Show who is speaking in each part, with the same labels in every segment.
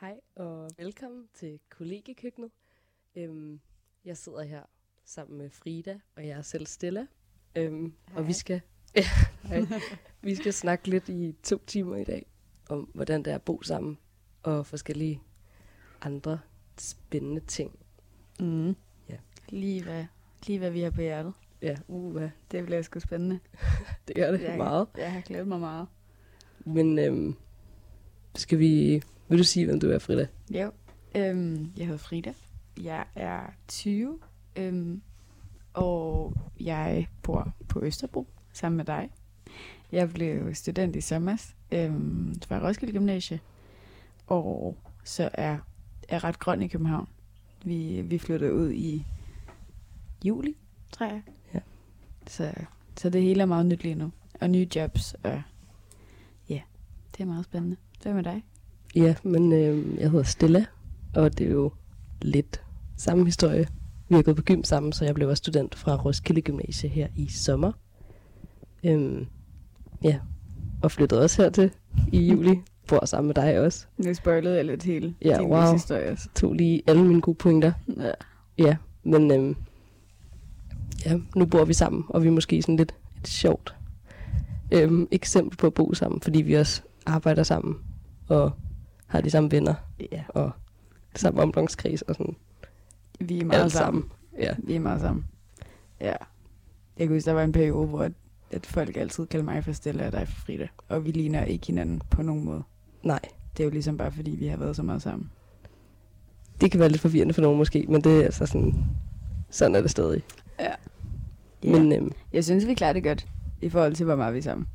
Speaker 1: Hej og velkommen til kollegekøkkenet. Øhm, jeg sidder her sammen med Frida, og jeg er selv Stella. Øhm, og vi
Speaker 2: Hej.
Speaker 1: skal, hej. vi skal snakke lidt i to timer i dag om, hvordan det er at bo sammen og forskellige andre spændende ting.
Speaker 2: Mm.
Speaker 1: Ja.
Speaker 2: Lige hvad, lige hvad vi har på hjertet.
Speaker 1: Ja, uha,
Speaker 2: Det bliver sgu spændende.
Speaker 1: det gør det ja, meget.
Speaker 2: Jeg har glædet mig meget.
Speaker 1: Men øhm, skal vi... Vil du sige, hvem du er, Frida?
Speaker 2: Jo. Øhm, jeg hedder Frida. Jeg er 20. Øhm, og jeg bor på Østerbro sammen med dig. Jeg blev student i sommer øhm, fra Roskilde Gymnasie. Og så er jeg ret grøn i København. Vi, vi flyttede ud i juli, tror jeg.
Speaker 1: Ja.
Speaker 2: Så, så det hele er meget nyt lige nu. Og nye jobs. Og ja, det er meget spændende. Hvad med dig?
Speaker 1: Ja, men øh, jeg hedder Stella, og det er jo lidt samme historie. Vi har gået på gym sammen, så jeg blev også student fra Roskilde Gymnasie her i sommer. Øhm, ja, og flyttede også hertil i juli. Bor sammen med dig også.
Speaker 2: Nu spoilede jeg lidt hele
Speaker 1: Ja,
Speaker 2: din
Speaker 1: wow.
Speaker 2: livshistorie. også.
Speaker 1: Tog lige alle mine gode pointer.
Speaker 2: Ja.
Speaker 1: Ja, men øhm, ja, nu bor vi sammen, og vi er måske sådan lidt et sjovt øhm, eksempel på at bo sammen, fordi vi også arbejder sammen og har de samme venner
Speaker 2: ja.
Speaker 1: og samme omgangskreds og sådan
Speaker 2: Vi er meget
Speaker 1: alt
Speaker 2: sammen.
Speaker 1: sammen. Ja.
Speaker 2: Vi er meget sammen. Ja. Jeg kan huske, der var en periode, hvor at folk altid kaldte mig for Stella og dig for Frida. Og vi ligner ikke hinanden på nogen måde.
Speaker 1: Nej,
Speaker 2: Det er jo ligesom bare, fordi vi har været så meget sammen.
Speaker 1: det kan være lidt forvirrende for nogen måske, men det er altså sådan, sådan er det stadig.
Speaker 2: Ja.
Speaker 1: Men øhm,
Speaker 2: jeg synes, vi klarer det godt i forhold til, hvor meget vi er sammen.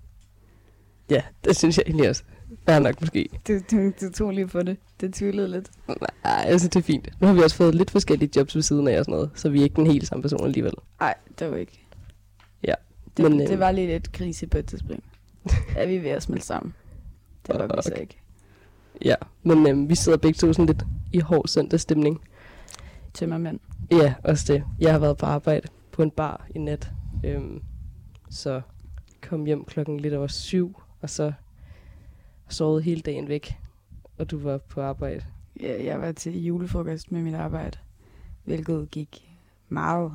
Speaker 1: ja, det synes jeg egentlig også. Fair nok måske.
Speaker 2: Du, du, du tog lige på det. Det tvivlede lidt.
Speaker 1: Nej, altså det er fint. Nu har vi også fået lidt forskellige jobs ved siden af og sådan noget, så vi er ikke den helt samme person alligevel.
Speaker 2: Nej, det var ikke.
Speaker 1: Ja.
Speaker 2: Det,
Speaker 1: Men,
Speaker 2: Men,
Speaker 1: øh,
Speaker 2: det var lige lidt krise på et tidspunkt. Ja, vi er ved at smelte sammen. Det var vi så
Speaker 1: Okay.
Speaker 2: ikke.
Speaker 1: Ja, men øhm, vi sidder begge to sådan lidt i hård søndagsstemning.
Speaker 2: Tømmermænd.
Speaker 1: Ja, også det. Jeg har været på arbejde på en bar i nat, øhm, så kom hjem klokken lidt over syv, og så sovede hele dagen væk, og du var på arbejde.
Speaker 2: Ja, jeg var til julefrokost med mit arbejde, hvilket gik meget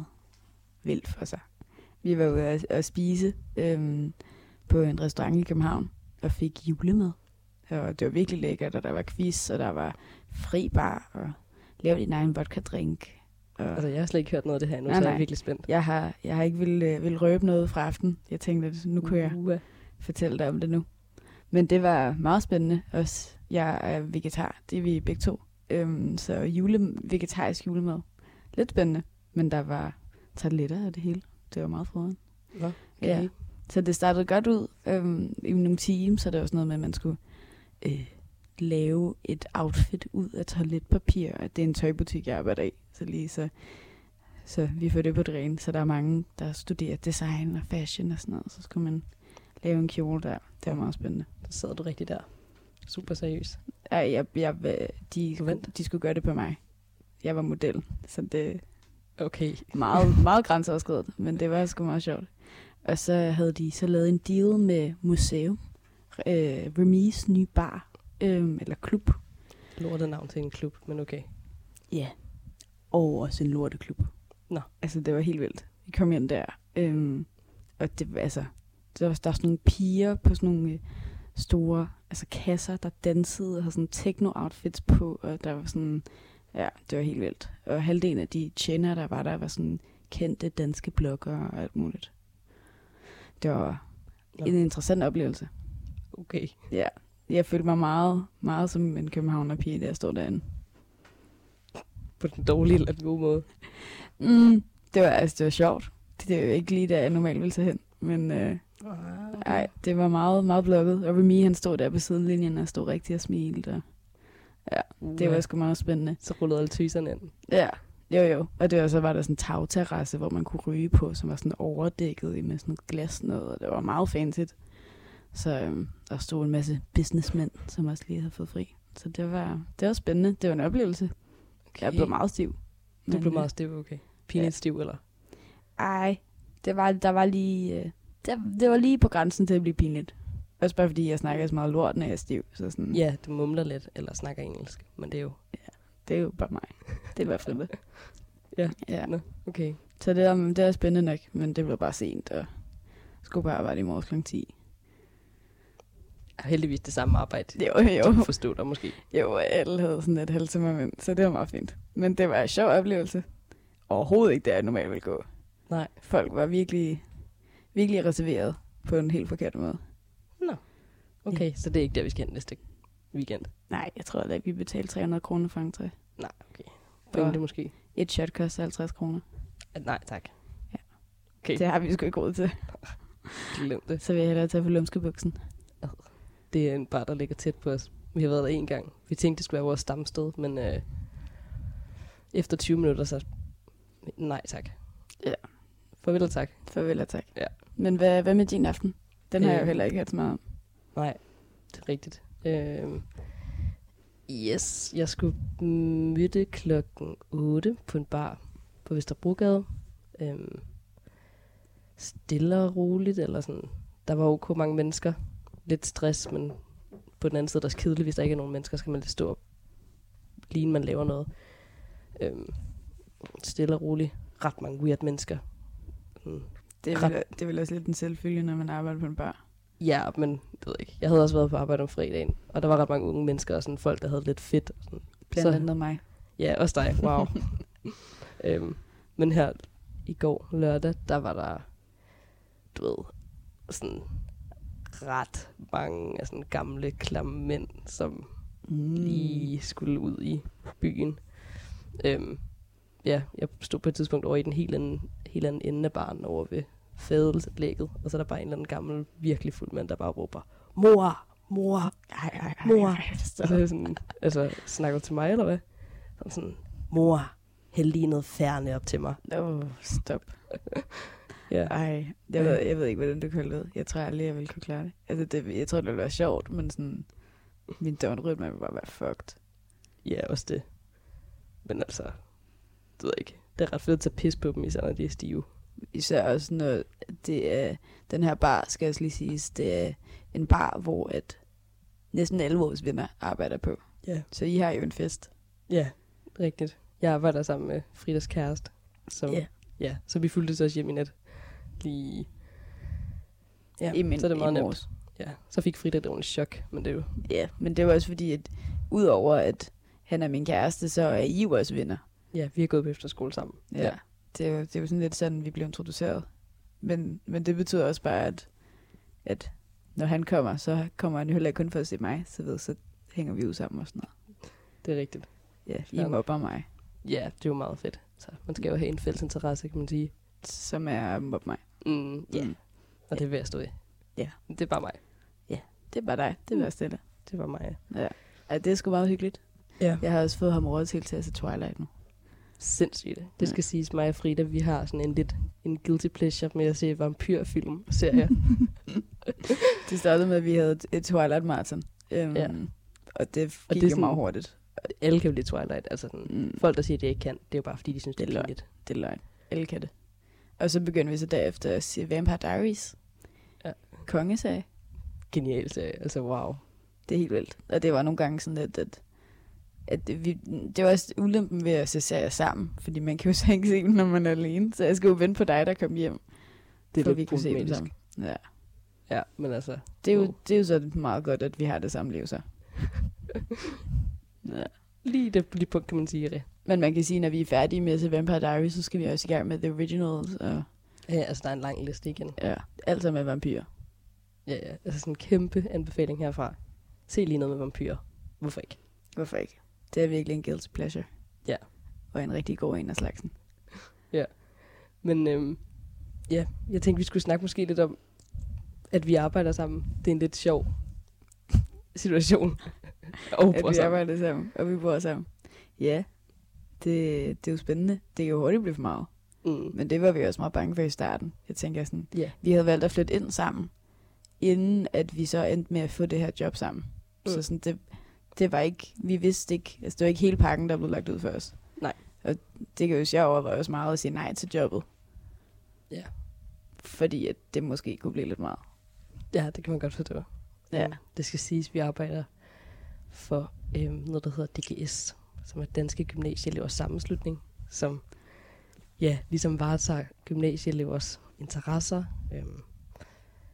Speaker 2: vildt for sig. Vi var ude at, at spise øhm, på en restaurant i København og fik julemad. Og det var virkelig lækkert, og der var quiz, og der var fri bar, og lav din egen vodka-drink. Og
Speaker 1: Altså, jeg har slet ikke hørt noget af det her endnu, så
Speaker 2: Nej,
Speaker 1: jeg er
Speaker 2: nej.
Speaker 1: virkelig spændt.
Speaker 2: jeg har, jeg har ikke ville, øh, ville røbe noget fra aften. Jeg tænkte, at nu kunne jeg
Speaker 1: Uha.
Speaker 2: fortælle dig om det nu. Men det var meget spændende også. Jeg er vegetar, det er vi begge to. Øhm, så jule, vegetarisk julemad. Lidt spændende, men der var tarteletter og det hele. Det var meget froderen.
Speaker 1: Nå, okay.
Speaker 2: Ja. Så det startede godt ud øhm, i nogle timer, så det var sådan noget med, at man skulle øh, lave et outfit ud af toiletpapir. Og det er en tøjbutik, jeg arbejder i, så lige så, så vi får det på det rene. Så der er mange, der studerer design og fashion og sådan noget, så skulle man lave en kjole der. Det var meget spændende.
Speaker 1: Så sad du rigtig der. Super seriøs.
Speaker 2: Ej, jeg, jeg, øh, de,
Speaker 1: Du vandt.
Speaker 2: de skulle gøre det på mig. Jeg var model, så det,
Speaker 1: Okay.
Speaker 2: meget, meget grænseoverskridende, men det var sgu meget sjovt. Og så havde de så lavet en deal med museum, øh, Remis nye bar, øh, eller klub.
Speaker 1: Lortet navn til en klub, men okay.
Speaker 2: Ja, og også en lorteklub.
Speaker 1: Nå.
Speaker 2: Altså, det var helt vildt. Vi kom hjem der, øh, og det var altså, der var, der var sådan nogle piger på sådan nogle øh, store altså kasser, der dansede og havde sådan techno-outfits på, og der var sådan, ja, det var helt vildt. Og halvdelen af de tjenere, der var der, var sådan kendte danske bloggere og alt muligt. Det var
Speaker 1: Nå.
Speaker 2: en interessant oplevelse.
Speaker 1: Okay.
Speaker 2: Ja, jeg følte mig meget, meget som en københavner-pige, da jeg stod derinde.
Speaker 1: På den dårlige eller den gode måde.
Speaker 2: Mm, det var, altså, det var sjovt. Det er jo ikke lige, der jeg normalt ville tage hen. Men øh, ej, det var meget, meget blokket. Og Remy, han stod der på sidelinjen og stod rigtig og smilte. Og det var sgu meget spændende.
Speaker 1: Så rullede alle tøserne ind.
Speaker 2: Ja, jo jo. Og det var, så var der sådan en tagterrasse, hvor man kunne ryge på, som var sådan overdækket i med sådan noget glas noget, og det var meget fancy. Så øhm, der stod en masse businessmænd, som også lige havde fået fri. Så det var, det var spændende. Det var en oplevelse.
Speaker 1: Okay.
Speaker 2: Jeg blev meget stiv.
Speaker 1: Du
Speaker 2: Men,
Speaker 1: blev
Speaker 2: øh,
Speaker 1: meget stiv, okay. Pinligt stiv, eller?
Speaker 2: Mm. Ej, det var, der var lige... Øh, det, det var lige på grænsen til at blive pinligt. Også bare fordi jeg snakker så meget lort, når jeg er stiv. Så sådan,
Speaker 1: Ja, du mumler lidt, eller snakker engelsk, men det er jo...
Speaker 2: det er jo bare mig. Det er i hvert fald det.
Speaker 1: Ja.
Speaker 2: ja.
Speaker 1: Okay.
Speaker 2: Så det er, det er spændende nok, men det blev bare sent, og skulle bare arbejde i morges kl. 10.
Speaker 1: Og heldigvis det samme arbejde.
Speaker 2: Jo, jo.
Speaker 1: Du forstod dig måske.
Speaker 2: Jo, og alle havde sådan et halvtimmermænd, så det var meget fint. Men det var en sjov oplevelse. Overhovedet ikke der, jeg normalt ville gå.
Speaker 1: Nej.
Speaker 2: Folk var virkelig, virkelig reserveret på en helt forkert måde.
Speaker 1: Okay, så det er ikke der, vi skal hen næste weekend.
Speaker 2: Nej, jeg tror da, at vi betalte 300 kroner for entré.
Speaker 1: Nej, okay.
Speaker 2: Og
Speaker 1: Pointe måske.
Speaker 2: et shot koster 50 kroner.
Speaker 1: At nej, tak.
Speaker 2: Det har vi sgu ikke råd til.
Speaker 1: Glem det.
Speaker 2: Så vil jeg hellere tage på lumskebuksen.
Speaker 1: Det er en bar, der ligger tæt på os. Vi har været der en gang. Vi tænkte, det skulle være vores stamsted, men øh, efter 20 minutter, så... Nej, tak.
Speaker 2: Ja.
Speaker 1: Farvel og tak.
Speaker 2: Farvel og tak.
Speaker 1: Ja.
Speaker 2: Men hvad, hvad med din aften? Den har jeg jo
Speaker 1: Øh.
Speaker 2: heller ikke hørt så meget om.
Speaker 1: Nej, det er rigtigt. Øh, yes, jeg skulle møde klokken 8 på en bar på Vesterbrogade. Øh, stille og roligt, eller sådan. Der var ok mange mennesker. Lidt stress, men på den anden side er det også kedeligt, hvis der ikke er nogen mennesker, så skal man lidt stå og ligne, man laver noget. Øh, stille og roligt. Ret mange weird mennesker. Sådan,
Speaker 2: Det er,
Speaker 1: Ret-
Speaker 2: vel, det er vel også lidt en selvfølge, når man arbejder på en bar.
Speaker 1: Ja, men det ved jeg ikke. Jeg havde også været på arbejde om fredagen, og der var ret mange unge mennesker og sådan folk, der havde lidt fedt. Og sådan.
Speaker 2: Blandt
Speaker 1: Så-
Speaker 2: andet mig.
Speaker 1: Ja, også dig. Wow. øhm, men her i går lørdag, der var der, du ved, sådan ret mange af sådan gamle, klamme mænd, som
Speaker 2: Mm.
Speaker 1: lige skulle ud i byen. Øhm, ja, jeg stod på et tidspunkt over i den helt anden, helt anden ende af baren over ved fædelslægget, og så er der bare en eller anden gammel, virkelig fuld mand, der bare råber, mor, mor,
Speaker 2: Ej, ej, ej,
Speaker 1: Mor.
Speaker 2: ej,
Speaker 1: og så er jeg sådan, altså, snakker du til mig, eller hvad? Så er han sådan, mor, hæld lige noget færne op til mig.
Speaker 2: Oh, stop.
Speaker 1: Ja,
Speaker 2: Ej, jeg ved, jeg ved ikke, hvordan du kunne ud. Jeg tror aldrig, jeg ville kunne klare det. Altså, det, jeg tror, det ville være sjovt, men sådan... Min døgnrytme ville bare være fucked.
Speaker 1: ja også det. Men altså, det ved jeg ikke. Det er ret fedt at tage pis på dem, især når de er stive.
Speaker 2: Især også, når det er... Den her bar, skal jeg også lige sige, det er en bar, hvor at næsten alle vores venner arbejder på.
Speaker 1: Ja.
Speaker 2: Så I har jo en fest.
Speaker 1: Ja, rigtigt. Jeg arbejder sammen med Fridas kæreste. Så,
Speaker 2: Ja.
Speaker 1: ja, så vi fulgte så også hjem i nat. Lige... Ja, så er det meget nemt. Ja, så fik Frida et ordentligt chok, men det er jo...
Speaker 2: Ja, men det var også fordi, at udover at han er min kæreste, så er I jo også venner.
Speaker 1: Ja, vi har gået på efterskole sammen.
Speaker 2: Ja. ja. Det, var, det var sådan lidt sådan, vi blev introduceret. Men, men det betyder også bare, at, at når han kommer, så kommer han jo heller ikke kun for at se mig, så, ved, så hænger vi ud sammen og sådan noget.
Speaker 1: det er rigtigt.
Speaker 2: Ja, I
Speaker 1: Fair
Speaker 2: mobber mig,
Speaker 1: Ja, det er jo meget fedt. Så man skal jo have en fælles interesse, kan man sige.
Speaker 2: som er mobber mig.
Speaker 1: Mm, ja,
Speaker 2: Mm.
Speaker 1: og det er ved at stå i.
Speaker 2: Ja.
Speaker 1: Det er bare mig.
Speaker 2: Det er bare dig, det
Speaker 1: Mm.
Speaker 2: var mm. stille.
Speaker 1: Det er bare mig.
Speaker 2: Ja, det er sgu meget hyggeligt.
Speaker 1: Ja.
Speaker 2: Jeg har også fået ham råd til til at se Twilight nu.
Speaker 1: Sindssygt.
Speaker 2: Ja.
Speaker 1: Det skal siges mig og Frida, vi har sådan en lidt en guilty pleasure med at se vampyrfilm og serier.
Speaker 2: Det startede med, at vi havde et Twilight Marathon. Øhm,
Speaker 1: Ja.
Speaker 2: Og det gik
Speaker 1: Og det
Speaker 2: det
Speaker 1: er
Speaker 2: jo
Speaker 1: sådan-
Speaker 2: meget hurtigt.
Speaker 1: Alle kan jo lide Twilight. Altså sådan,
Speaker 2: Mm.
Speaker 1: folk, der siger, at det ikke kan, det er jo bare, fordi de synes, det
Speaker 2: Det
Speaker 1: er
Speaker 2: er
Speaker 1: lidt.
Speaker 2: Det er løgn. Alle kan det. Og så begyndte vi så derefter at se Vampire Diaries.
Speaker 1: Ja.
Speaker 2: Kongesag.
Speaker 1: genial serie. Altså, wow.
Speaker 2: Det er helt vildt. Og det var nogle gange sådan lidt, at, at vi, det var også ulempen ved at se serier sammen. Fordi man kan jo så ikke se dem, når man er alene. Så jeg skulle jo vente på dig, der kom hjem.
Speaker 1: Det er
Speaker 2: for at
Speaker 1: lidt
Speaker 2: vi kunne se dem
Speaker 1: problematisk.
Speaker 2: sammen. Ja.
Speaker 1: Ja, men altså,
Speaker 2: Det er, jo,
Speaker 1: Wow.
Speaker 2: det er jo så meget godt, at vi har det samme liv så. ja.
Speaker 1: lige det lige punkt, kan man sige det.
Speaker 2: Men man kan sige, at når vi er færdige med at se Vampire Diaries, så skal vi også i gang med The Originals. Og,
Speaker 1: Ja, altså, der er en lang liste igen.
Speaker 2: ja, alt sammen med vampyrer.
Speaker 1: Ja, ja. Altså, sådan en kæmpe anbefaling herfra. Se lige noget med vampyrer. Hvorfor ikke?
Speaker 2: Hvorfor ikke? Det er virkelig en guilty pleasure.
Speaker 1: Ja.
Speaker 2: Og en rigtig god en af slagsen.
Speaker 1: Men øhm, ja, jeg tænkte, vi skulle snakke måske lidt om, at vi arbejder sammen. Det er en lidt sjov situation. og bor
Speaker 2: At vi
Speaker 1: sammen.
Speaker 2: arbejder sammen, og vi bor sammen. Ja, det, det er jo spændende. Det kan jo hurtigt blive for meget.
Speaker 1: Mm.
Speaker 2: Men det var vi også meget bange for i starten. Jeg tænker sådan,
Speaker 1: Ja.
Speaker 2: vi havde valgt at flytte ind sammen, inden at vi så endte med at få det her job sammen. Mm.
Speaker 1: Mm.
Speaker 2: Så sådan, det, det var ikke, vi vidste ikke, altså det var ikke hele pakken, der blev lagt ud for os.
Speaker 1: Nej.
Speaker 2: Og det kan jo jeg overveje også meget at sige nej til jobbet.
Speaker 1: Ja.
Speaker 2: Fordi at det måske kunne blive lidt meget.
Speaker 1: Ja, det kan man godt forstå.
Speaker 2: Ja.
Speaker 1: Øhm, Det skal siges, at vi arbejder for øhm, noget, der hedder DGS, som er Danske Gymnasieelevers Sammenslutning, som ja, ligesom varetager gymnasieelevers interesser. Øhm,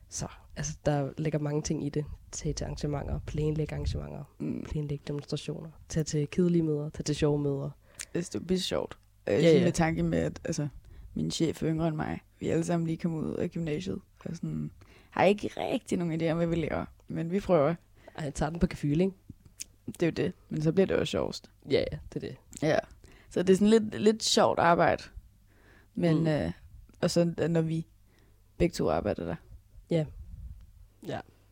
Speaker 1: så altså, der ligger mange ting i det. Tage til arrangementer, planlægge arrangementer,
Speaker 2: Mm.
Speaker 1: planlægge demonstrationer, tage til kedelige møder, tage til sjove møder.
Speaker 2: Det er vildt sjovt. Øh,
Speaker 1: Ja,
Speaker 2: ja, ja.
Speaker 1: ja.
Speaker 2: Med tanke med, at altså, min chef er yngre end mig. Vi er alle sammen lige kommet ud af gymnasiet. Og sådan, har ikke rigtig nogen idé om, hvad vi laver. Men vi prøver.
Speaker 1: Ej, jeg tager den på kafyl, ikke?
Speaker 2: Det er jo det. Men så bliver det jo sjovest.
Speaker 1: Ja, ja, det er det.
Speaker 2: Ja. Så det er sådan lidt, lidt sjovt arbejde. Men,
Speaker 1: Mm.
Speaker 2: mm. øh, og så når vi begge to arbejder der.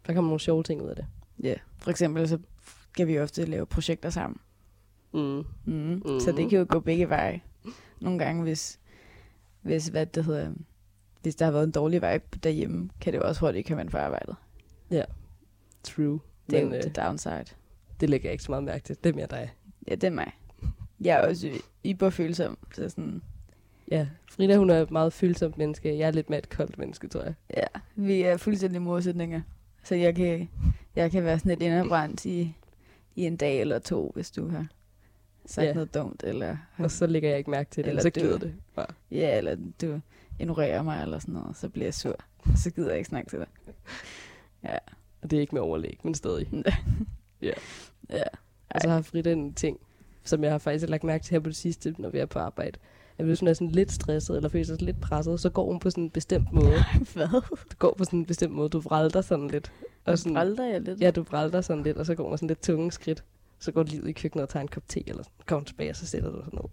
Speaker 1: Der kommer nogle sjove ting ud af det.
Speaker 2: Ja. For eksempel så skal vi ofte lave projekter sammen.
Speaker 1: Mm.
Speaker 2: Mm. Mm. Så det kan jo gå begge veje. Nogle gange, hvis, hvis, hvad det hedder, hvis der har været en dårlig vibe derhjemme, kan det jo også hurtigt komme ind på arbejdet.
Speaker 1: True.
Speaker 2: Det er
Speaker 1: Men,
Speaker 2: jo
Speaker 1: øh,
Speaker 2: the downside.
Speaker 1: det lægger jeg ikke så meget mærke til. Det er mere dig.
Speaker 2: Ja, det er mig. Jeg er også iberfølsom. Så sådan,
Speaker 1: Ja, Frida hun er et meget følsomt menneske. Jeg er lidt mere et koldt menneske, tror jeg.
Speaker 2: ja, vi er fuldstændig modsætninger. Så jeg kan, jeg kan være sådan lidt inderbrændt i, i en dag eller to, hvis du har sagt
Speaker 1: Ja.
Speaker 2: yeah. noget dumt, eller,
Speaker 1: Og så lægger jeg ikke mærke til det,
Speaker 2: Eller
Speaker 1: eller så
Speaker 2: dør.
Speaker 1: glider det. Bare.
Speaker 2: ja, eller du ignorerer mig, eller sådan noget, så bliver jeg sur. Så gider jeg ikke snakke til dig.
Speaker 1: Og det er ikke med overlæg, men stadig.
Speaker 2: Ja.
Speaker 1: Og så har Frida en ting, som jeg har faktisk lagt mærke til her på det sidste, når vi er på arbejde. At hvis hun er sådan lidt stresset, eller føler sig lidt presset, så går hun på sådan en bestemt måde.
Speaker 2: Hvad?
Speaker 1: Du går på sådan en bestemt måde. Du vrælder sådan lidt. Og sådan,
Speaker 2: Aldrig jeg lidt.
Speaker 1: Ja, du vrælder sådan lidt, og så går man sådan lidt tunge skridt. Så går du lige ud i køkkenet og tager en kop te, eller sådan, kommer tilbage, og så sætter du dig sådan ned.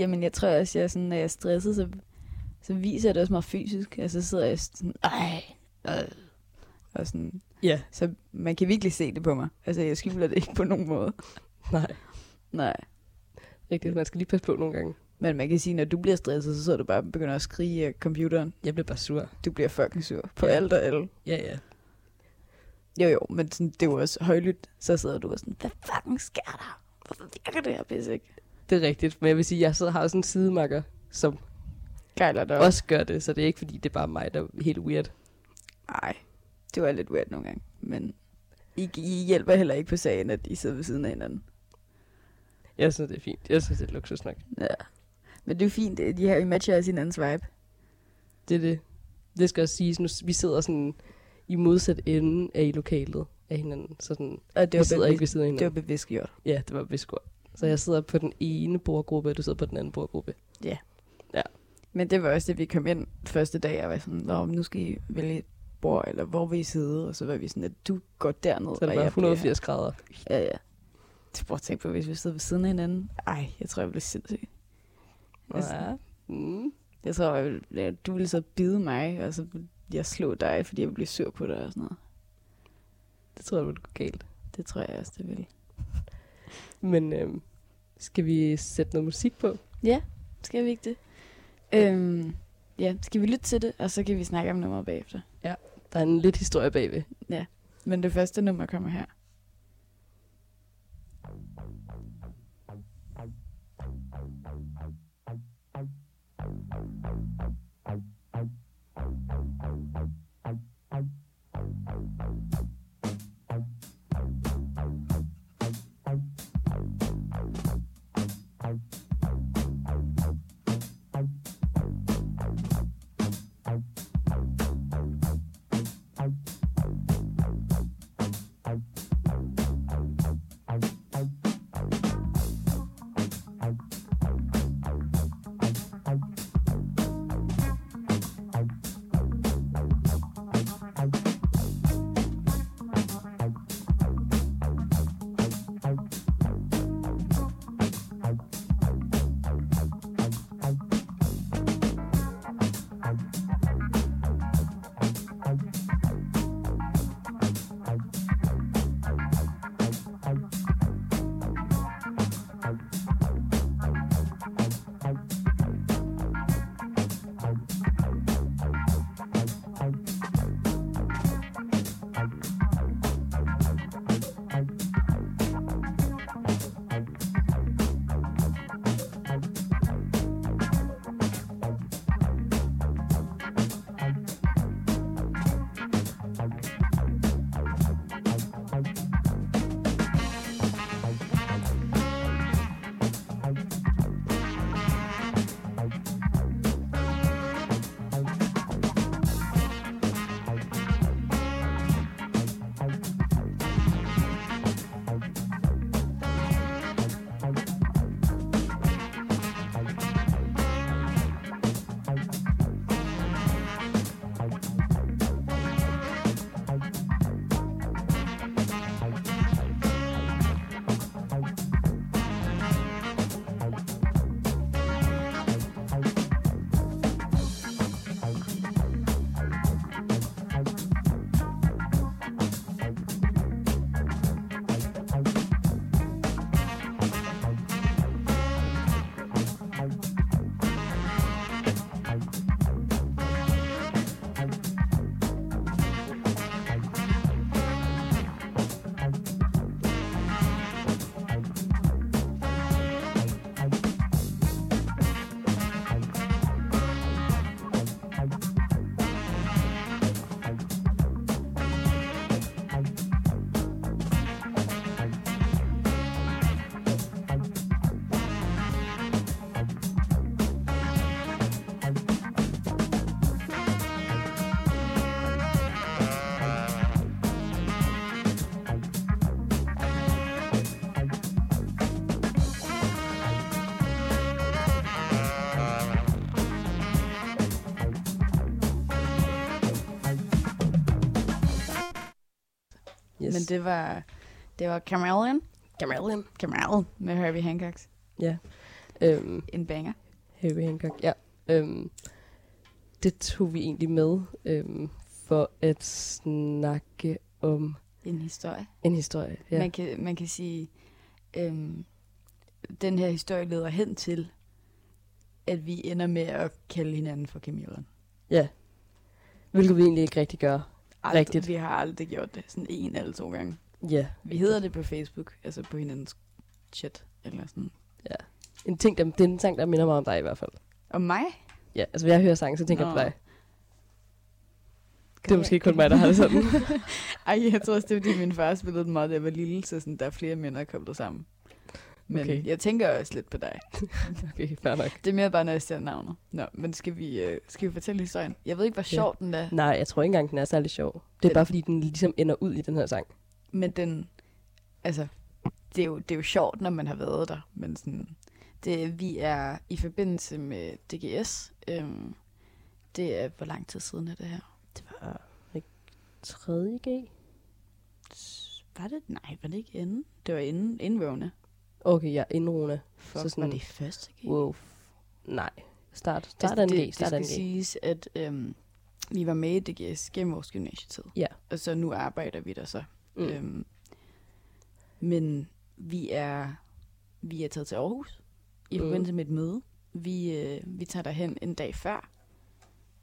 Speaker 2: Jamen, jeg tror også, jeg er sådan, når jeg er stresset, så, så viser jeg det også meget fysisk. Altså, så sidder jeg sådan, ej, øh. Og sådan,
Speaker 1: Ja,
Speaker 2: så man kan virkelig se det på mig. Altså, jeg skjuler det ikke på nogen måde.
Speaker 1: nej.
Speaker 2: Nej.
Speaker 1: Rigtigt, man skal lige passe på nogle gange.
Speaker 2: Men man kan sige, når du bliver stresset, så sidder du bare og begynder at skrige af computeren.
Speaker 1: Jeg bliver bare sur.
Speaker 2: Du bliver fucking sur på
Speaker 1: Ja.
Speaker 2: ja. alt og alle.
Speaker 1: Ja, ja.
Speaker 2: Jo, jo, men sådan, det er jo også højlydt. Så sidder du og sådan, hvad fucking sker der? Hvorfor virker det her pisse ikke?
Speaker 1: Det er rigtigt, men jeg vil sige, at jeg sidder, har også en sidemakker, som
Speaker 2: Gejler dig
Speaker 1: ja. også gør det, så det er ikke fordi, det er bare mig, der er helt weird.
Speaker 2: Nej, det var lidt weird nogle gange, men I, I hjælper heller ikke på sagen, at I sidder ved siden af hinanden.
Speaker 1: Jeg synes, det er fint. Jeg synes, det er luksus nok.
Speaker 2: Ja. Men det er jo fint, at de her I matcher også hinandens vibe.
Speaker 1: Det er det. Det skal også siges, nu s- vi sidder sådan i modsat ende af i lokalet af hinanden. Så sådan,
Speaker 2: Og det
Speaker 1: vi
Speaker 2: var,
Speaker 1: sidder ikke ved
Speaker 2: bevidst,
Speaker 1: siden af
Speaker 2: det var
Speaker 1: hinanden.
Speaker 2: bevidst gjort.
Speaker 1: Det ja, det var vist godt. Så jeg sidder på den ene bordgruppe, og du sidder på den anden bordgruppe.
Speaker 2: Men det var også det, vi kom ind første dag, og var sådan, Nå, men nu skal I vælge et bord, eller hvor vil I sidde? Og så var vi sådan, at du går derned,
Speaker 1: Så er det
Speaker 2: og
Speaker 1: bare
Speaker 2: jeg bliver-
Speaker 1: 180 grader.
Speaker 2: Ja, ja. Det prøver at tænke på, hvis vi sidder ved siden af hinanden. Ej, jeg tror, jeg bliver sindssyg. Altså-
Speaker 1: Ja. Mm.
Speaker 2: Jeg tror, jeg vil, ja, du ville så bide mig, og så ville jeg slå dig, fordi jeg ville blive sur på dig og sådan noget.
Speaker 1: Det tror jeg, det gå galt.
Speaker 2: Det tror jeg også, det ville.
Speaker 1: Men øhm, skal vi sætte noget musik på?
Speaker 2: Ja, skal vi ikke det? Øhm, ja, skal vi lytte til det, og så kan vi snakke om nummeret bagefter.
Speaker 1: Der er en lidt historie bagved.
Speaker 2: Men det første nummer kommer her.
Speaker 1: Yes.
Speaker 2: Men det var, det var Chameleon.
Speaker 1: Chameleon.
Speaker 2: Chameleon med Herbie Hancocks.
Speaker 1: Øhm,
Speaker 2: En banger.
Speaker 1: Harry Hancock, ja. Øhm, det tog vi egentlig med øhm, for at snakke om
Speaker 2: En historie.
Speaker 1: en historie.
Speaker 2: Ja.
Speaker 1: Ja.
Speaker 2: Man, kan, man kan sige, øhm, den her historie leder hen til, at vi ender med at kalde hinanden for Chameleon.
Speaker 1: Hvilket vi egentlig ikke rigtig gør.
Speaker 2: Ald-
Speaker 1: Rigtigt.
Speaker 2: Vi har aldrig gjort det sådan en eller to gange.
Speaker 1: Ja.
Speaker 2: Vi hedder det på Facebook, altså på hinandens chat eller sådan.
Speaker 1: En ting, der, det er en sang, der minder mig om dig i hvert fald.
Speaker 2: Og mig?
Speaker 1: Ja, altså når jeg hører sangen, så tænker jeg på
Speaker 2: Nå.
Speaker 1: dig. Det er måske kun mig, der har det sådan.
Speaker 2: Ej, jeg tror også, det er fordi min far spillede den meget, da jeg var lille, så sådan, der er flere mænd, der er koblet sammen. Men
Speaker 1: Okay.
Speaker 2: okay. jeg tænker også lidt på dig.
Speaker 1: okay, fair nok.
Speaker 2: Det er mere bare, når jeg ser navnet. Nå, men skal vi, øh, skal vi fortælle historien? Jeg ved ikke, hvor
Speaker 1: Ja.
Speaker 2: sjov den er,
Speaker 1: Nej, jeg tror ikke engang, den er særlig sjov. Det er
Speaker 2: Den-
Speaker 1: bare fordi, den ligesom ender ud i den her sang.
Speaker 2: men den... Altså, det er, jo, det er jo sjovt, når man har været der, men sådan... Det, vi er i forbindelse med DGS. Øhm, det er... Hvor lang tid siden er det her?
Speaker 1: Det var 3. G?
Speaker 2: Var det... Nej, var det ikke inden? Det var inden, inden Rona.
Speaker 1: Okay, ja, indrone. Så
Speaker 2: Fuck, så
Speaker 1: sådan-
Speaker 2: sådan, var det i første G? Altså,
Speaker 1: Wow. Nej. Start, start af en
Speaker 2: det,
Speaker 1: G, start af en
Speaker 2: det skal
Speaker 1: G.
Speaker 2: siges, at øhm, vi var med i DGS gennem vores gymnasietid.
Speaker 1: Ja.
Speaker 2: Og så nu arbejder vi der så. Mm.
Speaker 1: Mm.
Speaker 2: Øhm, men vi er, vi er taget til Aarhus i
Speaker 1: Mm.
Speaker 2: forbindelse med et møde. Vi, øh, vi tager derhen en dag før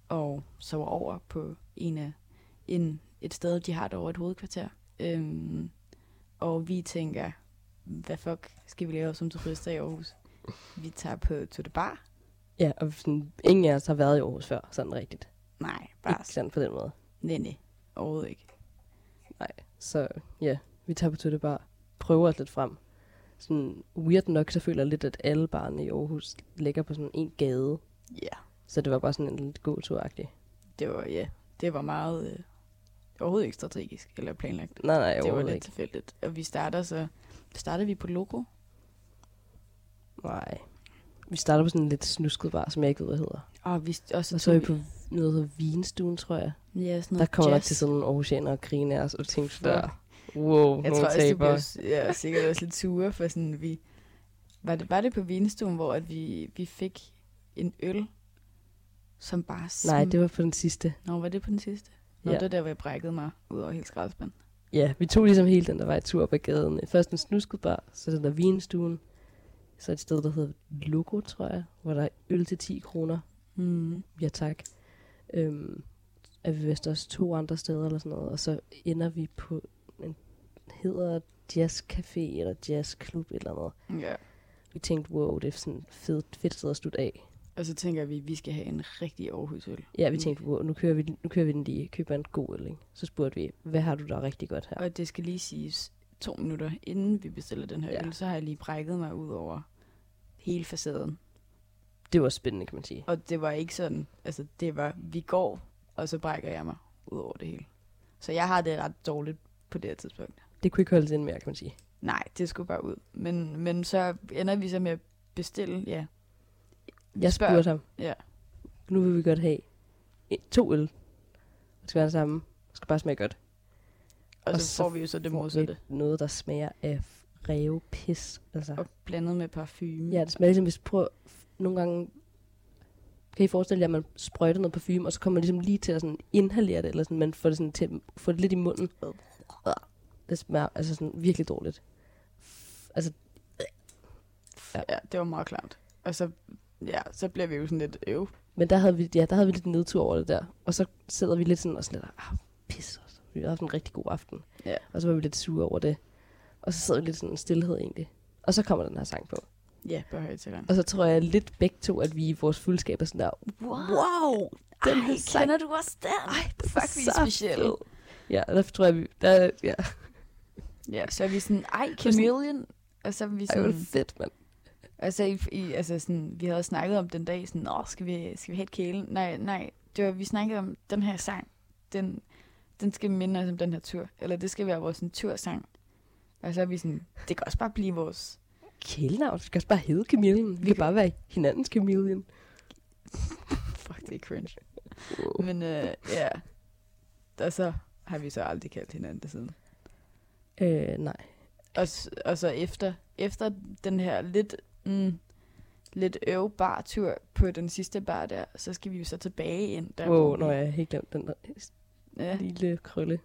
Speaker 2: og sover over på en af, en, et sted, de har derovre et hovedkvarter. Øhm, og vi tænker, hvad fuck skal vi lave som turister i Aarhus? Vi tager på to the bar.
Speaker 1: Ja, og sådan, ingen af os har været i Aarhus før, sådan rigtigt.
Speaker 2: Nej, bare
Speaker 1: Ikke sådan på den måde.
Speaker 2: Nej, nej. Overhovedet ikke.
Speaker 1: Så ja, vi tager på Tøtte Bar, prøver os lidt frem. Sådan weird nok, så føler jeg lidt, at alle barne i Aarhus ligger på sådan en gade.
Speaker 2: Ja.
Speaker 1: Så det var bare sådan en lidt god tur -agtig.
Speaker 2: Det var, ja, det var meget... Øh, overhovedet ikke strategisk eller planlagt.
Speaker 1: Nej, nej,
Speaker 2: det var
Speaker 1: overhovedet
Speaker 2: lidt
Speaker 1: ikke.
Speaker 2: tilfældigt. Og vi starter så... Starter vi på Logo?
Speaker 1: Nej. Vi starter på sådan en lidt snusket bar, som jeg ikke ved, hvad hedder.
Speaker 2: Og, vi, og så,
Speaker 1: Og så er
Speaker 2: tog
Speaker 1: vi på noget, der hedder Vinstuen, tror jeg.
Speaker 2: ja, sådan
Speaker 1: Der
Speaker 2: noget
Speaker 1: kommer nok
Speaker 2: jazz.
Speaker 1: til sådan nogle aarhusianer og griner, og så tænkte
Speaker 2: Fuck.
Speaker 1: der, wow,
Speaker 2: Jeg
Speaker 1: nogle
Speaker 2: tror også, de
Speaker 1: taber.
Speaker 2: blev s- ja, sikkert også lidt sure, for sådan vi... Var det, var det på vinstuen, hvor at vi, vi fik en øl, som bare...
Speaker 1: Nej,
Speaker 2: sm-
Speaker 1: det var på den sidste.
Speaker 2: Nå, var det på den sidste? Nå,
Speaker 1: Ja.
Speaker 2: det var der, hvor jeg brækkede mig ud over hele skraldespanden.
Speaker 1: Ja, vi tog ligesom hele den der vej tur op ad gaden. Først en snusket bar, så den der vinstuen. Så et sted, der hedder Logo, tror jeg, hvor der er øl til 10 kroner.
Speaker 2: Mm.
Speaker 1: Ja, tak. Øhm, er vi vist også to andre steder eller sådan noget. Og så ender vi på en hedder jazzcafé eller jazzklub eller noget.
Speaker 2: Ja.
Speaker 1: Vi tænkte, wow, det er sådan et fedt, fedt sted at slutte af.
Speaker 2: Og så tænker vi, at vi skal have en rigtig Aarhus-øl.
Speaker 1: Ja, vi tænkte, wow, nu kører vi, nu kører vi den lige. Køber en god øl, ikke? Så spurgte vi, hvad har du der rigtig godt her?
Speaker 2: Og det skal lige siges to minutter, inden vi bestiller den her
Speaker 1: Ja.
Speaker 2: ja. øl, så har jeg lige brækket mig ud over hele facaden.
Speaker 1: Det var spændende, kan man sige.
Speaker 2: Og det var ikke sådan, altså det var, vi går, og så brækker jeg mig ud over det hele. Så jeg har det ret dårligt på det her tidspunkt.
Speaker 1: Det kunne ikke holde ind mere, kan man sige.
Speaker 2: Nej, det skulle bare ud. Men, men så ender vi så med at bestille, ja. Vi
Speaker 1: Jeg
Speaker 2: spørger-
Speaker 1: spurgte ham.
Speaker 2: Ja.
Speaker 1: Nu vil vi godt have en- to øl. Det skal være det samme. Det skal bare smage godt.
Speaker 2: Og,
Speaker 1: og
Speaker 2: så,
Speaker 1: så
Speaker 2: får vi jo så det
Speaker 1: Får vi
Speaker 2: modsatte.
Speaker 1: Noget, der smager af revpis. Altså.
Speaker 2: Og blandet med parfume.
Speaker 1: Ja, det smager ligesom, hvis prøv, nogle gange kan I forestille jer, at man sprøjter noget parfume, og så kommer man ligesom lige til at sådan inhalere det, eller sådan, man får det, sådan til, får det lidt i munden. Det smager altså sådan virkelig dårligt. Altså, Ja.
Speaker 2: ja. ja, det var meget klart. Og så, ja, så bliver vi jo sådan lidt øv.
Speaker 1: men der havde, vi, ja, der havde vi lidt nedtur over det der. Og så sidder vi lidt sådan og sådan lidt, ah, pis. altså. Vi har haft en rigtig god aften.
Speaker 2: Ja.
Speaker 1: Og så var vi lidt sure over det. Og så sidder vi lidt sådan en stillhed egentlig. Og så kommer den her sang på.
Speaker 2: Ja, på højtaleren.
Speaker 1: Og så tror jeg lidt begge to, at vi i vores fuldskab er sådan der, wow, den her sang,
Speaker 2: kender du også den? Ej,
Speaker 1: den er
Speaker 2: fuck, vi er
Speaker 1: så
Speaker 2: specielle.
Speaker 1: fed." Ja, og der tror jeg, vi, der, ja,
Speaker 2: Ja, så er vi sådan, ej,
Speaker 1: sådan-
Speaker 2: chameleon. Og så er vi
Speaker 1: det var
Speaker 2: sådan,
Speaker 1: fedt, mand.
Speaker 2: altså, i, i, altså sådan, vi havde snakket om den dag, sådan, åh, skal vi, skal vi have et kælen? Nej, nej, det var, vi snakkede om den her sang, den, den skal minde os om den her tur, eller det skal være vores sådan, tursang. Og så er vi sådan, det kan også bare blive vores,
Speaker 1: Kælenavn, det skal også bare hedde Chameleon. Vi kan bare være hinandens Chameleon.
Speaker 2: fuck, det er cringe.
Speaker 1: Wow.
Speaker 2: Men øh, ja, og så har vi så aldrig kaldt hinanden det siden.
Speaker 1: Øh, nej.
Speaker 2: Og, s- og så efter, efter den her lidt, mm, lidt øv bartur på den sidste bar der, så skal vi jo så tilbage ind. Der,
Speaker 1: Åh,
Speaker 2: hvor
Speaker 1: oh,
Speaker 2: vi-
Speaker 1: når jeg har helt glemt den der
Speaker 2: ja.
Speaker 1: lille krølle.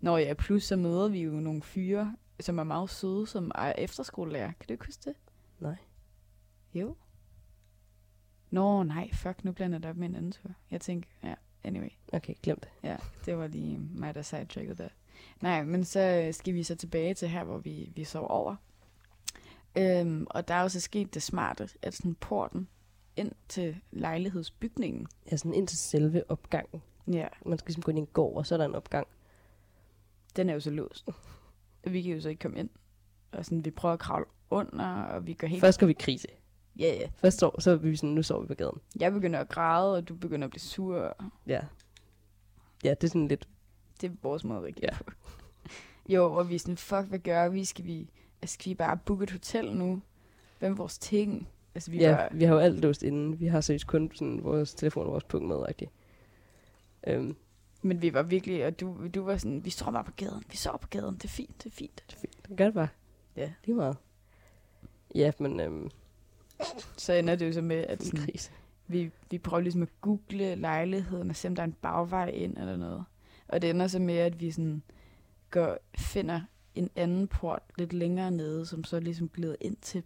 Speaker 2: Nå ja, plus så møder vi jo nogle fyre, som er meget søde, som er efterskolelærer. Kan du ikke huske det?
Speaker 1: Nej.
Speaker 2: Jo. Nå nej, fuck, nu blander jeg det op med en anden tur. Jeg tænker, ja, anyway.
Speaker 1: Okay, glem det.
Speaker 2: Ja, det var lige mig, der sidetrackede der. Nej, men så øh, skal vi så tilbage til her, hvor vi, vi sov over. Øhm, og der er jo så sket det smarte, at sådan porten ind til lejlighedsbygningen.
Speaker 1: Ja, sådan ind til selve opgangen.
Speaker 2: Ja,
Speaker 1: Man skal ligesom gå ind i en gård, og så er der en opgang.
Speaker 2: den er jo så låst. Vi kan jo så ikke komme ind. Og sådan, vi prøver at kravle under, og vi går helt...
Speaker 1: Først går vi i krise.
Speaker 2: Ja, ja.
Speaker 1: Først år, så er vi sådan, nu sover vi på gaden.
Speaker 2: Jeg begynder at græde, og du begynder at blive sur.
Speaker 1: Ja. Ja, det er sådan lidt,
Speaker 2: Det er vores måde at reagere
Speaker 1: Ja.
Speaker 2: på. Jo, og vi er sådan, fuck, hvad gør vi? Skal vi, altså, skal vi bare booke et hotel nu? Hvem er vores ting? Altså, vi
Speaker 1: ja,
Speaker 2: var,
Speaker 1: vi har jo alt låst inden. Vi har seriøst kun sådan vores telefon og vores punkt med, rigtig. Øhm,
Speaker 2: men vi var virkelig, og du, du var sådan, vi står bare på gaden, vi sover på gaden, det er fint, det er fint.
Speaker 1: det er fint. Det gør det bare.
Speaker 2: Ja.
Speaker 1: Lige meget. Ja, men øhm,
Speaker 2: Så ender det jo så med, at
Speaker 1: en
Speaker 2: sådan,
Speaker 1: krise.
Speaker 2: vi, vi prøver ligesom at google lejligheden og se, om der er en bagvej ind eller noget. Og det ender så med, at vi sådan går, finder en anden port lidt længere nede, som så ligesom glider ind til.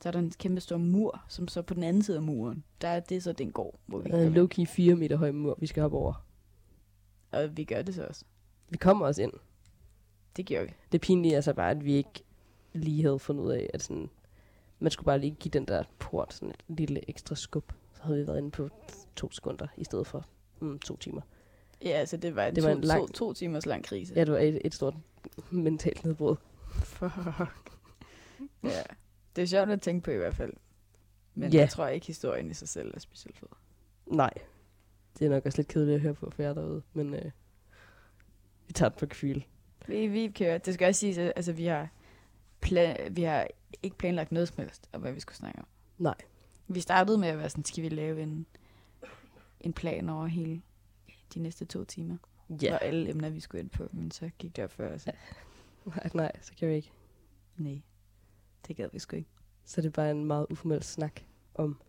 Speaker 2: Så er der en kæmpe stor mur, som så på den anden side af muren. Der er det så den går, hvor vi,
Speaker 1: Der er en
Speaker 2: øh,
Speaker 1: low-key 4 meter høj mur, vi skal hoppe over.
Speaker 2: og vi gør det så også.
Speaker 1: Vi kommer også ind.
Speaker 2: Det gjorde vi.
Speaker 1: Det pinlige er så bare, at vi ikke lige havde fundet ud af, at sådan, man skulle bare lige give den der port sådan et lille ekstra skub. Så havde vi været inde på to sekunder i stedet for mm, to timer.
Speaker 2: Ja, altså det var en, det var en to, lang... to, to timers lang krise.
Speaker 1: Ja, det var et, et stort mentalt nedbrud.
Speaker 2: Fuck. ja. Det er sjovt at tænke på i hvert fald. Men
Speaker 1: Ja.
Speaker 2: jeg tror ikke, historien i sig selv er specielt fed.
Speaker 1: Nej, det er nok også lidt kedeligt at høre på for jer derude, men øh, vi tager den på kviel.
Speaker 2: Vi, vi kører. Det skal også siges, at altså, vi, har plan, vi har ikke planlagt noget som helst om, hvad vi skulle snakke om.
Speaker 1: Nej.
Speaker 2: Vi startede med at være sådan, skal vi lave en, en plan over hele de næste to timer.
Speaker 1: Ja,
Speaker 2: Og alle emner, vi skulle ind på, men så gik det op for os. Ja.
Speaker 1: nej, nej, så kan vi ikke.
Speaker 2: Nej, det gad vi sgu ikke.
Speaker 1: Så det er bare en meget uformel snak om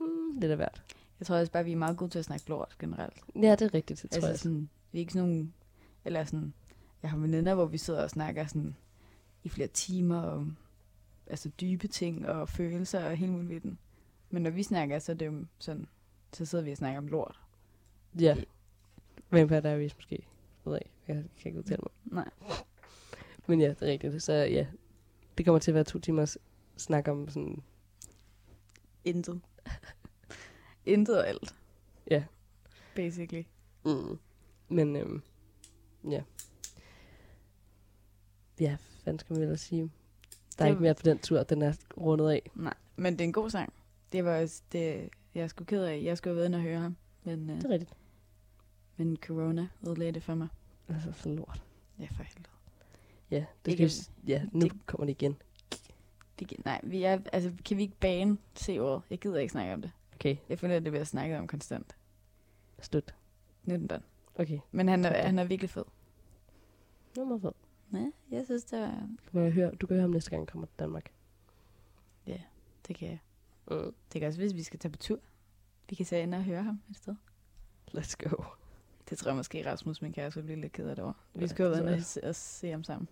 Speaker 1: mm, lidt af hvert.
Speaker 2: Jeg tror også bare, vi er meget gode til at snakke lort generelt.
Speaker 1: Ja, det er rigtigt, det tror jeg.
Speaker 2: altså sådan, vi er ikke sådan nogle, eller sådan, jeg har veninder, hvor vi sidder og snakker sådan i flere timer om altså dybe ting og følelser og hele muligheden. Men når vi snakker, så er det jo sådan, så sidder vi og snakker om lort.
Speaker 1: Ja. Vampire Diaries måske. Jeg ved ikke. Jeg kan ikke udtale mig.
Speaker 2: Nej.
Speaker 1: Men ja, det er rigtigt. Så ja, det kommer til at være to timers snak om sådan...
Speaker 2: Intet. Intet og alt.
Speaker 1: Ja.
Speaker 2: Basically.
Speaker 1: Mm. Men øhm, ja. Ja, hvad fanden skal man ellers sige? Der er
Speaker 2: Det-
Speaker 1: ikke mere på den tur. Den er rundet af.
Speaker 2: Nej. Men det er en god sang. Det var også det, jeg er sgu ked af. Jeg skulle have været inde og høre ham. Men, øh,
Speaker 1: Det er rigtigt.
Speaker 2: men corona ødelagde det for mig.
Speaker 1: Altså, så lort.
Speaker 2: Ja, for helvede.
Speaker 1: Ja, det
Speaker 2: Ikke-
Speaker 1: skal, vi- ja nu
Speaker 2: det-
Speaker 1: kommer det igen.
Speaker 2: Det, gi- nej, vi er, altså, kan vi ikke bane C-ordet? Jeg gider ikke snakke om det.
Speaker 1: Okay,
Speaker 2: Jeg føler, at det bliver snakket om konstant.
Speaker 1: slut.
Speaker 2: Nu er den done.
Speaker 1: Okay,
Speaker 2: Men han er, han er virkelig fed.
Speaker 1: nu er meget fedt.
Speaker 2: Ja, jeg synes, det, var,
Speaker 1: Må jeg høre? Du kan høre ham næste gang, han kommer til Danmark.
Speaker 2: det kan jeg.
Speaker 1: Mm.
Speaker 2: Det kan også, hvis vi skal tage på tur. Vi kan tage ind og høre ham et sted.
Speaker 1: Let's go.
Speaker 2: Det tror jeg måske, Rasmus, min kæreste, vil blive lidt ked af det over. Vi
Speaker 1: Ja,
Speaker 2: skal jo
Speaker 1: det
Speaker 2: være
Speaker 1: tror
Speaker 2: inde og
Speaker 1: jeg.
Speaker 2: se, og se ham sammen.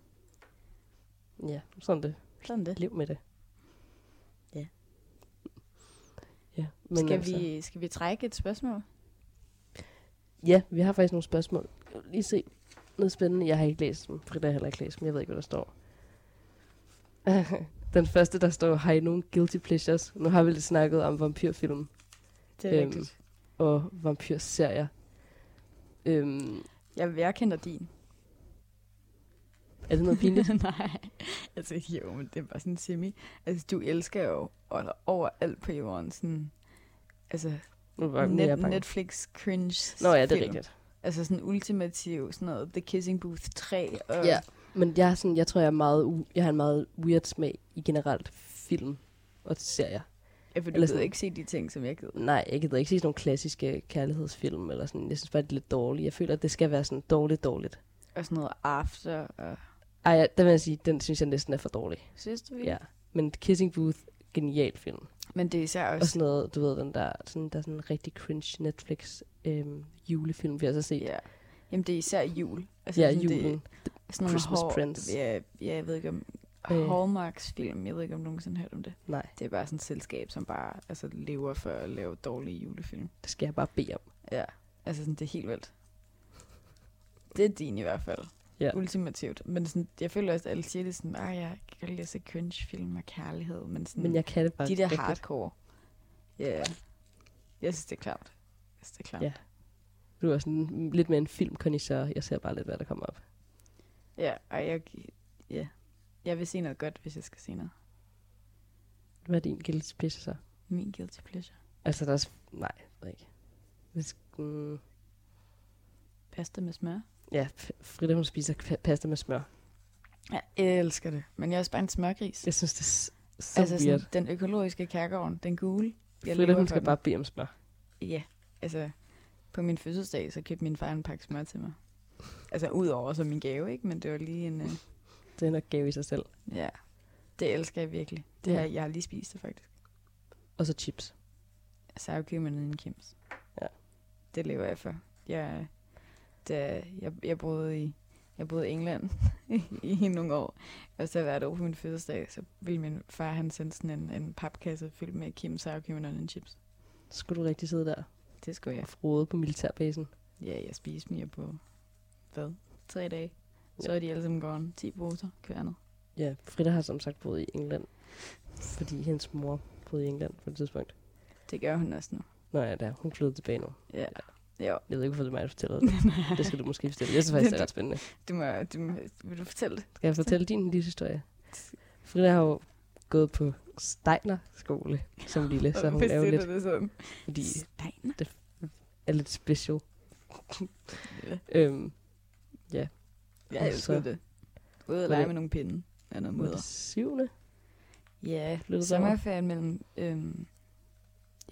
Speaker 1: Ja, sådan er det.
Speaker 2: Sådan det.
Speaker 1: Lev med det.
Speaker 2: Ja.
Speaker 1: Ja, men
Speaker 2: Skal,
Speaker 1: altså,
Speaker 2: vi, skal vi trække et spørgsmål?
Speaker 1: Ja, vi har faktisk nogle spørgsmål. Jeg vil Lige se noget spændende. Jeg har ikke læst dem. Frida har heller ikke læst dem. Jeg ved ikke, hvad der står. Den første, der står, har I nogen guilty pleasures? Nu har vi lidt snakket om vampyrfilm
Speaker 2: Det
Speaker 1: er rigtigt. og vampyrserier. Øhm,
Speaker 2: Jeg, jeg kender din.
Speaker 1: er det noget pinligt?
Speaker 2: Nej. Altså, jo, men det er bare sådan semi. Altså, du elsker jo og- overalt på jorden sådan... Altså,
Speaker 1: Nu var nu er jeg
Speaker 2: net,
Speaker 1: bange.
Speaker 2: Netflix cringe
Speaker 1: Nå ja, det er rigtigt.
Speaker 2: Altså sådan ultimativ, sådan noget, The Kissing Booth 3. Og
Speaker 1: Ja. Men jeg, er sådan, jeg tror, jeg, er meget u- jeg har en meget weird smag i generelt film og serier.
Speaker 2: Ja, for du
Speaker 1: Eller
Speaker 2: gider
Speaker 1: sådan-
Speaker 2: ikke se de ting, som jeg gider.
Speaker 1: Nej, jeg gider ikke se sådan nogle klassiske kærlighedsfilm, eller sådan. Jeg synes bare, det er lidt dårligt. Jeg føler, at det skal være sådan dårligt, dårligt.
Speaker 2: Og sådan noget After, og
Speaker 1: Ej, ja, den vil jeg sige, den synes jeg næsten er for dårlig.
Speaker 2: Synes du
Speaker 1: Ja. Men Kissing Booth, genial film.
Speaker 2: Men det er især
Speaker 1: Og
Speaker 2: også...
Speaker 1: sådan noget, du ved, den der, sådan, der er sådan en rigtig cringe Netflix øhm, julefilm, vi har så set.
Speaker 2: Ja. Jamen, det er især jul. Altså,
Speaker 1: ja
Speaker 2: sådan,
Speaker 1: julen.
Speaker 2: Det, sådan nogle
Speaker 1: Christmas
Speaker 2: hår-
Speaker 1: Prince.
Speaker 2: Ja, ja, jeg ved ikke om...
Speaker 1: Øh.
Speaker 2: Hallmarks film, jeg ved ikke om nogen sådan hørt om det.
Speaker 1: Nej,
Speaker 2: Det er bare sådan et selskab, som bare altså, lever for at lave dårlige julefilm.
Speaker 1: det skal jeg bare bede om.
Speaker 2: Ja, altså sådan, det er helt vildt. Det er din i hvert fald.
Speaker 1: Ja.
Speaker 2: Ultimativt. Men sådan, jeg føler også, at alle siger det sådan, at jeg kan lide at se cringe-film og kærlighed. Men, sådan,
Speaker 1: Men jeg kan det bare
Speaker 2: Mm. de der
Speaker 1: rigtigt.
Speaker 2: hardcore. Ja, yeah. jeg synes, det er klart. Jeg synes, det er klart.
Speaker 1: Ja. Du er sådan lidt mere en filmkondisør. Jeg ser bare lidt, hvad der kommer op.
Speaker 2: Ja, og jeg, ja. jeg vil se noget godt, hvis jeg skal se noget.
Speaker 1: Hvad er din guilty pleasure så?
Speaker 2: Min guilty pleasure.
Speaker 1: Altså, der er... s- Nej, jeg ved ikke. Hvis, mm,
Speaker 2: Pasta med smør.
Speaker 1: ja, F- Frida, hun spiser kva- pasta med smør.
Speaker 2: Jeg elsker det. Men jeg er også bare en smørgris.
Speaker 1: Jeg synes, det er s- så altså,
Speaker 2: sådan,
Speaker 1: weird.
Speaker 2: den økologiske kærgården, den gule. jeg
Speaker 1: Frida,
Speaker 2: lever
Speaker 1: hun
Speaker 2: for
Speaker 1: skal
Speaker 2: den.
Speaker 1: bare bede om smør.
Speaker 2: Ja, altså på min fødselsdag, så købte min far en pakke smør til mig. Altså udover som min gave, ikke? Men det var lige en... Øh,
Speaker 1: Det er nok gave i sig selv.
Speaker 2: ja, det elsker jeg virkelig. Det
Speaker 1: Ja.
Speaker 2: her, jeg har lige spist det faktisk.
Speaker 1: Og så chips.
Speaker 2: Så jeg købte mig ned i en kims.
Speaker 1: Ja.
Speaker 2: Det lever jeg for. Jeg, da jeg, jeg boede i jeg boede i England i nogle år, og så hvert år på min fødselsdag, så ville min far, han sendte sådan en, en papkasse fyldt med Kim Sour Cream and chips.
Speaker 1: Så skulle du rigtig sidde der
Speaker 2: Det skulle jeg
Speaker 1: og frode på militærbasen.
Speaker 2: Ja, jeg spiste mere på, hvad, tre dage. Så
Speaker 1: Ja.
Speaker 2: er de alle sammen gone. 10 poser, kværnet.
Speaker 1: Ja, Frida har som sagt boet i England. Fordi hendes mor boede i England på et tidspunkt.
Speaker 2: Det gør hun også nu.
Speaker 1: Nå ja, der. Hun flyttede tilbage nu.
Speaker 2: Ja. Jo,
Speaker 1: Jeg ved ikke, hvorfor det er mig, der fortæller det. Det skal du måske fortælle. Jeg synes faktisk, det er ret spændende.
Speaker 2: du må, du må, vil du fortælle det?
Speaker 1: Skal jeg fortælle din livshistorie? Frida har jo gået på Steiner skole som lille, så hun
Speaker 2: Hvis
Speaker 1: er jo
Speaker 2: det
Speaker 1: lidt,
Speaker 2: Det sådan.
Speaker 1: fordi,
Speaker 2: Steiner.
Speaker 1: er lidt special.
Speaker 2: Ja.
Speaker 1: Øhm, ja,
Speaker 2: Jeg
Speaker 1: Og
Speaker 2: elsker
Speaker 1: så-
Speaker 2: det. Ude
Speaker 1: Var
Speaker 2: og lege
Speaker 1: det-
Speaker 2: med nogle pinde af noget
Speaker 1: hun er det
Speaker 2: mudder.
Speaker 1: syvende.
Speaker 2: Ja,
Speaker 1: Flyttede
Speaker 2: sommerferien mellem, øhm,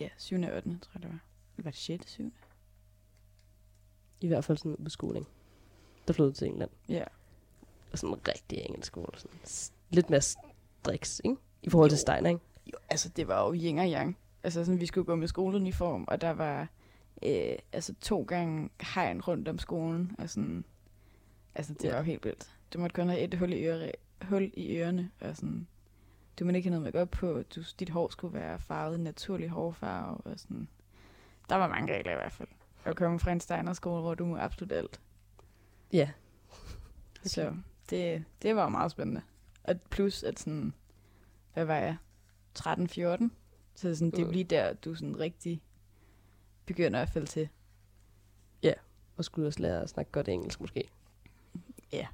Speaker 2: ja, 7. og 8. tror jeg det var. Eller var det 6. 7.
Speaker 1: I hvert fald sådan en udskoling. Der flyttede til England.
Speaker 2: Ja.
Speaker 1: Og sådan en rigtig engelsk skole. Sådan s- lidt mere striks, ikke? I forhold til
Speaker 2: Jo.
Speaker 1: Steiner, ikke?
Speaker 2: Jo, altså det var jo yin og yang. Altså sådan, vi skulle gå med skoleuniform, og der var øh, altså to gange hegn rundt om skolen, og sådan, altså det
Speaker 1: Ja.
Speaker 2: ja. var jo helt vildt. Du måtte kun have et hul i, øre, hul i ørerne, og sådan, du måtte ikke have noget makeup på, du, dit hår skulle være farvet i naturlig hårfarve, og sådan, der var mange regler i hvert fald. At komme fra en Steiner-skole, hvor du må absolut alt.
Speaker 1: Ja.
Speaker 2: Så det, det var meget spændende. Og plus, at sådan, hvad var jeg, 13-14? Så sådan, det er
Speaker 1: Mm.
Speaker 2: lige der, du sådan rigtig begynder at falde til.
Speaker 1: Og skulle også lære at snakke godt engelsk, måske.
Speaker 2: Ja.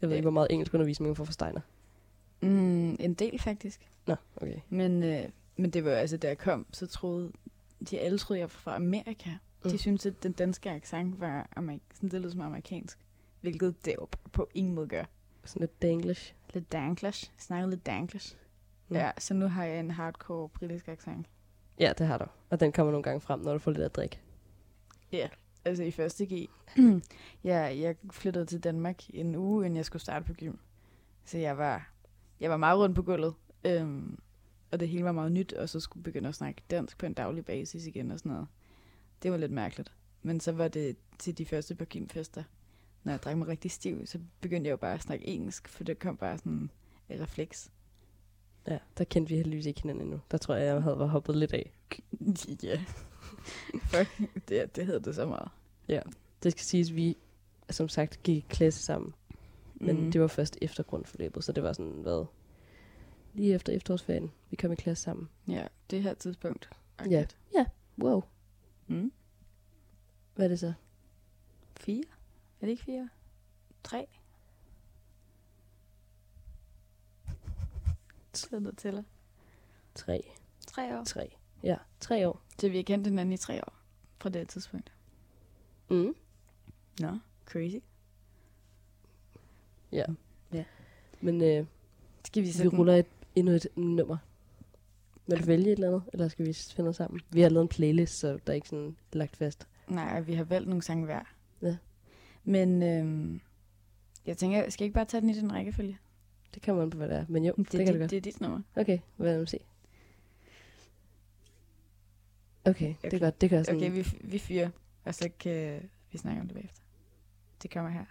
Speaker 1: Jeg ved
Speaker 2: Ja.
Speaker 1: ikke, hvor meget engelsk undervisning man får fra Steiner.
Speaker 2: Mm, en del faktisk.
Speaker 1: Nå, okay.
Speaker 2: Men, øh, men det var altså, da jeg kom, så troede de alle troede, jeg var fra Amerika. Mm.
Speaker 1: Mm.
Speaker 2: De syntes, at den danske accent var amerik- sådan, det lød som amerikansk. Hvilket det jo på ingen måde gør.
Speaker 1: Sådan lidt danglish.
Speaker 2: Lidt danglish. Snakkede lidt danglish.
Speaker 1: Mm.
Speaker 2: Mm. Ja, så nu har jeg en hardcore britisk accent.
Speaker 1: Ja, det har du. Og den kommer nogle gange frem, når du får lidt at drikke.
Speaker 2: altså i første G. jeg, jeg flyttede til Danmark en uge, inden jeg skulle starte på gym. Så jeg var, jeg var meget rundt på gulvet. Øhm, og det hele var meget nyt, og så skulle jeg begynde at snakke dansk på en daglig basis igen og sådan noget. Det var lidt mærkeligt. Men så var det til de første par gymfester. Når jeg drak mig rigtig stiv, så begyndte jeg jo bare at snakke engelsk, for det kom bare sådan et refleks.
Speaker 1: Ja, der kendte vi heldigvis ikke hinanden endnu. Der tror jeg, jeg havde var hoppet lidt af.
Speaker 2: ja. Fuck, det, det hed det så meget.
Speaker 1: Det skal siges, at vi som sagt gik i klasse sammen, men
Speaker 2: Mhm.
Speaker 1: det var først efter grundforløbet, så det var sådan, hvad? Lige efter efterårsferien, vi kom i klasse sammen.
Speaker 2: Ja, det her tidspunkt.
Speaker 1: Ja. Wow,
Speaker 2: Mm.
Speaker 1: hvad er det så?
Speaker 2: Fire? Er det ikke fire? Tre? Sidder noget tæller.
Speaker 1: Tre.
Speaker 2: Tre år.
Speaker 1: Tre. Ja, tre år.
Speaker 2: Så vi har kendt hinanden i tre år fra det tidspunkt.
Speaker 1: Mm.
Speaker 2: Nå, crazy.
Speaker 1: Men øh,
Speaker 2: Skal vi
Speaker 1: vi
Speaker 2: sætte
Speaker 1: ruller et, endnu et nummer. Vil du vælge et eller andet, eller skal vi finde os sammen? Vi har lavet en playlist, så der er ikke sådan lagt fast.
Speaker 2: En... Nej, vi har valgt nogle sange hver.
Speaker 1: Ja.
Speaker 2: Men øhm, Jeg tænker, jeg skal ikke bare tage den i den rækkefølge?
Speaker 1: Det kommer an på, hvad det er. Men jo, det,
Speaker 2: Det,
Speaker 1: det kan du
Speaker 2: det,
Speaker 1: godt.
Speaker 2: det er dit nummer.
Speaker 1: Okay, hvad vil du se? Okay, det er
Speaker 2: Okay.
Speaker 1: godt. Det kan jeg sådan...
Speaker 2: Okay, vi, vi fyrer, og så kan vi snakke om det bagefter. Det kommer her.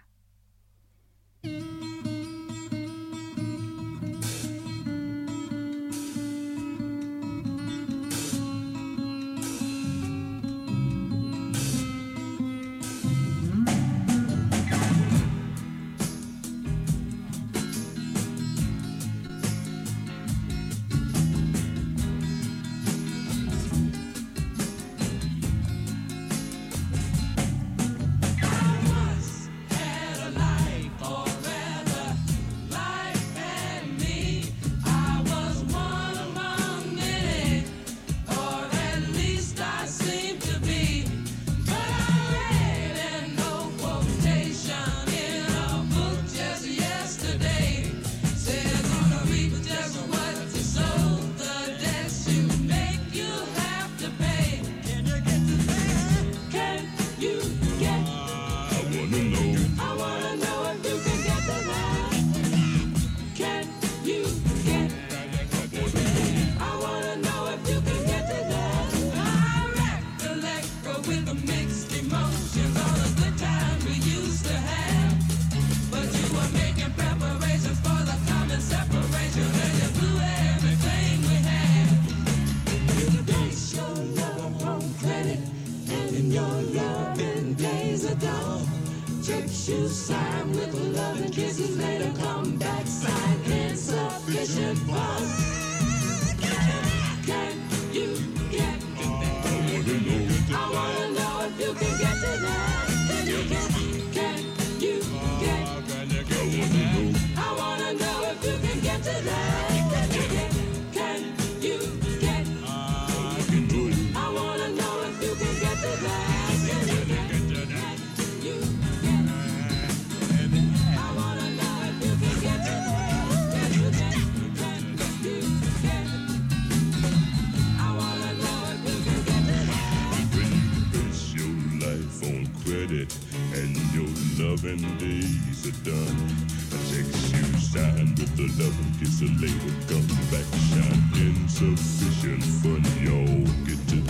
Speaker 3: It's your life on credit and your loving days are done. I check you sign with the love and kiss a later come back shine. Insufficient fun, y'all get to that.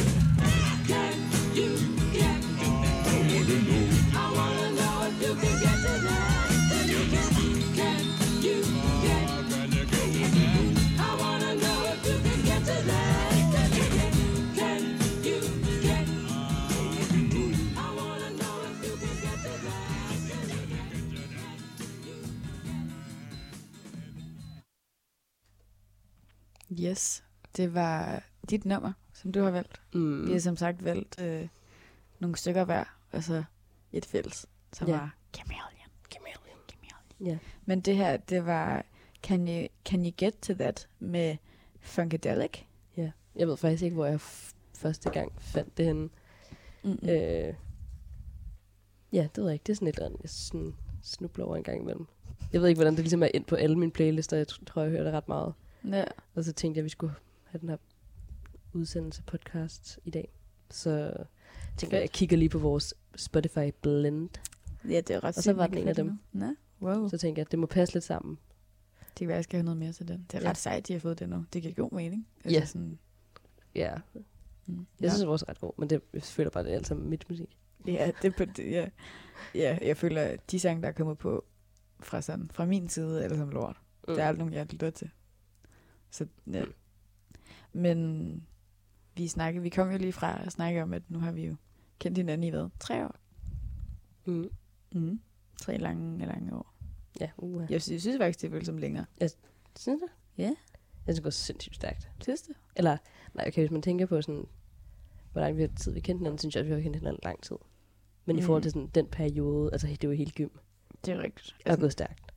Speaker 3: Can you get I wanna know. I wanna know if you can get to that. Can you get I wanna know.
Speaker 2: Yes, det var dit nummer, som du har valgt. Mm. Vi har som sagt valgt øh, nogle stykker hver, og så et fælles, som
Speaker 1: Ja.
Speaker 2: yeah. var Chameleon. Chameleon. Chameleon.
Speaker 1: Ja.
Speaker 2: Men det her, det var Can You, Can you Get To That med Funkadelic.
Speaker 1: Ja. Jeg ved faktisk ikke, hvor jeg f- første gang fandt det henne.
Speaker 2: Mm-mm.
Speaker 1: Mm. Øh, ja, det ved jeg ikke. Det er sådan et eller andet, jeg sådan snubler over en gang imellem. Jeg ved ikke, hvordan det ligesom er ind på alle mine playlister. Jeg tr- tror, jeg hører det ret meget.
Speaker 2: Ja.
Speaker 1: Og så tænkte jeg, at vi skulle have den her udsendelse podcast i dag. Så tænker jeg, jeg kigger lige på vores Spotify Blend.
Speaker 2: ja, det er ret
Speaker 1: Og så
Speaker 2: sygt,
Speaker 1: var
Speaker 2: man
Speaker 1: den
Speaker 2: kan
Speaker 1: en af
Speaker 2: få det
Speaker 1: dem.
Speaker 2: nu. Nå, wow.
Speaker 1: Så tænker jeg, at det må passe lidt sammen.
Speaker 2: Det kan være, jeg skal have noget mere til den. Det er
Speaker 1: Ja.
Speaker 2: ret sejt, de har fået det nu. Det giver god mening. Altså
Speaker 1: Ja.
Speaker 2: sådan,
Speaker 1: Ja,
Speaker 2: mm.
Speaker 1: jeg ja. synes, at vores er ret god, men det, jeg føler bare, det er alt sammen mit musik.
Speaker 2: Ja, det er på det, ja. ja, jeg føler, at de sange, der er kommet på fra, sådan, fra min side, er alle sammen lort. Mm. Der er aldrig nogen, jeg lytter til. Så, ja.
Speaker 1: Mm.
Speaker 2: Men vi snakkede, vi kom jo lige fra at snakke om, at nu har vi jo kendt hinanden i hvad? Tre år?
Speaker 1: Mm.
Speaker 2: Mm. Tre lange, lange år.
Speaker 1: Ja, uha.
Speaker 2: Jeg synes, jeg synes faktisk, det føles som længere.
Speaker 1: Synes du?
Speaker 2: Ja.
Speaker 1: Jeg synes, det går sindssygt stærkt.
Speaker 2: Synes du?
Speaker 1: Eller, nej, okay, hvis man tænker på sådan, hvor lang vi- tid vi kendte hinanden, synes jeg, at vi har kendt hinanden lang tid. Men mm. i
Speaker 2: Mm.
Speaker 1: forhold til sådan, den periode, altså det var helt gym,
Speaker 2: Det er rigtigt.
Speaker 1: er
Speaker 2: Altså,
Speaker 1: gået stærkt.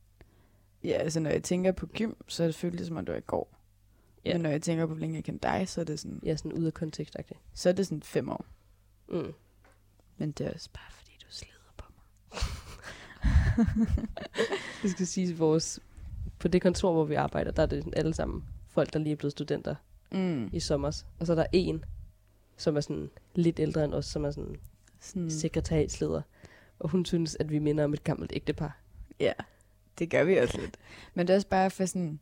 Speaker 2: ja, altså når jeg tænker på gym, så er det føles som om, det var i går.
Speaker 1: Ja.
Speaker 2: Yeah. Men når jeg tænker på, hvor længe jeg kendte dig, så er det sådan,
Speaker 1: Jeg er sådan ude af kontekst, -agtig.
Speaker 2: så er det sådan fem år.
Speaker 1: Mm.
Speaker 2: Men det er også bare, fordi du slider på mig.
Speaker 1: Det skal sige, vores, på det kontor, hvor vi arbejder, der er det sådan alle sammen folk, der lige er blevet studenter
Speaker 2: Mm.
Speaker 1: i sommer. Og så er der en, som er sådan lidt ældre end os, som er sådan
Speaker 2: Sådan,
Speaker 1: Mm. sekretariatsleder. Og hun synes, at vi minder om et gammelt ægtepar.
Speaker 2: Ja. det gør vi også lidt. Men det er også bare for sådan,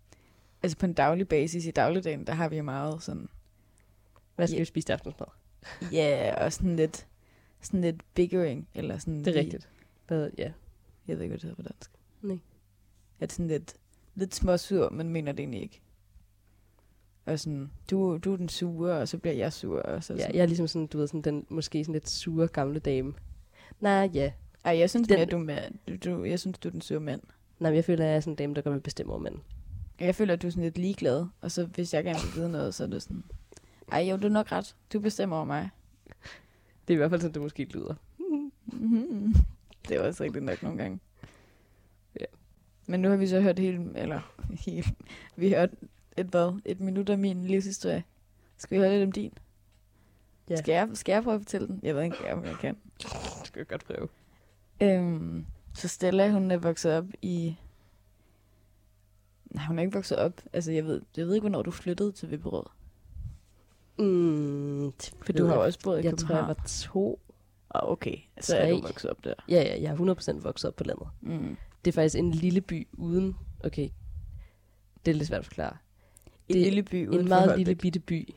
Speaker 2: altså på en daglig basis i dagligdagen, der har vi jo meget sådan,
Speaker 1: Hvad skal vi spise til aftensmad?
Speaker 2: ja, yeah, og sådan lidt, sådan lidt biggering, eller sådan.
Speaker 1: Det er
Speaker 2: lige-
Speaker 1: rigtigt. Hvad, ja.
Speaker 2: Jeg ved ikke, hvad det hedder på dansk.
Speaker 1: Nej.
Speaker 2: At sådan lidt, lidt småsur, men mener det egentlig ikke. Og sådan, du, du er den sure, og så bliver jeg sur. Og så
Speaker 1: ja.
Speaker 2: sådan.
Speaker 1: Jeg er ligesom sådan, du ved, sådan den måske sådan lidt sure gamle dame. Nej, ja.
Speaker 2: Ej, jeg synes
Speaker 1: Den-
Speaker 2: mere, du er mand. Du, du, jeg synes, du er den sure mand.
Speaker 1: Nej, men jeg føler, at jeg er sådan en dame, der godt vil bestemme over manden.
Speaker 2: Jeg føler, at du er sådan lidt ligeglad, og så hvis jeg gerne vil vide noget, så er det sådan, ej jo, du er nok ret. Du bestemmer over mig.
Speaker 1: Det er i hvert fald sådan, det måske lyder.
Speaker 2: Mhm. det er også rigtigt nok nogle gange.
Speaker 1: Ja.
Speaker 2: Men nu har vi så hørt hele, eller hele, vi har hørt et hvad, et minut af min livshistorie. Skal vi høre lidt om din?
Speaker 1: Ja.
Speaker 2: Skal, jeg, skal jeg prøve at fortælle den? Jeg ved ikke, om jeg kan.
Speaker 1: Det skal jeg godt prøve.
Speaker 2: Øhm, så Stella, hun er vokset op i... Nej, hun er ikke vokset op. Altså, jeg ved, jeg ved ikke, hvornår du flyttede til Vipperød.
Speaker 1: Mm,
Speaker 2: For du har jo også boet i
Speaker 1: Jeg tror,
Speaker 2: København.
Speaker 1: jeg var to.
Speaker 2: var... oh, okay, så er du
Speaker 1: tre.
Speaker 2: vokset op der.
Speaker 1: Ja, ja, jeg er 100% vokset op på landet.
Speaker 2: Mm.
Speaker 1: Det er faktisk en lille by uden... Okay, det er lidt svært at forklare.
Speaker 2: En
Speaker 1: Det-
Speaker 2: lille by uden
Speaker 1: en meget lille bitte by,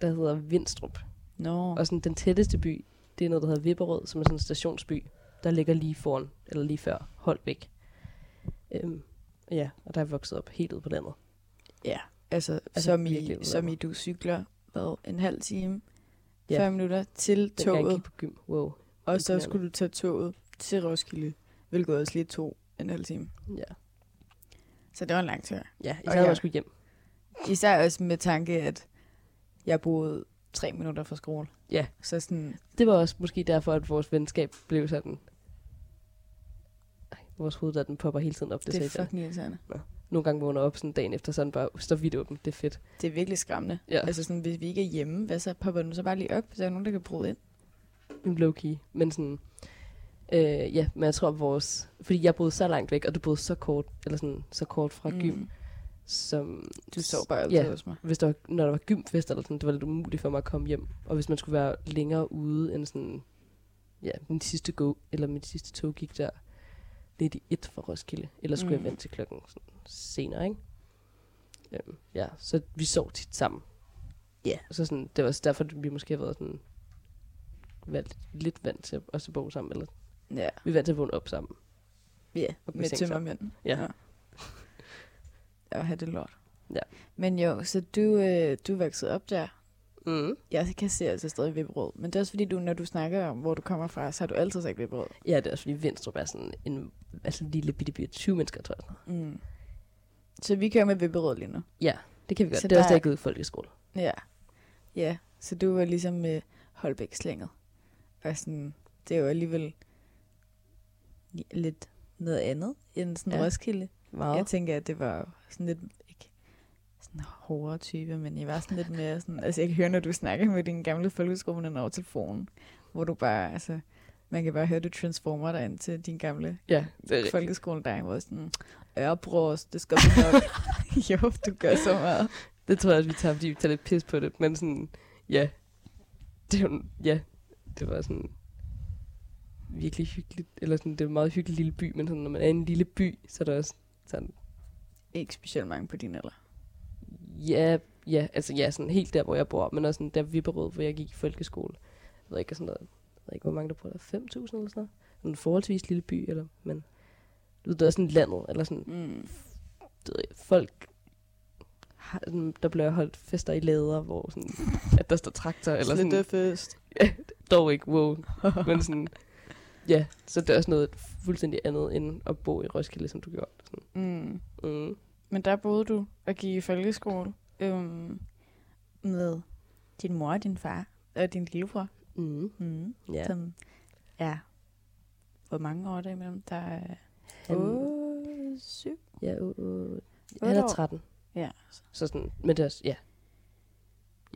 Speaker 1: der hedder Vindstrup.
Speaker 2: Nå,
Speaker 1: Og sådan den tætteste by, det er noget, der hedder Vipperød, som er sådan en stationsby, der ligger lige foran, eller lige før, Holbæk. Øhm, ja, og der er jeg vokset op helt ude på landet.
Speaker 2: ja. Altså,
Speaker 1: Altså,
Speaker 2: altså som,
Speaker 1: virkelig
Speaker 2: i,
Speaker 1: ud af
Speaker 2: som
Speaker 1: mig.
Speaker 2: i, du cykler hvad, en halv time,
Speaker 1: Ja.
Speaker 2: 40 minutter til
Speaker 1: Dengang jeg
Speaker 2: toget,
Speaker 1: gik på gym. Wow.
Speaker 2: og så
Speaker 1: imponerende.
Speaker 2: skulle du tage toget til Roskilde, hvilket også lige tog en halv time.
Speaker 1: Ja,
Speaker 2: Så det var en lang tur.
Speaker 1: ja især
Speaker 2: Og
Speaker 1: når
Speaker 2: jeg-
Speaker 1: man skulle hjem.
Speaker 2: Især også med tanke, at jeg boede tre minutter fra skole.
Speaker 1: Ja.
Speaker 2: Så sådan,
Speaker 1: Det var også måske derfor, at vores venskab blev sådan... Ej, vores hoved, der den popper hele tiden op. Det,
Speaker 2: det, det er
Speaker 1: det jeg.
Speaker 2: fucking irriterende.
Speaker 1: Nogle gange vågner jeg op sådan dagen efter, sådan bare står vidt åben. Det er fedt.
Speaker 2: Det er virkelig skræmmende.
Speaker 1: Ja, altså,
Speaker 2: Altså sådan, hvis vi ikke er hjemme, hvad så popper den så bare lige op, så er der nogen, der kan bryde ind.
Speaker 1: low key. Men sådan... Øh, ja, men jeg tror, at vores... Fordi jeg boede så langt væk, og du boede så kort, eller sådan, så kort fra gym, mm. som...
Speaker 2: Du sov bare
Speaker 1: altid
Speaker 2: altid yeah.
Speaker 1: Ja.
Speaker 2: hos mig.
Speaker 1: Hvis der var, når der var gymfest eller sådan, det var lidt umuligt for mig at komme hjem. Og hvis man skulle være længere ude end sådan... Ja, min sidste, go, eller min sidste tog gik der lidt i et fra Roskilde. Ellers skulle
Speaker 2: Mm.
Speaker 1: jeg vente til klokken sådan senere, ikke? Øhm, ja, så vi sov tit sammen. Ja. Yeah. Så sådan, det var også derfor, at vi måske har været sådan valgt, lidt vant til at også bo sammen, eller
Speaker 2: Ja,
Speaker 1: vi er vant til at vågne op sammen.
Speaker 2: ja.
Speaker 1: Og blive
Speaker 2: med
Speaker 1: seng sammen.
Speaker 2: tømmermænd.
Speaker 1: Ja.
Speaker 2: Og have det lort.
Speaker 1: Ja.
Speaker 2: Men jo, så du, øh, du er vokset op der.
Speaker 1: Mm.
Speaker 2: Jeg kan se altså stadig Vipperød. Men det er også fordi, du, når du snakker om, hvor du kommer fra, så har du altid sagt Vipperød.
Speaker 1: Ja, det er også fordi Vindstrup er sådan en altså, en lille bitte by af 20 mennesker, tror jeg.
Speaker 2: Mm. Så vi kører med Vipperød lige nu.
Speaker 1: Det kan vi godt.
Speaker 2: Så
Speaker 1: det er
Speaker 2: der
Speaker 1: også
Speaker 2: er-
Speaker 1: der, jeg gik ud i folkeskole.
Speaker 2: Ja. Ja, så du var ligesom med øh, Holbæk slænget. Og sådan, det er jo alligevel li- lidt noget andet end sådan ja.
Speaker 1: Ja.
Speaker 2: Roskilde.
Speaker 1: Meget.
Speaker 2: Jeg tænker, at det var sådan lidt, ikke sådan hårdere type, men jeg var sådan lidt mere sådan, altså jeg kan høre, når du snakker med din gamle folkeskole over telefonen, hvor du bare, altså, man kan bare høre, du transformer dig ind til din gamle
Speaker 1: ja, det er
Speaker 2: folkeskole, der var sådan, Ørbros, det skal du nok. jo, du gør så meget.
Speaker 1: Det tror jeg, at vi tager, fordi vi tager lidt pis på det. Men sådan, ja. Det, er jo- ja, det var sådan virkelig hyggeligt. Eller sådan, det er en meget hyggelig lille by, men sådan, når man er i en lille by, så er der også sådan,
Speaker 2: Ikke specielt mange på din alder.
Speaker 1: ja, ja, altså ja, sådan helt der, hvor jeg bor, men også sådan der Vipperød, hvor jeg gik i folkeskole. Jeg ved ikke, sådan noget, jeg ved ikke, hvor mange der bor der, 5.000 eller sådan noget. En forholdsvis lille by, eller, men du ved, det er også sådan landet, eller sådan,
Speaker 2: Mm.
Speaker 1: det ved jeg, folk har- sådan, der bliver holdt fester i lader, hvor sådan, at der står traktor, eller sådan,
Speaker 2: fest.
Speaker 1: dog ikke wow. Men sådan, ja, så det er også noget fuldstændig andet end at bo i Roskilde, som du gjorde. Sådan,
Speaker 2: Mm.
Speaker 1: mm.
Speaker 2: Men der boede du og gik i folkeskole øhm, med din mor og din far og din lillebror,
Speaker 1: Mm.
Speaker 2: mm.
Speaker 1: Ja.
Speaker 2: som er hvor mange år der imellem? Der er
Speaker 1: Han,
Speaker 2: Åh, syv.
Speaker 1: ja, uh, uh, han
Speaker 2: Otte
Speaker 1: er
Speaker 2: år.
Speaker 1: 13.
Speaker 2: Ja.
Speaker 1: Så sådan, men det er også, ja.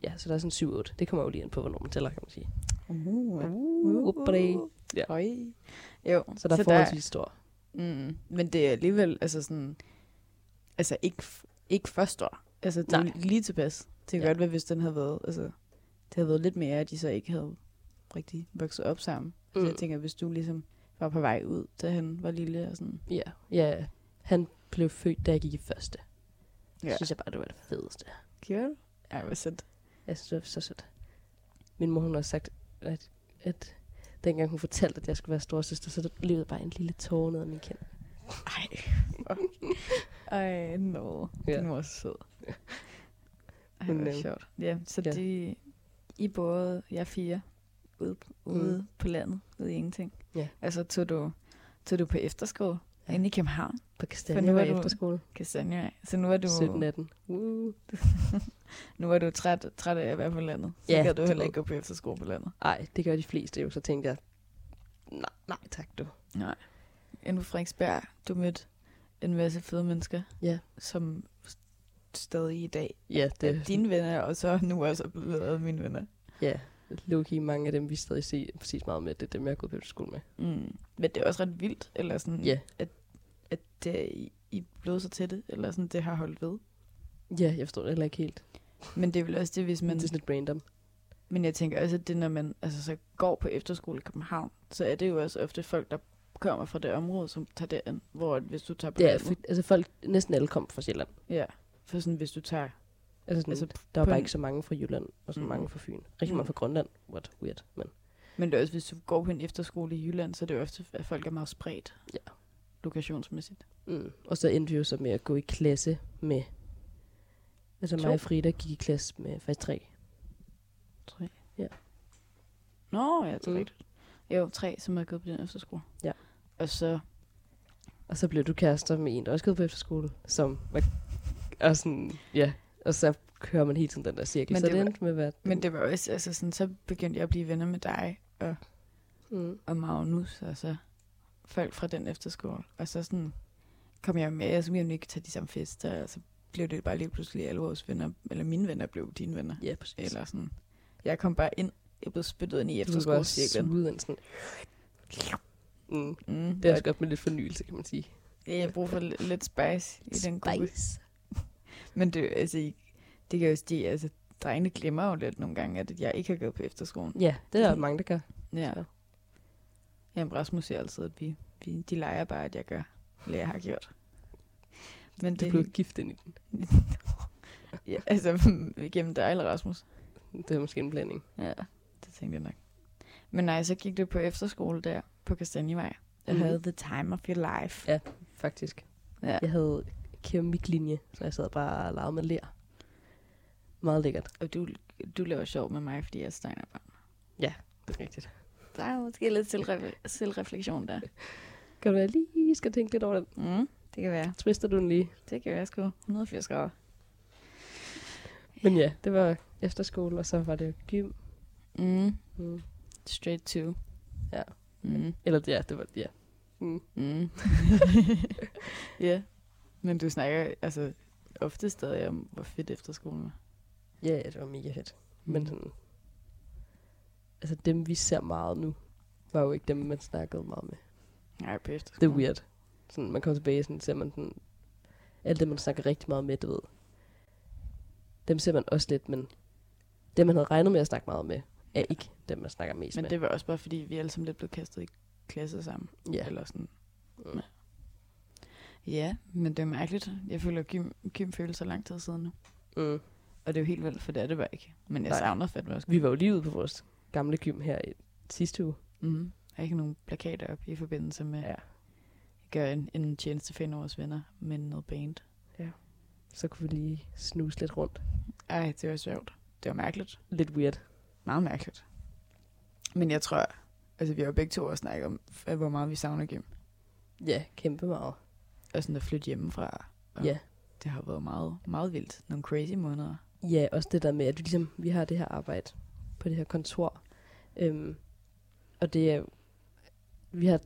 Speaker 1: Ja, så der er sådan 7-8. Det kommer jo lige ind på, hvornår man tæller, kan man sige.
Speaker 2: Uh,
Speaker 1: Uppadi. Ja.
Speaker 2: Høj. Jo,
Speaker 1: Så der er forholdsvis stor.
Speaker 2: mm, men det er alligevel altså sådan, altså ikke, f- ikke første år. Altså det
Speaker 1: Nej.
Speaker 2: er lige tilpas. Det kan
Speaker 1: Ja.
Speaker 2: godt være, hvis den havde været, altså det havde været lidt mere, at de så ikke havde rigtig vokset op sammen. Mm. Så jeg
Speaker 1: Mm.
Speaker 2: tænker, hvis du ligesom var på vej ud, da han var lille og sådan.
Speaker 1: Ja, ja, Han blev født, da jeg gik i første.
Speaker 2: Ja.
Speaker 1: Ja. synes jeg bare, det var det fedeste.
Speaker 2: Gjorde du? Ej, hvor sødt.
Speaker 1: Jeg synes, det var så sødt. Min mor, hun har også sagt, at, at dengang hun fortalte, at jeg skulle være storsøster, så der levede bare en lille tårer ned ad min kind.
Speaker 2: Ej, fuck. Ej, no.
Speaker 1: Ja.
Speaker 2: Den var så sød. Ej,
Speaker 1: Men,
Speaker 2: hvor
Speaker 1: øhm,
Speaker 2: sjovt. Ja, så
Speaker 1: ja.
Speaker 2: det, I både, jeg fire, ude, ude mm. på landet, ude i ingenting.
Speaker 1: Ja.
Speaker 2: Altså tog du, tog du på efterskole ja. inde i København,
Speaker 1: På
Speaker 2: For nu
Speaker 1: Kastanje var
Speaker 2: er du-
Speaker 1: efter skole.
Speaker 2: Kastanje. Så nu er du,
Speaker 1: 17-18. Uh.
Speaker 2: nu er du træt, træt af at være på landet. Så
Speaker 1: Ja,
Speaker 2: ja, kan du
Speaker 1: det
Speaker 2: heller
Speaker 1: var-
Speaker 2: ikke gå på efterskole på landet.
Speaker 1: Ej, det gør de fleste jo, så tænkte jeg, nej, nej tak du.
Speaker 2: Inde på Frederiksberg, du mødte en masse fede mennesker,
Speaker 1: Ja.
Speaker 2: som stadig i dag
Speaker 1: Ja,
Speaker 2: det
Speaker 1: det
Speaker 2: er dine venner, og så nu også er blevet mine venner.
Speaker 1: Ja, Loki, mange af dem, vi stadig ser præcis meget med, det er dem, jeg har gået på skole med.
Speaker 2: Mm. Men det er også ret vildt, eller sådan,
Speaker 1: Ja.
Speaker 2: at, at det, I, I er blevet så tætte, eller sådan, det har holdt ved.
Speaker 1: Ja, jeg forstår det heller ikke helt.
Speaker 2: Men det er vel også det, hvis
Speaker 1: Men
Speaker 2: man...
Speaker 1: det er sådan lidt random.
Speaker 2: Men jeg tænker også, at det, når man altså, så går på efterskole i København, så er det jo også ofte folk, der kommer fra det område, som tager derind, hvor at hvis du tager på
Speaker 1: Ja,
Speaker 2: landet-
Speaker 1: for, altså folk, næsten alle kom fra Sjælland.
Speaker 2: ja. For sådan, hvis du tager...
Speaker 1: Altså, sådan,
Speaker 2: Altså,
Speaker 1: altså der var
Speaker 2: på
Speaker 1: bare
Speaker 2: en-
Speaker 1: ikke så mange fra Jylland, og så
Speaker 2: Mm.
Speaker 1: mange fra Fyn. Rigtig
Speaker 2: Mm.
Speaker 1: mange fra Grønland. What weird, men
Speaker 2: Men det er også, hvis du går på en efterskole i Jylland, så er det jo ofte, at folk er meget spredt.
Speaker 1: Ja.
Speaker 2: Lokationsmæssigt.
Speaker 1: Mm. Og så endte vi jo så med at gå i klasse med... Altså
Speaker 2: To.
Speaker 1: mig og Frida gik i klasse med faktisk tre.
Speaker 2: Tre.
Speaker 1: Ja.
Speaker 2: Nå, ja, det er
Speaker 1: Mm.
Speaker 2: rigtigt. Jo, tre, som er gået på den efterskole.
Speaker 1: Ja.
Speaker 2: Og så
Speaker 1: Og så blev du kærester med en, der også gik på efterskole, som var... Og sådan, ja. Og så kører man hele tiden den der cirkel. Men
Speaker 2: Men
Speaker 1: så
Speaker 2: det
Speaker 1: det,
Speaker 2: var-
Speaker 1: endte med at være...
Speaker 2: Men det var også, altså sådan, så begyndte jeg at blive venner med dig og,
Speaker 1: Mm.
Speaker 2: og Magnus, og så folk fra den efterskole. Og så sådan kom jeg med, og så ville vi ikke tage de samme fester, og så blev det bare lige pludselig alle vores venner, eller mine venner blev dine venner.
Speaker 1: Ja, præcis.
Speaker 2: Eller sådan. Jeg kom bare ind, jeg blev spyttet ind i
Speaker 1: Du var bare
Speaker 2: efterskolecirklen.
Speaker 1: suget ind sådan... Mm.
Speaker 2: Mm,
Speaker 1: Det er
Speaker 2: det
Speaker 1: også godt med lidt fornyelse, kan man sige.
Speaker 2: jeg bruger for lidt, lidt spice i den gruppe. Men det, altså, I- det kan jo stige, altså, drengene glemmer jo lidt nogle gange, at jeg ikke har gået på efterskolen.
Speaker 1: Ja, det er der mange, der gør.
Speaker 2: Ja.
Speaker 1: Så.
Speaker 2: Jamen, Rasmus siger altid, at vi, vi, de leger bare, at jeg gør, eller jeg har gjort. Men
Speaker 1: Du
Speaker 2: det,
Speaker 1: blev gift ind i den.
Speaker 2: ja, altså, gennem dig eller Rasmus.
Speaker 1: Det er måske en blanding.
Speaker 2: Ja, det tænkte jeg nok. Men nej, så gik du på efterskole der på Kastanjevej. Jeg
Speaker 1: Mhm.
Speaker 2: havde the time of your life.
Speaker 1: Ja. faktisk.
Speaker 2: Ja.
Speaker 1: Ja. Jeg havde keramiklinje, så jeg sad bare og legede med lær. Meget lækkert.
Speaker 2: Og du, du laver sjov med mig, fordi jeg er steinerbarn.
Speaker 1: Det er rigtigt.
Speaker 2: Der er måske lidt selvref- selvreflektion der.
Speaker 1: Kan du være lige skal tænke lidt over den?
Speaker 2: Mm, det kan være.
Speaker 1: Twister du den lige?
Speaker 2: Det kan være sgu 180 grader.
Speaker 1: Men ja, det var efterskole, og så var det gym.
Speaker 2: Mm,
Speaker 1: Mm.
Speaker 2: straight to.
Speaker 1: Ja.
Speaker 2: Mm.
Speaker 1: Eller ja, det var ja. Mm.
Speaker 2: Mm. ja. Men du snakker altså ofte stadig om, hvor fedt efterskolen var.
Speaker 1: Ja, ja, det var mega fedt. Men sådan, altså dem vi ser meget nu, var jo ikke dem, man snakkede meget med.
Speaker 2: Nej, på
Speaker 1: Det
Speaker 2: efterskolen.
Speaker 1: er weird. Sådan, man kommer tilbage, sådan ser man sådan, alt det, man snakker rigtig meget med, du ved. Dem ser man også lidt, men dem, man havde regnet med at snakke meget med, er ikke dem, man snakker mest
Speaker 2: Men
Speaker 1: med.
Speaker 2: det var også bare, fordi vi alle sammen lidt blev kastet i klasse sammen.
Speaker 1: ja.
Speaker 2: Eller sådan. Øh.
Speaker 1: Mm.
Speaker 2: Ja, men det er mærkeligt. Jeg føler, at gym, gym føles så lang tid siden nu.
Speaker 1: Mm.
Speaker 2: Og det er jo helt vildt, for det er det bare ikke. Men jeg
Speaker 1: Nej.
Speaker 2: savner fandme også.
Speaker 1: Vi var jo lige ude på vores gamle gym her i sidste uge.
Speaker 2: Mm. Der er ikke nogen plakater op i forbindelse med
Speaker 1: Ja.
Speaker 2: at gøre en, en tjeneste for en af vores venner med noget band.
Speaker 1: Så kunne vi lige snuse lidt rundt.
Speaker 2: Ej, det var sjovt. Det var mærkeligt.
Speaker 1: Lidt weird.
Speaker 2: Meget mærkeligt. Men jeg tror, altså vi har jo begge to også snakket om, f- hvor meget vi savner gym.
Speaker 1: Ja, kæmpe meget.
Speaker 2: Og sådan at flytte hjemmefra. Og
Speaker 1: Ja.
Speaker 2: Det har været meget, meget vildt. Nogle crazy måneder.
Speaker 1: Ja, også det der med, at vi, ligesom, vi har det her arbejde på det her kontor. Øhm, og det er jo- vi har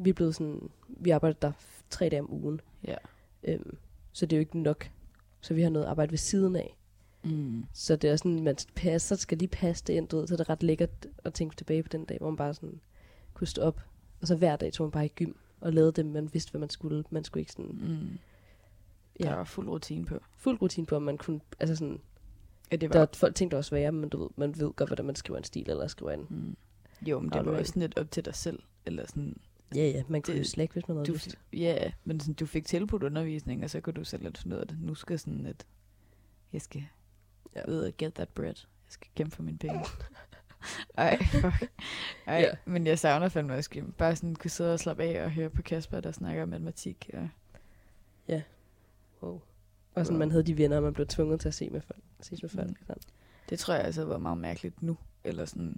Speaker 1: vi er blevet sådan, vi arbejder der f- tre dage om ugen.
Speaker 2: Ja.
Speaker 1: Øhm, så det er jo ikke nok. Så vi har noget arbejde ved siden af.
Speaker 2: Mm.
Speaker 1: Så det er sådan, man passer, skal lige passe det ind, du ved, så er det ret lækkert at tænke tilbage på den dag, hvor man bare sådan kunne stå op. Og så hver dag tog man bare i gym og lavede det, man vidste, hvad man skulle. Man skulle ikke sådan
Speaker 2: Mm.
Speaker 1: Ja.
Speaker 2: Der var fuld rutine på.
Speaker 1: fuld rutine på, om man kunne, altså sådan,
Speaker 2: Ja, det
Speaker 1: der er folk ting, der også være, men du ved, man ved godt, hvordan man skriver en stil, eller skriver en
Speaker 2: Mm. Jo, men det var
Speaker 1: Aflevering.
Speaker 2: også sådan lidt op til dig selv. Eller sådan,
Speaker 1: Ja, ja, man kunne
Speaker 2: Det-
Speaker 1: jo slække, hvis man havde
Speaker 2: Du,
Speaker 1: lyst.
Speaker 2: ja, men sådan, du fik tilbudt undervisning, og så kunne du selv lidt finde ud af det. Nu skal jeg sådan lidt, jeg skal
Speaker 1: Ja.
Speaker 2: ud og get that bread. Jeg skal kæmpe for mine penge. Ej, fuck. Ej,
Speaker 1: Ja.
Speaker 2: men jeg savner fandme også gym. Bare sådan kunne sidde og slappe af og høre på Kasper, der snakker om matematik. Og...
Speaker 1: Wow. Og sådan, man havde de venner, og man blev tvunget til at se med folk. Ses med folk.
Speaker 2: Mm.
Speaker 1: sådan.
Speaker 2: Det tror jeg altså var meget mærkeligt nu. Eller sådan,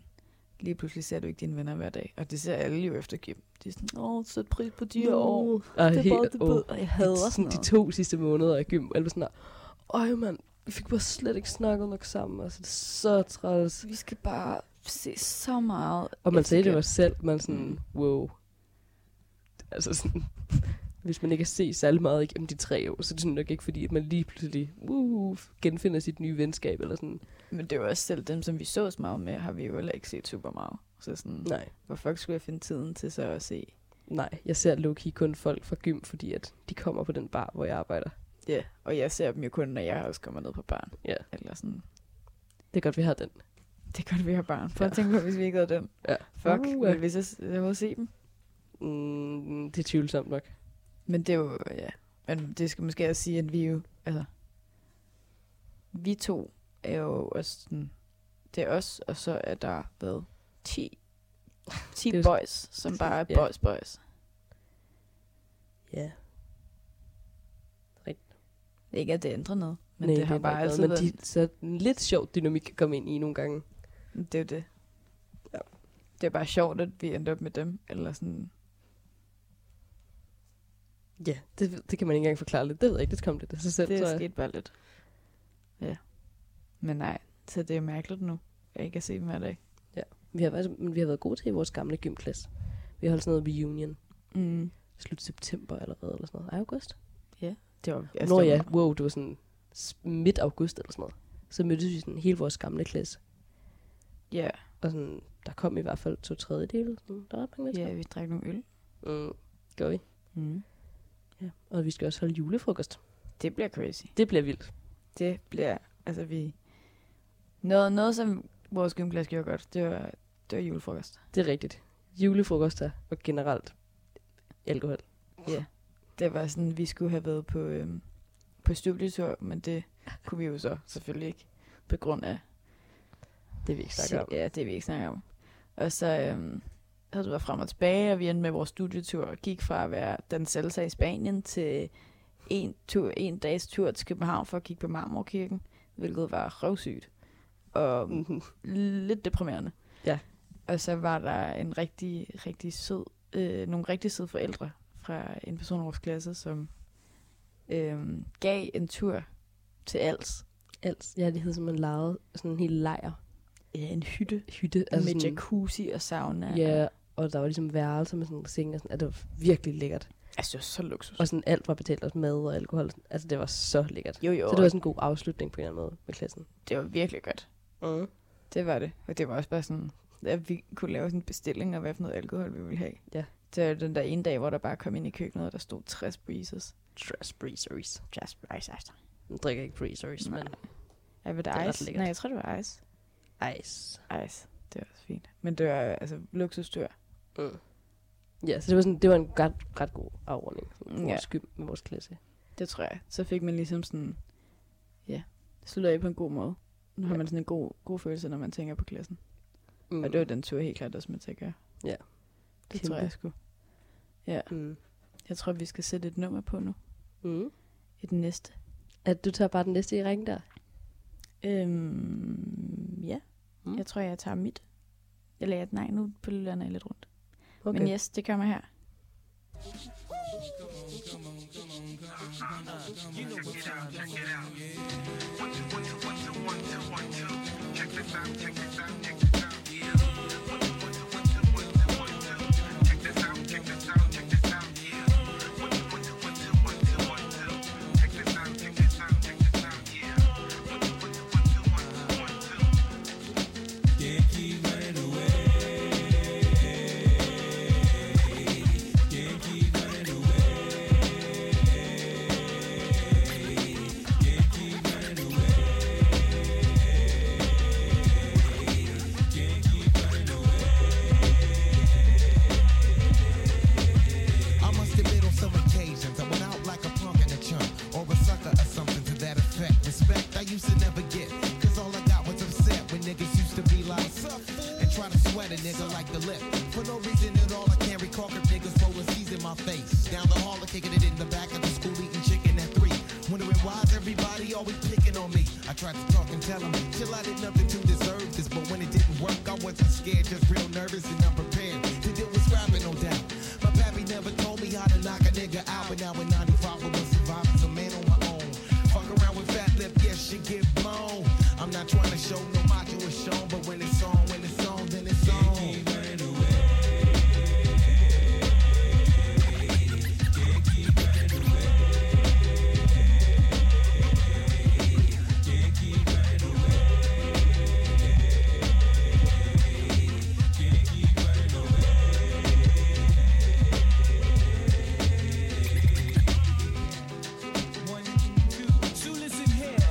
Speaker 2: lige pludselig ser du ikke dine venner hver dag. Og det ser alle jo efter gym. De er sådan, åh, sæt pris på de her år.
Speaker 1: Og
Speaker 2: Det er bare
Speaker 1: helt,
Speaker 2: det
Speaker 1: åh,
Speaker 2: bød, og jeg hader sådan
Speaker 1: sådan de
Speaker 2: noget.
Speaker 1: to sidste måneder i gym, alle var sådan der, øj mand, vi fik bare slet ikke snakket nok sammen, og så er det så træls.
Speaker 2: Vi skal bare se så meget.
Speaker 1: Og man
Speaker 2: efter
Speaker 1: sagde det
Speaker 2: gym.
Speaker 1: jo også selv, man sådan,
Speaker 2: Mm.
Speaker 1: wow. Altså sådan, hvis man ikke har set særlig meget igennem de tre år, så er det sådan nok ikke fordi, at man lige pludselig uh, genfinder sit nye venskab, eller sådan,
Speaker 2: Men det var også selv dem, som vi så meget med, har vi jo heller ikke set super meget. Så sådan,
Speaker 1: nej,
Speaker 2: hvor fuck skulle jeg finde tiden til så at se?
Speaker 1: nej, jeg ser low-key kun folk fra gym, fordi at de kommer på den bar, hvor jeg arbejder.
Speaker 2: Ja, yeah. og jeg ser dem jo kun, når jeg også kommer ned på barn.
Speaker 1: Ja.
Speaker 2: Eller sådan.
Speaker 1: Det er godt, vi har den.
Speaker 2: Det er godt, vi har barn. Prøv at
Speaker 1: Ja.
Speaker 2: tænke på, hvis vi ikke havde dem.
Speaker 1: Ja.
Speaker 2: Fuck,
Speaker 1: Uh,
Speaker 2: uh,
Speaker 1: ja.
Speaker 2: ville vi så s- have se dem?
Speaker 1: Mm, det er tvivlsomt nok.
Speaker 2: Men det er jo, ja. Men det skal måske også sige, at vi jo, altså, vi to er jo også sådan, det er os, og så er der, hvad, 10, 10
Speaker 1: Det er jo-
Speaker 2: boys, som bare er
Speaker 1: Ja.
Speaker 2: boys, boys.
Speaker 1: Ja.
Speaker 2: Ikke at det ændrer noget, men
Speaker 1: Nej,
Speaker 2: det har bare
Speaker 1: ikke noget,
Speaker 2: altid været,
Speaker 1: Men de, så en lidt sjov dynamik kan komme ind i nogle gange.
Speaker 2: det er jo det.
Speaker 1: Ja.
Speaker 2: Det er bare sjovt, at vi endte op med dem, eller sådan,
Speaker 1: Ja, det, det kan man ikke engang forklare lidt. Det ved jeg ikke, det kom lidt af sig selv,
Speaker 2: det
Speaker 1: tror
Speaker 2: er
Speaker 1: jeg.
Speaker 2: sket bare lidt. Ja. Men nej, så det er mærkeligt nu, jeg ikke kan se dem hver dag.
Speaker 1: Vi har, faktisk, men vi har været gode til i vores gamle gymklasse. Vi har holdt sådan noget reunion.
Speaker 2: Mm.
Speaker 1: Slut september allerede, eller sådan noget. Ej, august?
Speaker 2: Det var,
Speaker 1: Altså, Nå ja, wow, det var sådan s- midt august eller sådan noget. Så mødtes vi sådan hele vores gamle klasse.
Speaker 2: Ja,
Speaker 1: Og sådan, der kom i hvert fald to tredjedele. Sådan, der var ret mange
Speaker 2: ja,
Speaker 1: mennesker.
Speaker 2: vi drak nogle øl.
Speaker 1: Yeah. Mm, gør vi.
Speaker 2: Mm.
Speaker 1: Ja. Og vi skal også holde julefrokost.
Speaker 2: Det bliver crazy.
Speaker 1: Det bliver vildt.
Speaker 2: Det bliver, altså vi... Noget, noget som vores gymklasse gjorde godt, det var, det var julefrokost.
Speaker 1: Det er rigtigt. Julefrokoster og generelt alkohol.
Speaker 2: Det var sådan, vi skulle have været på, øhm, på studietur, men det kunne vi jo så selvfølgelig ikke, på grund af...
Speaker 1: Det vil jeg ikke snakke
Speaker 2: se-
Speaker 1: om.
Speaker 2: Ja, det vi ikke snakker om. Og så øhm, havde det været frem og tilbage, og vi endte med vores studietur og gik fra at være den salsa i Spanien til en, tur, en dags tur til København for at kigge på Marmorkirken, hvilket var røvsygt. Og
Speaker 1: Mhm.
Speaker 2: lidt deprimerende.
Speaker 1: Ja.
Speaker 2: Og så var der en rigtig, rigtig sød, øh, nogle rigtig søde forældre fra en person i vores klasse, som øh, gav en tur til Als.
Speaker 1: Alt. Ja, det hed simpelthen lejet sådan en hel lejr.
Speaker 2: Ja, en hytte
Speaker 1: Hytte.
Speaker 2: altså med
Speaker 1: sådan,
Speaker 2: jacuzzi og sauna.
Speaker 1: Ja, og der var ligesom værelser med sådan seng og sådan, at det var virkelig lækkert.
Speaker 2: Altså, det var så luksus.
Speaker 1: Og sådan alt var betalt, også mad og alkohol. og Sådan, altså, det var så lækkert.
Speaker 2: Jo, jo,
Speaker 1: Så det var sådan en god afslutning på en eller anden måde med klassen.
Speaker 2: det var virkelig godt.
Speaker 1: Mm.
Speaker 2: Det var det. Og det var også bare sådan, at vi kunne lave sådan en bestilling og hvad for noget alkohol, vi ville have.
Speaker 1: Ja.
Speaker 2: Det var den der ene dag, hvor der bare kom ind i køkkenet, og der stod 60 breezes.
Speaker 1: Trust breezers.
Speaker 2: Just breezes.
Speaker 1: Nu drikker jeg ikke breezers,
Speaker 2: Nej.
Speaker 1: men
Speaker 2: Ja, var det,
Speaker 1: Det er
Speaker 2: det
Speaker 1: ret
Speaker 2: ice?
Speaker 1: lækkert.
Speaker 2: Nej, jeg tror, det var ice.
Speaker 1: ice.
Speaker 2: Ejs, det er også fint. Men det var altså luksusdyr.
Speaker 1: Mm. Ja, så det var, sådan, det var en ret, ret god afordning for
Speaker 2: Mm, Ja.
Speaker 1: vores gym med vores klasse.
Speaker 2: Det tror jeg. Så fik man ligesom sådan, ja, slutter af på en god måde. Nu har
Speaker 1: Ja.
Speaker 2: man sådan en god, god følelse, når man tænker på klassen.
Speaker 1: Mm.
Speaker 2: Mm. Og det var den tur helt klart også med til at gøre.
Speaker 1: Ja.
Speaker 2: Det
Speaker 1: Kæmpe.
Speaker 2: tror jeg sgu.
Speaker 1: Mm.
Speaker 2: Jeg tror, vi skal sætte et nummer på nu.
Speaker 1: Mm.
Speaker 2: Et næste.
Speaker 1: At du tager bare den næste i ringen der?
Speaker 2: Øhm, ja.
Speaker 1: Mm.
Speaker 2: Mm. Jeg tror, jeg tager mit. Eller jeg, nej, nu bølger jeg lidt rundt. Okay. Men yes, det kommer her.
Speaker 3: What
Speaker 4: Respect I used to never get, cause all I got was upset when niggas used to be like, "Sup, fool?" and try to sweat a nigga like the lip. For no reason at all, I can't recall if niggas rolling C's in my face. Down the hall, I'm kicking it in the back of the school eating chicken at three. Wondering why's everybody always picking on me. I tried to talk and tell 'em, chill, I did nothing to deserve this. But when it didn't work, I wasn't scared, just real nervous and unprepared to deal with scrapping, no doubt. My pappy never told me how to knock a nigga out, but now in 95, I was surviving as a man on my own. Fuck around with fat lip, yes, shit get blown. I'm not trying to show no macho is shown, but when it's on, when it's on, then it's on.
Speaker 5: One, two, so listen here.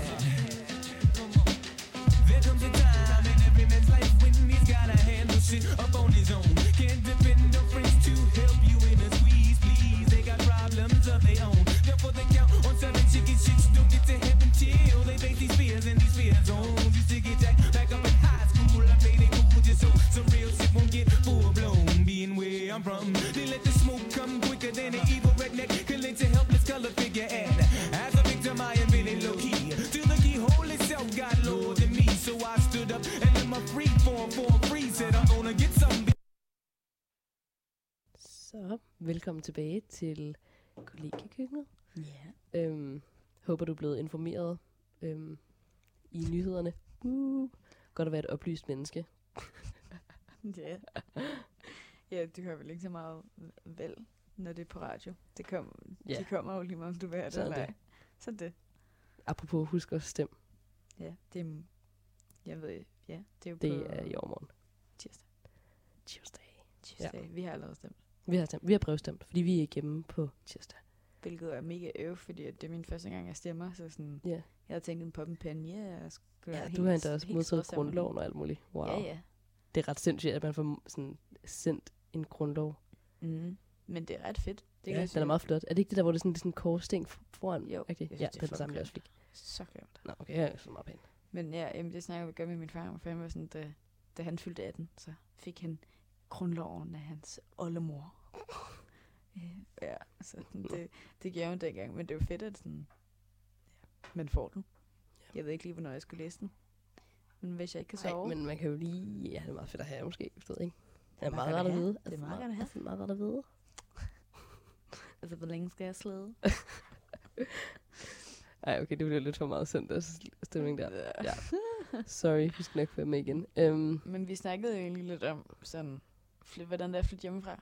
Speaker 5: There comes a time in every man's life when he's gotta handle shit up on his own. Can't depend on friends to help you in a squeeze, please. They got problems of their own. Therefore, they count on certain chicken shits. Don't get to heaven till they face these fears and these fear zones. Used to get jacked back up in high school. I played it cool just so some real shit won't get full blown. Being where I'm from, they let the smoke come quicker than an evil redneck can lynch a helpless color figure. And as a victim, I am really low key. Till the keyhole itself got lower than me, so I stood up and in my free form, form free, said I'm gonna get some.
Speaker 1: Så velkommen tilbage til kollegiekøkkenet.
Speaker 2: Ja.
Speaker 1: Øhm, håber, du er blevet informeret øhm, i nyhederne. Uh, godt at være et oplyst menneske.
Speaker 2: Ja. ja, du hører vel ikke så meget vel, når det er på radio. Det kom,
Speaker 1: Ja.
Speaker 2: ja. De kommer jo lige meget, om du vil have det
Speaker 1: Sådan
Speaker 2: eller
Speaker 1: det.
Speaker 2: ej. Sådan det.
Speaker 1: Apropos husk at stemme.
Speaker 2: Ja, det er, jeg ved, ikke. ja, det er jo
Speaker 1: Det
Speaker 2: på
Speaker 1: er i overmorgen.
Speaker 2: tirsdag.
Speaker 1: Tirsdag.
Speaker 2: tirsdag. Ja. Vi har allerede stemt.
Speaker 1: Vi har, stemt. Vi har prøvestemt, fordi vi er ikke hjemme på tirsdag.
Speaker 2: Hvilket er mega øv, fordi at det er min første gang, jeg stemmer. Så sådan,
Speaker 1: Ja,
Speaker 2: jeg havde tænkt en pop and pan, ja, jeg skulle
Speaker 1: ja
Speaker 2: være
Speaker 1: du har endda også
Speaker 2: helt
Speaker 1: modtaget
Speaker 2: storstemme.
Speaker 1: grundloven og alt muligt. Wow.
Speaker 2: Ja, ja.
Speaker 1: Det er ret sindssygt, at man får sådan, sendt en grundlov.
Speaker 2: Mm. Men det er ret fedt.
Speaker 1: ja,
Speaker 2: Det jeg
Speaker 1: den er
Speaker 2: sige.
Speaker 1: meget flot. Er det ikke det der, hvor det er sådan, det er sådan en korsting foran?
Speaker 2: Jo,
Speaker 1: Okay.
Speaker 2: jeg synes,
Speaker 1: ja,
Speaker 2: det er
Speaker 1: det er den
Speaker 2: flot
Speaker 1: samme, jeg
Speaker 2: grimt.
Speaker 1: også fik.
Speaker 2: Så grimt.
Speaker 1: Nå, okay, jeg er så meget pæn.
Speaker 2: Men ja, jamen, det snakker vi godt med min far, og fanden var sådan, da, da han fyldte 18, så fik han grundloven af hans oldemor. Øh, ja, så sådan, det, det gjorde han dengang, men det var fedt, at sådan, ja, man får den. Jeg ved ikke lige, hvornår jeg skulle læse den. Men hvis jeg ikke kan sove...
Speaker 1: Nej, men man kan jo lige... Ja, det er meget fedt at have, måske. Jeg ved ikke. Det er
Speaker 2: Det er
Speaker 1: meget
Speaker 2: meget
Speaker 1: rart at
Speaker 2: godt at
Speaker 1: vide.
Speaker 2: have. Det er meget godt at have.
Speaker 1: Altså, meget rart at vide.
Speaker 2: Altså, hvor længe skal jeg slæde?
Speaker 1: Ej, okay, det blev lidt for meget søndagsstemning der. Ja. Sorry, vi skal nok være med igen. Øhm,
Speaker 2: Men vi snakkede jo egentlig lidt om, sådan, fly, hvordan det er at flytte hjemmefra.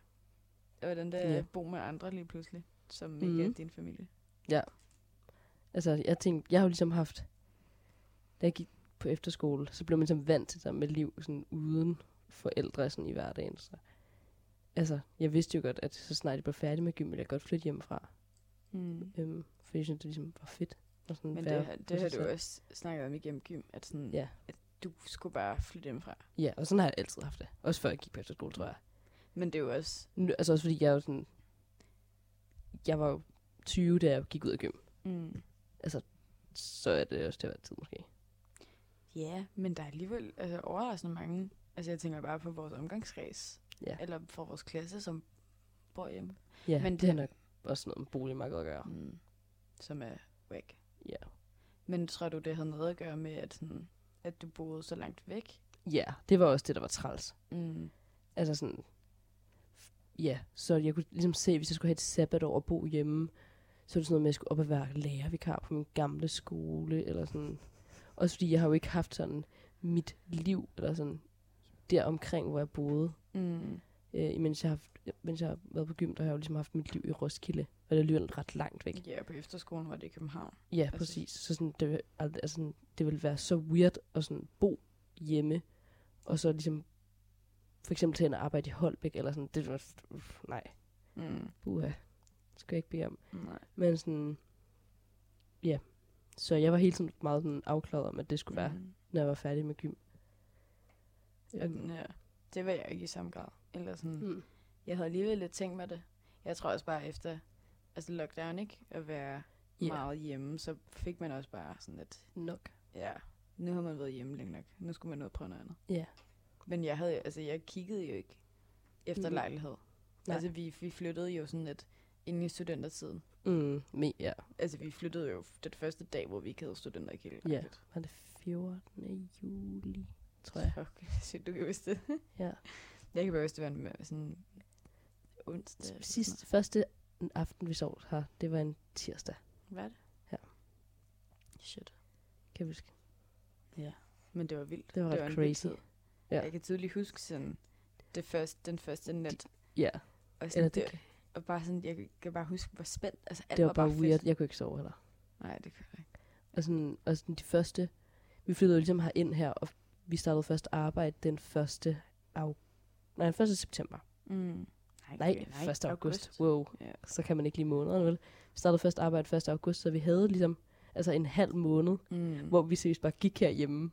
Speaker 2: Og hvordan det er
Speaker 1: Ja.
Speaker 2: at bo med andre lige pludselig, som
Speaker 1: Mhm.
Speaker 2: ikke er din familie.
Speaker 1: altså, jeg tænkte, jeg har jo ligesom haft... Da jeg gik på efterskole, så blev man ligesom vant til det der med liv sådan uden forældre sådan i hverdagen. Så. Altså, jeg vidste jo godt, at så snart jeg blev færdig med gym, ville jeg godt flytte hjemmefra.
Speaker 2: Mm.
Speaker 1: Øhm, fordi jeg synes, det ligesom var fedt. Og sådan
Speaker 2: Men
Speaker 1: være
Speaker 2: det, har- det
Speaker 1: for
Speaker 2: har
Speaker 1: sig
Speaker 2: du
Speaker 1: selv.
Speaker 2: også snakket om igennem gym, at, sådan,
Speaker 1: Ja.
Speaker 2: at du skulle bare flytte hjemmefra.
Speaker 1: Ja, og sådan har jeg altid haft det. Også før jeg gik på efterskole, tror jeg.
Speaker 2: Men det er jo også...
Speaker 1: Nu, altså også fordi jeg er jo sådan... Jeg var jo 20, da jeg gik ud af gym.
Speaker 2: Mm.
Speaker 1: Så er det også til at være tid, måske.
Speaker 2: Ja, men der er alligevel altså, overraskende mange... Altså jeg tænker bare på vores omgangskreds,
Speaker 1: Ja.
Speaker 2: eller for vores klasse, som bor hjemme,
Speaker 1: Ja,
Speaker 2: Men
Speaker 1: men det,
Speaker 2: det-
Speaker 1: har nok også noget med boligmarkedet at gøre.
Speaker 2: mm. som er væk.
Speaker 1: Ja.
Speaker 2: Men tror du, det havde noget at gøre med, at, sådan, at du boede så langt væk?
Speaker 1: Ja, det var også det, der var træls.
Speaker 2: Mm.
Speaker 1: Altså sådan... Ja, så jeg kunne ligesom se, hvis jeg skulle have et sabbatår og bo hjemme, så var det sådan noget med, at jeg skulle op og være lærervikar på min gamle skole, eller sådan. Også fordi jeg har jo ikke haft sådan mit liv, eller sådan der omkring, hvor jeg boede.
Speaker 2: Mm.
Speaker 1: øh, mens, jeg har haft, mens jeg har været på gym, der har jeg jo ligesom haft mit liv i Roskilde, og det er alligevel ret langt væk.
Speaker 2: Ja, på efterskolen var det i København.
Speaker 1: Ja,
Speaker 2: Præcis.
Speaker 1: præcis. Så sådan, det, vil- al- altså, sådan, det ville være så weird at sådan, bo hjemme, og så ligesom for eksempel til at arbejde i Holbæk, eller sådan, det var, uff, nej,
Speaker 2: Mm.
Speaker 1: buha, det skal jeg ikke bede om.
Speaker 2: Nej.
Speaker 1: Men sådan, ja, så jeg var hele tiden meget sådan afklaret om, at det skulle være,
Speaker 2: Mm.
Speaker 1: når jeg var færdig med gym. Øhm,
Speaker 2: Jamen, ja. Det var jeg ikke i samme grad. Eller sådan.
Speaker 1: mm,
Speaker 2: Jeg havde alligevel lidt tænkt mig det. Jeg tror også bare efter altså lockdown, ikke? At være
Speaker 1: Ja.
Speaker 2: yeah. meget hjemme, så fik man også bare sådan lidt,
Speaker 1: Nok.
Speaker 2: ja, nu har man været hjemme længe nok. Nu skulle man ud og prøve noget andet.
Speaker 1: Ja.
Speaker 2: Men jeg havde, altså jeg kiggede jo ikke efter
Speaker 1: Mm.
Speaker 2: mm. lejlighed.
Speaker 1: Nej.
Speaker 2: Nej. Altså vi, vi flyttede jo sådan lidt inden i studentertiden.
Speaker 1: Mm, men ja.
Speaker 2: Altså vi flyttede jo den første dag, hvor vi ikke havde Altså, studenter i Kiel.
Speaker 1: Ja. Var det 14. juli, tror jeg.
Speaker 2: Okay, så du kan huske det.
Speaker 1: Ja.
Speaker 2: Jeg kan bare huske, det var en, øh, sådan onsdag. eller
Speaker 1: Sidste, første aften, vi sov her, det var en tirsdag,
Speaker 2: sådan noget. Hvad er det?
Speaker 1: Ja.
Speaker 2: Shit.
Speaker 1: kan jeg huske.
Speaker 2: Men det var vildt.
Speaker 1: Det var ret
Speaker 2: en vild
Speaker 1: crazy.
Speaker 2: tid.
Speaker 1: Ja.
Speaker 2: Ja. Jeg kan tydeligt huske sådan det første, den første nat.
Speaker 1: Ja,
Speaker 2: Og, sådan,
Speaker 1: eller
Speaker 2: det,
Speaker 1: det,
Speaker 2: det, og bare sådan, jeg kan bare huske, hvor spændt. Altså, alt
Speaker 1: det var bare
Speaker 2: fedt.
Speaker 1: weird. Jeg kunne ikke sove heller.
Speaker 2: Nej, det kan jeg ikke.
Speaker 1: Og sådan, og sådan de første, vi flyttede jo ligesom herind her, og vi startede først arbejde den 1. Au, nej, den 1. september.
Speaker 2: Mm.
Speaker 1: Nej,
Speaker 2: det
Speaker 1: 1.
Speaker 2: er
Speaker 1: august. august. Wow,
Speaker 2: Ja.
Speaker 1: så kan man ikke lige månederne, vel? Vi startede først arbejde 1. august, så vi havde ligesom altså en halv måned,
Speaker 2: Mm.
Speaker 1: hvor vi seriøst bare gik herhjemme.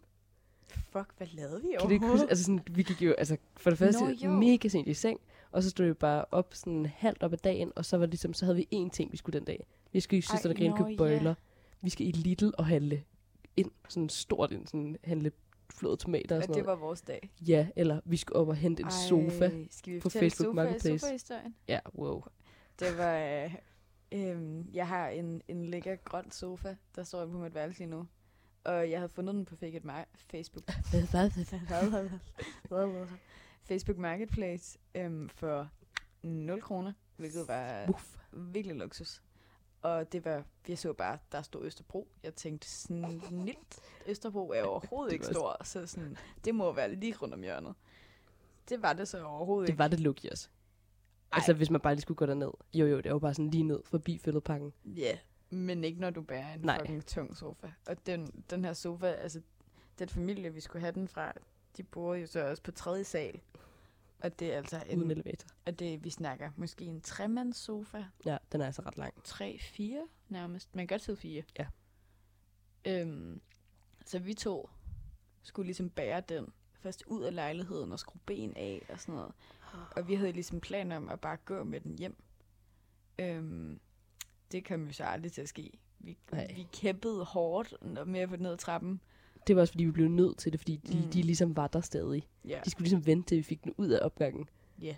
Speaker 2: Fuck, hvad lavede vi
Speaker 1: Kan du ikke huske? Altså, sådan, vi gik jo altså, for det første
Speaker 2: Nå, jo.
Speaker 1: mega sent i seng, og så stod vi bare op sådan halvt op ad dagen, og så var det ligesom, så havde vi én ting, vi skulle den dag. Vi skulle i
Speaker 2: Ej,
Speaker 1: Søsterne Grene
Speaker 2: nå,
Speaker 1: købe
Speaker 2: ja.
Speaker 1: bøjler. Vi skal i Lidl og handle ind, sådan stort ind, sådan handle flåede tomater og
Speaker 2: og
Speaker 1: sådan
Speaker 2: det
Speaker 1: noget.
Speaker 2: var vores dag.
Speaker 1: Ja, eller vi skulle op og hente en sofa.
Speaker 2: skal vi
Speaker 1: på
Speaker 2: fortælle
Speaker 1: Facebook
Speaker 2: sofa,
Speaker 1: Marketplace.
Speaker 2: Sofa-historien?
Speaker 1: Ja, wow.
Speaker 2: Det var... Øh, øh, jeg har en, en lækker grøn sofa, der står inde på mit værelse lige nu. Og jeg havde fundet den på Fake It Mar- Facebook. Facebook Marketplace øhm, for 0 kroner, hvilket var
Speaker 1: Uff.
Speaker 2: virkelig luksus. Og det var, jeg så bare, der stod Østerbro. Jeg tænkte, snilt, Østerbro er overhovedet ikke
Speaker 1: Det
Speaker 2: stor, så sådan, det må være lige rundt om hjørnet. Det var det så overhovedet
Speaker 1: Det var det lucky også. Altså, hvis man bare lige skulle gå derned. Jo, jo, det var jo bare sådan lige ned forbi fældepakken.
Speaker 2: ikke. Ja, men ikke når du bærer en
Speaker 1: Nej.
Speaker 2: Nej. fucking tung sofa. Og den, den her sofa, altså den familie, vi skulle have den fra, de bor jo så også på tredje sal. Og det er altså
Speaker 1: Uden
Speaker 2: en,
Speaker 1: elevator.
Speaker 2: og det, vi snakker, måske en tremandssofa,
Speaker 1: Ja, den er altså ret lang.
Speaker 2: tre, fire nærmest. Man kan godt sidde fire.
Speaker 1: Ja.
Speaker 2: Øhm, så vi to skulle ligesom bære den først ud af lejligheden og skrue ben af og sådan noget. Og vi havde ligesom planer om at bare gå med den hjem. Øhm, det kom jo så aldrig til at ske. Vi,
Speaker 1: Nej.
Speaker 2: vi kæmpede hårdt med at få den ned ad trappen.
Speaker 1: Det var også, fordi vi blev nødt til det, fordi de, mm.
Speaker 2: Mm.
Speaker 1: de ligesom var der stadig.
Speaker 2: Ja.
Speaker 1: De skulle ligesom vente, til vi fik den ud af opgangen.
Speaker 2: ja.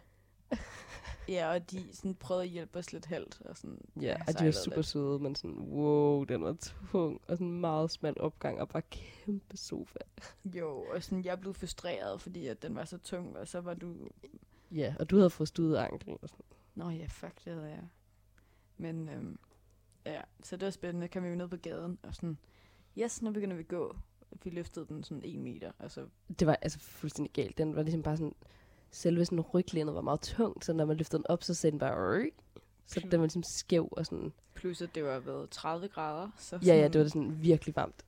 Speaker 2: ja, og de sådan prøvede at hjælpe os lidt halvt. Og sådan,
Speaker 1: Ja, og de var
Speaker 2: sejlede
Speaker 1: super
Speaker 2: lidt.
Speaker 1: søde, men sådan, wow, den var tung. Og sådan en meget smal opgang, og bare kæmpe sofa.
Speaker 2: Jo, og sådan, jeg blev frustreret, fordi at den var så tung, og så var du
Speaker 1: Ja, og du havde fået studet anklen og sådan.
Speaker 2: Nå ja, fuck, det havde jeg. Men øhm, ja, så det var spændende. Kom vi ned på gaden og sådan, yes, nu begynder vi at gå. Vi løftede den sådan en meter, og så,
Speaker 1: Det var altså fuldstændig galt. Den var ligesom bare sådan, selve sådan ryglænet var meget tungt, så når man løftede den op, så sagde den bare, "Øj." så den var ligesom skæv og sådan.
Speaker 2: plus at det var været 30 grader. Så
Speaker 1: Ja,
Speaker 2: sådan,
Speaker 1: ja, det var da sådan virkelig varmt.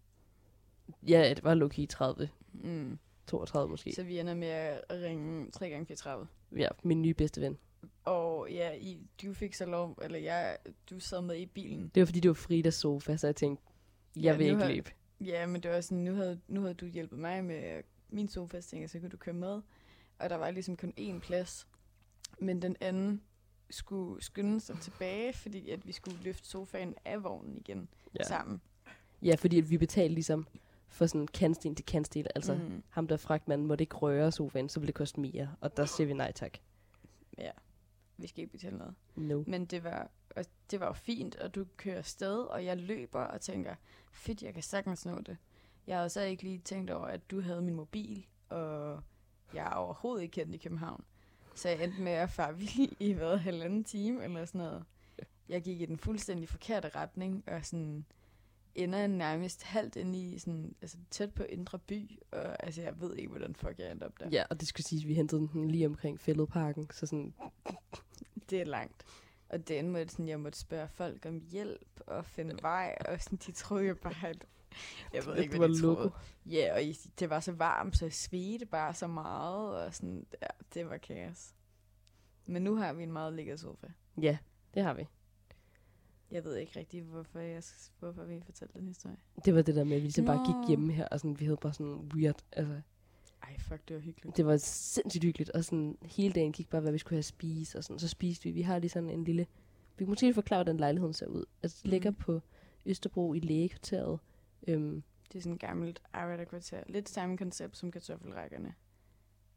Speaker 1: Ja, det var low-key 30,
Speaker 2: Mm,
Speaker 1: 32 måske.
Speaker 2: så vi ender med at ringe 3 gange 34
Speaker 1: Ja, min nye bedste ven.
Speaker 2: Og ja, I, du fik så lov, eller jeg, du sad med i bilen.
Speaker 1: Det var fordi, det var Fridas sofa, så jeg tænkte, jeg
Speaker 2: Ja,
Speaker 1: vil
Speaker 2: nu
Speaker 1: ikke
Speaker 2: har-
Speaker 1: løbe.
Speaker 2: Ja, men det var sådan, nu havde, nu havde du hjulpet mig med min sofa, så tænkte jeg, så kunne du køre med. Og der var ligesom kun én plads. Men den anden skulle skynde sig tilbage, fordi at vi skulle løfte sofaen af vognen igen ja. sammen.
Speaker 1: Ja, fordi at vi betalte ligesom for sådan kantsten til kantsten. Altså, mm.
Speaker 2: mm,
Speaker 1: ham der fragtmanden måtte ikke røre sofaen, så ville det koste mere. Og der siger vi nej tak.
Speaker 2: ja. Vi skal ikke betale noget.
Speaker 1: No.
Speaker 2: Men det var, og det var jo fint, og du kører afsted, og jeg løber og tænker, fedt, jeg kan sagtens nå det. Jeg havde så ikke lige tænkt over, at du havde min mobil, og jeg er overhovedet ikke kendt i København. Så jeg endte med at fare vild i hvad, halvanden time eller sådan noget. Jeg gik i den fuldstændig forkerte retning, og sådan ender nærmest halvt inde i, sådan, altså tæt på Indre By, og altså jeg ved ikke, hvordan fuck jeg endte op der.
Speaker 1: Ja, og det skulle sige, at vi hentede den lige omkring fældeparken. Så sådan,
Speaker 2: det er langt. Og det endte med, at sådan, jeg måtte spørge folk om hjælp og finde vej, og sådan, de troede jo bare, at jeg ved
Speaker 1: at
Speaker 2: ikke,
Speaker 1: du
Speaker 2: hvad
Speaker 1: var
Speaker 2: de
Speaker 1: loco.
Speaker 2: troede. Ja, og i- det var så varmt, så jeg svedte bare så meget, og sådan, ja, det var kaos. Men nu har vi en meget lækker sofa.
Speaker 1: ja, det har vi.
Speaker 2: Jeg ved ikke rigtig, hvorfor, jeg, s- hvorfor vi fortalte den historie.
Speaker 1: Det var det der med, at vi ligesom bare
Speaker 2: Nå.
Speaker 1: gik hjemme her, og sådan, vi havde bare sådan weird. Altså,
Speaker 2: Ej, fuck, det var hyggeligt.
Speaker 1: det var sindssygt hyggeligt, og sådan hele dagen gik bare, hvad vi skulle have at spise, og sådan, så spiste vi. Vi har lige sådan en lille... Vi kan måske lige forklare, hvordan lejligheden ser ud. Altså, det ligger
Speaker 2: Mm.
Speaker 1: på Østerbro i lægekvarteret. Øhm,
Speaker 2: Det er sådan et gammelt arbejderkvarter. Lidt samme koncept som kartoffelrækkerne.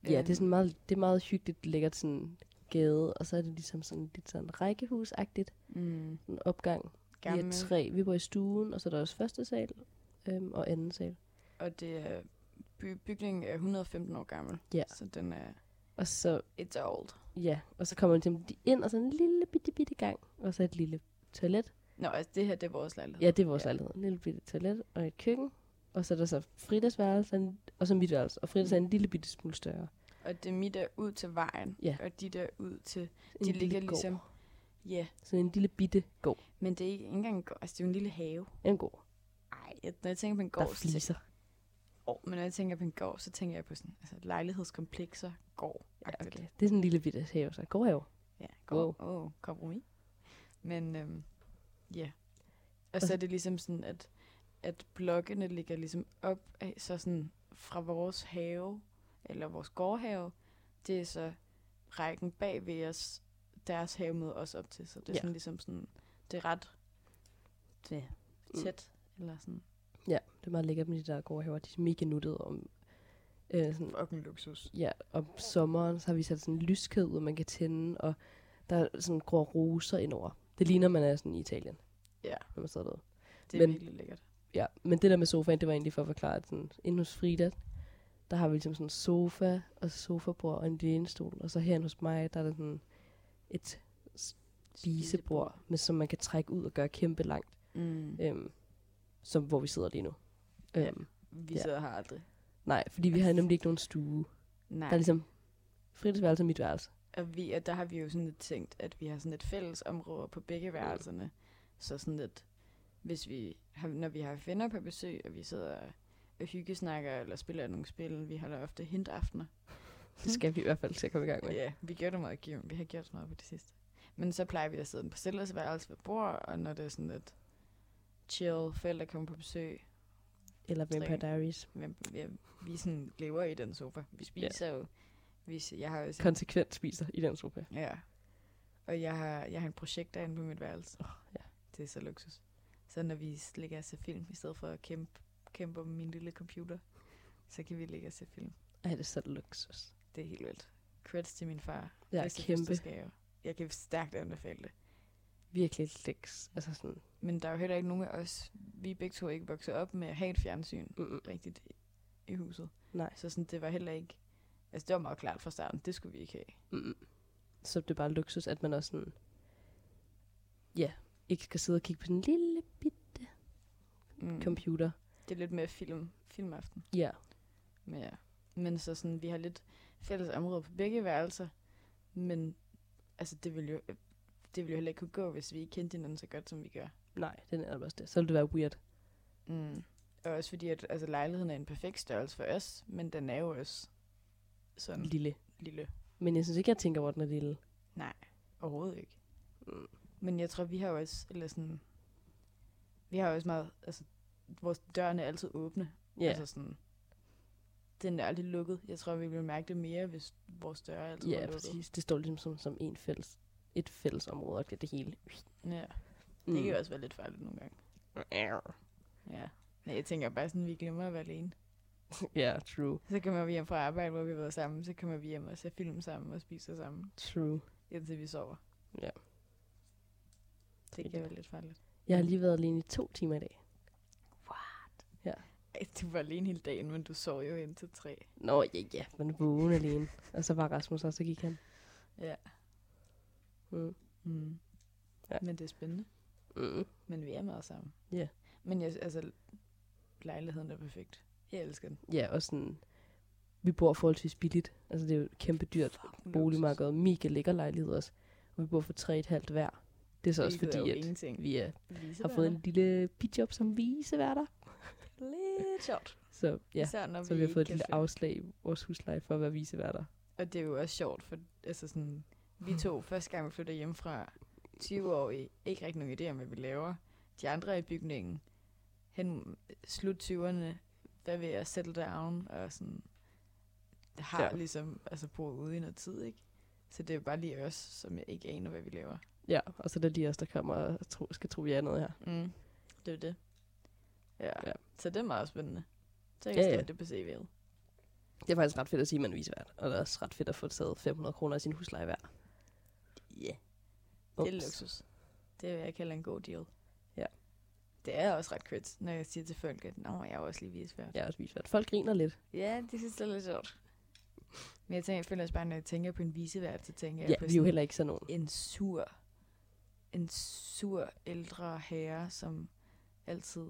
Speaker 1: ja, det er sådan
Speaker 2: Øhm,
Speaker 1: meget, det er meget hyggeligt, lækkert sådan gade, og så er det ligesom sådan lidt sådan rækkehusagtigt,
Speaker 2: Mm,
Speaker 1: en opgang. Gammel. Vi
Speaker 2: gammel.
Speaker 1: er tre, vi bor i stuen, og så er der også første sal øhm, og anden sal.
Speaker 2: Og det er, by- bygningen er 115 år gammel.
Speaker 1: Ja.
Speaker 2: Så den er,
Speaker 1: Og så,
Speaker 2: it's old.
Speaker 1: ja, og så kommer de ind, og så en lille bitte, bitte gang, og så et lille toilet,
Speaker 2: Nå, altså det her, det er vores lejlighed.
Speaker 1: Ja, det er vores
Speaker 2: Ja.
Speaker 1: ja. lejlighed. En lille bitte toilet og et køkken. Og så er der så fridagsværelse, en- og så mit værelse. Og fridags er en lille bitte smule større.
Speaker 2: Og det er mit er ud til vejen.
Speaker 1: Ja.
Speaker 2: Og de der ud til,
Speaker 1: En
Speaker 2: de
Speaker 1: lille
Speaker 2: ligger
Speaker 1: gård.
Speaker 2: ligesom, ja. Yeah.
Speaker 1: Sådan en lille bitte gård.
Speaker 2: Men det er ikke engang en gård, altså det er jo en lille have.
Speaker 1: En gård,
Speaker 2: Ej, jeg, når jeg tænker på en
Speaker 1: der
Speaker 2: gård, så tænker,
Speaker 1: fliser.
Speaker 2: oh, men når jeg tænker på en gård, så tænker jeg på sådan, altså lejlighedskomplekser, gård.
Speaker 1: Ja, okay. Det er sådan en lille bitte have, så gårdhave.
Speaker 2: Ja, gård. Wow. Oh, kompromis. Men øhm, ja. Og så er det ligesom sådan, at, at blokkene ligger ligesom op af, så sådan fra vores have, eller vores gårdhave, det er så rækken bag ved os, deres have med os op til. Så det er ja.
Speaker 1: Ja.
Speaker 2: sådan ligesom sådan, det er ret ja, tæt, mm. eller sådan.
Speaker 1: Ja, det er meget lækkert med de der gårdhaver. De er mega nuttede om... Øh, sådan,
Speaker 2: Fucking luksus.
Speaker 1: ja, om sommeren, så har vi sat sådan en lyskæde ud, man kan tænde, og der er sådan grå roser indover. Det ligner, man er sådan i Italien,
Speaker 2: Ja,
Speaker 1: når man sidder derude.
Speaker 2: det er Men,
Speaker 1: Men-
Speaker 2: virkelig lækkert.
Speaker 1: Ja, men det der med sofaen, det var egentlig for at forklare, at sådan, inde hos Frida, der har vi ligesom sådan en sofa og sofabord og en lænestol. Og så herinde hos mig, der er der sådan et spisebord, med, som man kan trække ud og gøre kæmpe langt,
Speaker 2: Mm.
Speaker 1: øhm, som hvor vi sidder lige nu.
Speaker 2: Ja.
Speaker 1: Øhm,
Speaker 2: Vi
Speaker 1: ja.
Speaker 2: sidder her aldrig.
Speaker 1: nej, fordi vi har nemlig ikke nogen stue.
Speaker 2: Nej.
Speaker 1: Der er ligesom Fridas værelse og mit værelse.
Speaker 2: Og vi, og der har vi jo sådan lidt tænkt, at vi har sådan et fælles område på begge værelserne. Så sådan lidt, hvis vi har, når vi har venner på besøg, og vi sidder og hyggesnakker, eller spiller nogle spil, vi holder ofte hintaftener.
Speaker 1: Det skal vi i hvert fald til at komme i gang med.
Speaker 2: Ja, vi gjorde det meget gennem. Vi har gjort sådan noget på det sidste. Men så plejer vi at sidde på Sillas værelse ved bord, og når det er sådan lidt chill, forældre kommer på besøg,
Speaker 1: Eller Vampire Diaries.
Speaker 2: men vi, vi sådan lever i den sofa. Vi spiser ja. jo. Vi, jeg har jo sådan,
Speaker 1: Konsekvent spiser i den sofa.
Speaker 2: Ja. Og jeg har, jeg har en projekt derinde på mit værelse. Oh,
Speaker 1: ja.
Speaker 2: Det er så luksus. Så når vi s- ligger og ser film, i stedet for at kæmpe, kæmpe om min lille computer, så kan vi ligge og se film.
Speaker 1: Ej, det er så luksus.
Speaker 2: Det er helt vildt. Credits til min far.
Speaker 1: Ja,
Speaker 2: Bedste
Speaker 1: kæmpe.
Speaker 2: fødselsdagsgave. Jeg kan stærkt anbefale det.
Speaker 1: Virkelig læks. Altså sådan,
Speaker 2: Men der er jo heller ikke nogen af os, vi er begge to ikke vokset op med at have et fjernsyn
Speaker 1: mm, mm,
Speaker 2: rigtigt i- i huset.
Speaker 1: nej.
Speaker 2: Så sådan, det var heller ikke, altså det var meget klart fra starten, det skulle vi ikke have.
Speaker 1: Mm. Så det er bare luksus, at man også sådan, ja, ikke skal sidde og kigge på sådan en lille bitte
Speaker 2: Mm.
Speaker 1: computer.
Speaker 2: Det er lidt mere film, filmaften.
Speaker 1: Ja,
Speaker 2: Men, ja. men så sådan, vi har lidt fælles områder på begge værelser, men altså, det ville jo, det ville jo heller ikke kunne gå, hvis vi ikke kendte hinanden så godt, som vi gør.
Speaker 1: nej, den er også det. Så ville det være weird.
Speaker 2: Mm. Og også fordi, at altså, lejligheden er en perfekt størrelse for os, men den er jo også sådan lille.
Speaker 1: Lille.
Speaker 2: lille.
Speaker 1: Men jeg synes ikke, jeg tænker, hvor den er lille.
Speaker 2: Overhovedet ikke. Mm. Men jeg tror, vi har jo også, eller sådan, vi har jo også meget, altså, vores dørene er altid åbne.
Speaker 1: Ja,
Speaker 2: Altså sådan, den er aldrig lukket. Jeg tror, vi ville mærke det mere, hvis vores døre altid var
Speaker 1: ja
Speaker 2: lukket.
Speaker 1: præcis. Det står ligesom som, som en fælles, et fælles område, og det er det hele.
Speaker 2: Ja.
Speaker 1: Mm.
Speaker 2: Det kan jo også være lidt farligt nogle gange. Ja. Nej, jeg tænker bare sådan, at vi glemmer at være alene.
Speaker 1: Ja, true.
Speaker 2: Så kommer vi hjem fra arbejde, hvor vi har været sammen. Så kommer vi hjem og ser film sammen og spiser sammen,
Speaker 1: True.
Speaker 2: indtil vi sover.
Speaker 1: Ja.
Speaker 2: Det kan
Speaker 1: Ja.
Speaker 2: være lidt farligt.
Speaker 1: Jeg har lige været alene i to timer i dag.
Speaker 2: Ej, du var alene hele dagen, men du sov jo indtil tre.
Speaker 1: Nå, ja, ja, man vågen alene. Og så var Rasmus, og så gik han.
Speaker 2: Ja.
Speaker 1: Mm.
Speaker 2: Mm.
Speaker 1: Ja.
Speaker 2: Men det er spændende.
Speaker 1: Mm.
Speaker 2: Men vi er meget sammen.
Speaker 1: Ja.
Speaker 2: Men jeg, altså, lejligheden er perfekt. Jeg elsker den.
Speaker 1: Ja, og sådan, vi bor forholdsvis billigt. Altså, det er jo kæmpe dyrt boligmarkedet. Mega lækker lejlighed også. Og vi bor for 3,5 hver. Det er så også
Speaker 2: Hvilket er jo
Speaker 1: fordi, at
Speaker 2: ingenting.
Speaker 1: vi er,
Speaker 2: Lise
Speaker 1: har fået en lille bidjob som viseværter.
Speaker 2: lidt sjovt.
Speaker 1: Så ja,
Speaker 2: Især når
Speaker 1: så vi har
Speaker 2: ikke
Speaker 1: fået et
Speaker 2: kan
Speaker 1: lille
Speaker 2: finde-
Speaker 1: afslag i vores husleje for at være viseværter.
Speaker 2: Og det er jo også sjovt, for altså sådan, vi to, første gang vi flytter hjemmefra, 20 år i, ikke rigtig nogen idé om, hvad vi laver. De andre i bygningen, hen slut 20'erne, hvad ved at settle down, og sådan, har ja.
Speaker 1: Ja.
Speaker 2: ligesom, altså boet ude i noget tid, ikke? Så det er jo bare lige os, som ikke aner, hvad vi laver.
Speaker 1: Ja, og så er der lige os, der kommer og tro, skal tro, vi er noget her.
Speaker 2: Mm.
Speaker 6: Det er jo det. Ja.
Speaker 1: Ja.
Speaker 6: ja. Så det er meget spændende. Så jeg
Speaker 1: Ja,
Speaker 6: kan ja,
Speaker 1: ja.
Speaker 6: ja. det på CV'et.
Speaker 1: Det er faktisk ret fedt at sige, at man er visevært. Og det er også ret fedt at få taget 500 kroner af sin husleje hver.
Speaker 6: Ja.
Speaker 1: Ups.
Speaker 6: Det er luksus. Det vil jeg kalde en god deal.
Speaker 1: Ja.
Speaker 6: Det er også ret kødt, når jeg siger til folk, at Nå, jeg er også lige visvær.
Speaker 1: Jeg er også visevært. Folk griner lidt.
Speaker 6: ja, det synes jeg er lidt sjovt.
Speaker 2: Men jeg tænker, jeg føler også bare, når jeg tænker på en visevært, så tænker
Speaker 1: Ja,
Speaker 2: jeg på
Speaker 1: vi er jo
Speaker 2: sådan
Speaker 1: heller ikke sådan nogen.
Speaker 2: en sur, en sur ældre herre, som altid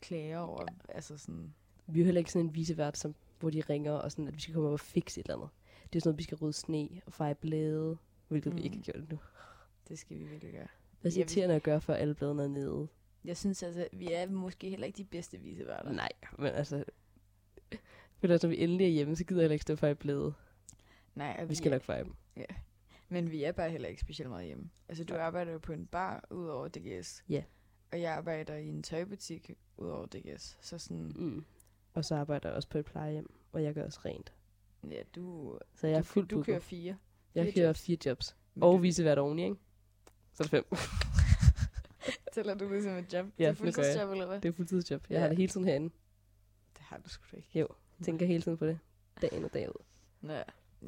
Speaker 2: klager over, ja. altså sådan,
Speaker 1: Vi er jo heller ikke sådan en visevært, som, hvor de ringer og sådan, at vi skal komme op og fikse et eller andet. Det er sådan noget, vi skal rydde sne og feje blade, hvilket mm. vi
Speaker 2: Mm.
Speaker 1: ikke har gjort endnu.
Speaker 2: det skal vi virkelig gøre.
Speaker 1: Hvad er
Speaker 2: Ja, vi-
Speaker 1: irriterende at gøre, før alle bladene er nede?
Speaker 6: Jeg synes altså, vi er måske heller ikke de bedste viseværter.
Speaker 1: Nej, men altså... Men altså, når vi endelig er hjemme, så gider jeg heller ikke stå og feje blade.
Speaker 2: Nej, og
Speaker 1: Vi skal
Speaker 2: er,
Speaker 1: nok feje dem.
Speaker 2: Men vi er bare heller ikke specielt meget hjemme. Altså, du
Speaker 1: Nej.
Speaker 2: arbejder jo på en bar ud over DGS.
Speaker 1: Ja.
Speaker 2: Og jeg arbejder i en tøjbutik ud over DGS. Så sådan,
Speaker 1: Mm. Og så arbejder jeg også på et plejehjem, og jeg gør også rent.
Speaker 2: ja, du,
Speaker 1: Så Mm. jeg er fuldt
Speaker 2: du
Speaker 1: booket.
Speaker 2: kører fire.
Speaker 1: Jeg
Speaker 2: fire
Speaker 1: kører
Speaker 2: jobs.
Speaker 1: fire jobs.
Speaker 2: Men du-
Speaker 1: Og visevært oveni, ikke? Så er det fem.
Speaker 2: Tæller du det som et job?
Speaker 1: Ja,
Speaker 2: det er
Speaker 1: det gør jeg.
Speaker 2: fuldtidsjob, eller hvad?
Speaker 1: Det er fuldtidsjob. Jeg
Speaker 2: Ja.
Speaker 1: har det hele tiden herinde.
Speaker 2: Det har du sgu da ikke.
Speaker 1: Jo, tænker hele tiden på det. Dagen og dag ud.
Speaker 2: Nå,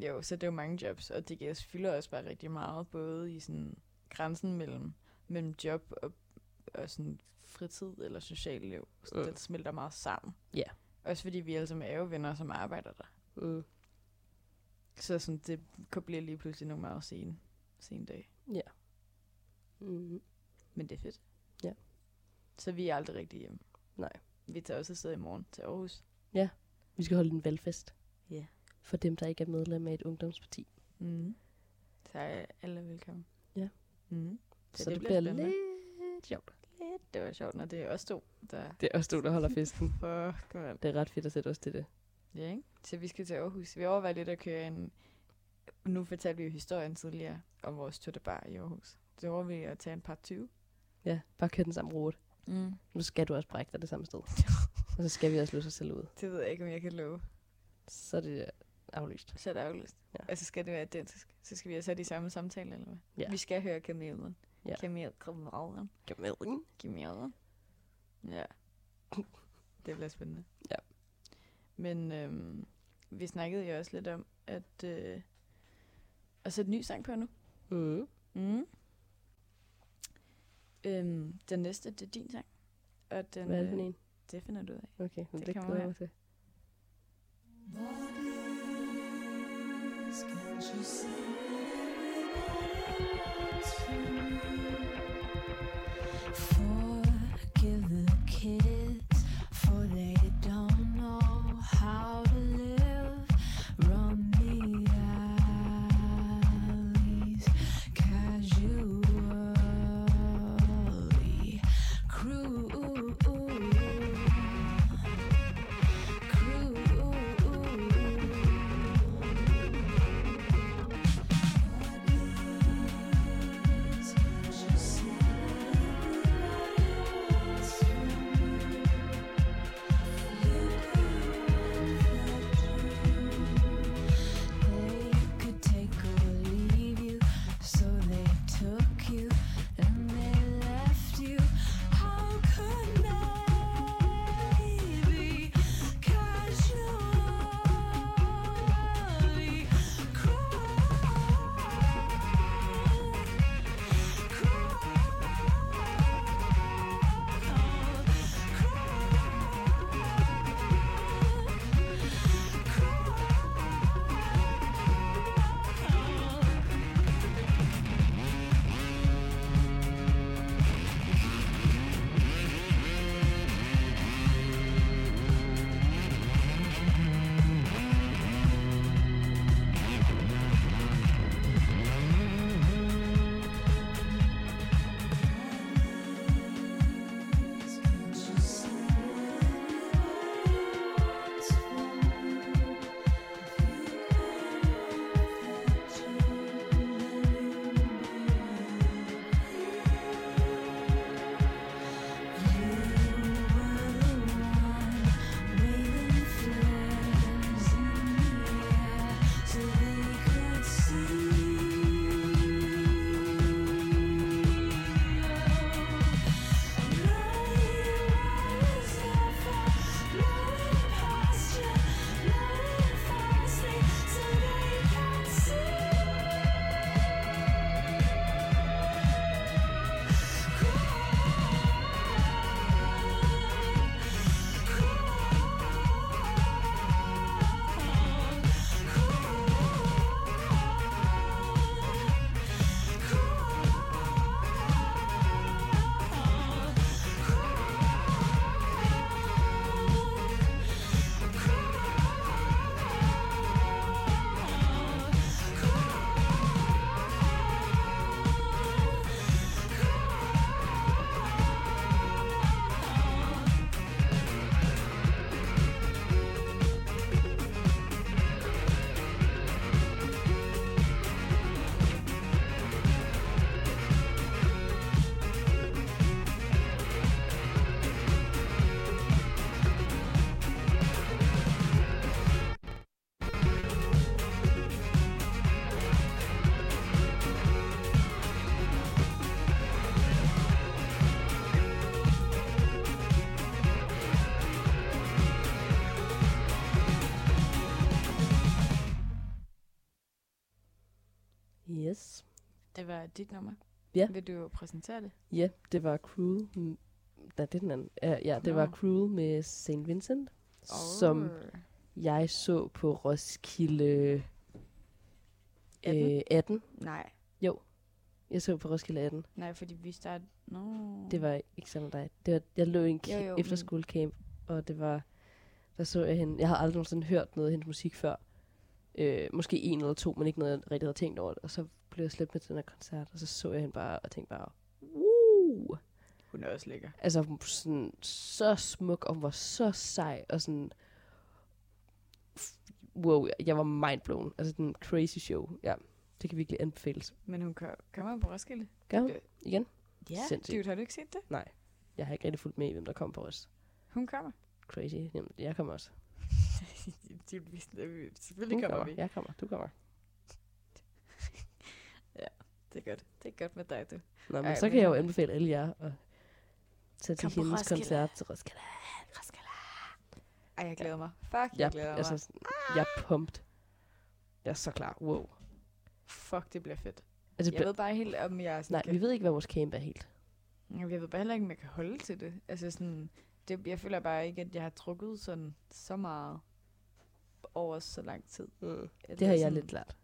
Speaker 2: jo, så det er jo mange jobs, og DGS fylder også bare rigtig meget, både i sådan grænsen mellem, mellem job og, og sådan fritid eller socialt liv. Så
Speaker 1: Mm.
Speaker 2: mm. det smelter meget sammen.
Speaker 1: Ja.
Speaker 2: Også fordi vi alle sammen er jo venner, som arbejder der.
Speaker 1: Mm.
Speaker 2: Så sådan, det kan- bliver lige pludselig nogle meget sene, sene dage.
Speaker 1: Mm.
Speaker 2: Men det er fedt.
Speaker 1: Ja.
Speaker 2: Så vi er aldrig rigtig hjemme.
Speaker 1: Nej.
Speaker 2: Vi tager også afsted i morgen til Aarhus.
Speaker 1: Vi skal holde en valgfest.
Speaker 2: Ja.
Speaker 1: For dem, der ikke er medlem af et ungdomsparti.
Speaker 2: Mm. Så er alle velkommen.
Speaker 1: Ja.
Speaker 2: Mm.
Speaker 1: Så, så det, det bliver, bliver lidt sjovt.
Speaker 2: lidt... Det var sjovt, når det er os to, der
Speaker 1: Det er også du, der holder festen.
Speaker 2: Fuck, mand.
Speaker 1: Det er ret fedt at sætte os til det.
Speaker 2: Ja, ikke? Så vi skal til Aarhus. Vi overvejer lidt at køre en... Nu fortalte vi jo historien tidligere om vores to bar i Aarhus. Så overvejer vi at tage en par 20.
Speaker 1: Ja, bare kør den samme rute.
Speaker 2: Mm.
Speaker 1: Nu skal du også brække dig det samme sted. og så skal vi også løse os selv ud.
Speaker 2: Det ved jeg ikke, om jeg kan love.
Speaker 1: Så er det aflyst.
Speaker 2: Så er der aflyst.
Speaker 1: Ja.
Speaker 2: Ja. Altså skal det være identisk? Så skal vi altså have de samme samtaler, eller hvad?
Speaker 1: Ja.
Speaker 2: Vi skal høre kamelen.
Speaker 1: Ja.
Speaker 2: Kamel, kamelen.
Speaker 1: Kamelen.
Speaker 2: Kamelen. Ja. Det bliver spændende.
Speaker 1: Ja.
Speaker 2: Men øhm, vi snakkede jo også lidt om, at... Øh, og så et ny sang på nu.
Speaker 1: Mm.
Speaker 2: Mm. Øhm, den næste, det er din sang. Og den,
Speaker 1: Hvad er det for
Speaker 2: øh,
Speaker 1: en?
Speaker 2: Det finder du ud af.
Speaker 1: Okay, men
Speaker 2: Det
Speaker 1: det, det
Speaker 2: kommer
Speaker 1: glæder jeg
Speaker 2: her.
Speaker 1: mig til.
Speaker 3: Forgive the kids, for they don't know how to live. Rummy alleys, casually cruel. Cruel.
Speaker 1: Yes.
Speaker 2: Det var dit nummer.
Speaker 1: Ja.
Speaker 2: Vil du præsentere det?
Speaker 1: Ja, det var Cruel. m- Nej, det er den anden. Ja, ja det var
Speaker 2: Nå.
Speaker 1: Cruel med St. Vincent, som
Speaker 2: Oh.
Speaker 1: jeg så på Roskilde
Speaker 2: 18?
Speaker 1: Øh, 18.
Speaker 2: Nej,
Speaker 1: Jeg så på Roskilde 18.
Speaker 2: nej, fordi vi startede... No.
Speaker 1: Det var ikke sammen med dig. Det var, jeg lå i en
Speaker 2: Jo, jo,
Speaker 1: jo,
Speaker 2: men-
Speaker 1: efterskolecamp, og det var, der så jeg hende. Jeg havde aldrig nogensinde hørt noget af hendes musik før. Øh, måske en eller to, men ikke noget, jeg rigtig havde tænkt over det. Og så blev jeg slæbt med til den her koncert, og så så jeg hende bare og tænkte bare, wow!
Speaker 2: Hun er også lækker.
Speaker 1: Altså, hun var sådan, så smuk, og hun var så sej, og sådan, wow, jeg- jeg var mindblown. Altså, den crazy show, ja. Det kan virkelig anbefales.
Speaker 2: Men hun kom- kommer på Roskilde.
Speaker 1: Gør hun?
Speaker 2: Det-
Speaker 1: Igen? Sindssygt.
Speaker 2: Sindssygt. Dude, har du ikke set det?
Speaker 1: Jeg har ikke rigtig fulgt med i, hvem der kom på os.
Speaker 2: Hun kommer.
Speaker 1: Crazy. Jamen, jeg kommer også.
Speaker 2: Dude, vi, selvfølgelig
Speaker 1: Hun
Speaker 2: kommer vi.
Speaker 1: Jeg kommer. Du kommer.
Speaker 2: Det er godt. Det er godt med dig, du.
Speaker 1: Nå, men
Speaker 2: Ej,
Speaker 1: Ej, så
Speaker 2: men
Speaker 1: kan jeg jo
Speaker 2: så-
Speaker 1: anbefale alle jer at tage til
Speaker 2: Kom på
Speaker 1: hendes
Speaker 2: Roskilde.
Speaker 1: koncert til Roskilde.
Speaker 2: Ej, jeg glæder mig. Fuck, jeg
Speaker 1: Jeg,
Speaker 2: glæder mig.
Speaker 1: altså, sådan- jeg er pumped. Jeg er så klar. Wow.
Speaker 2: Fuck, det bliver fedt.
Speaker 1: Altså,
Speaker 2: Jeg ved bare helt om jeg er sådan...
Speaker 1: nej, vi ved ikke, hvad vores camp er helt.
Speaker 2: Jamen, Jeg ved bare heller ikke, om jeg kan holde til det. Altså sådan, det, jeg føler bare ikke, at jeg har trukket sådan så meget over så lang tid.
Speaker 1: Mm.
Speaker 2: At
Speaker 1: Det har
Speaker 2: er
Speaker 1: jeg
Speaker 2: sådan,
Speaker 1: lidt lært.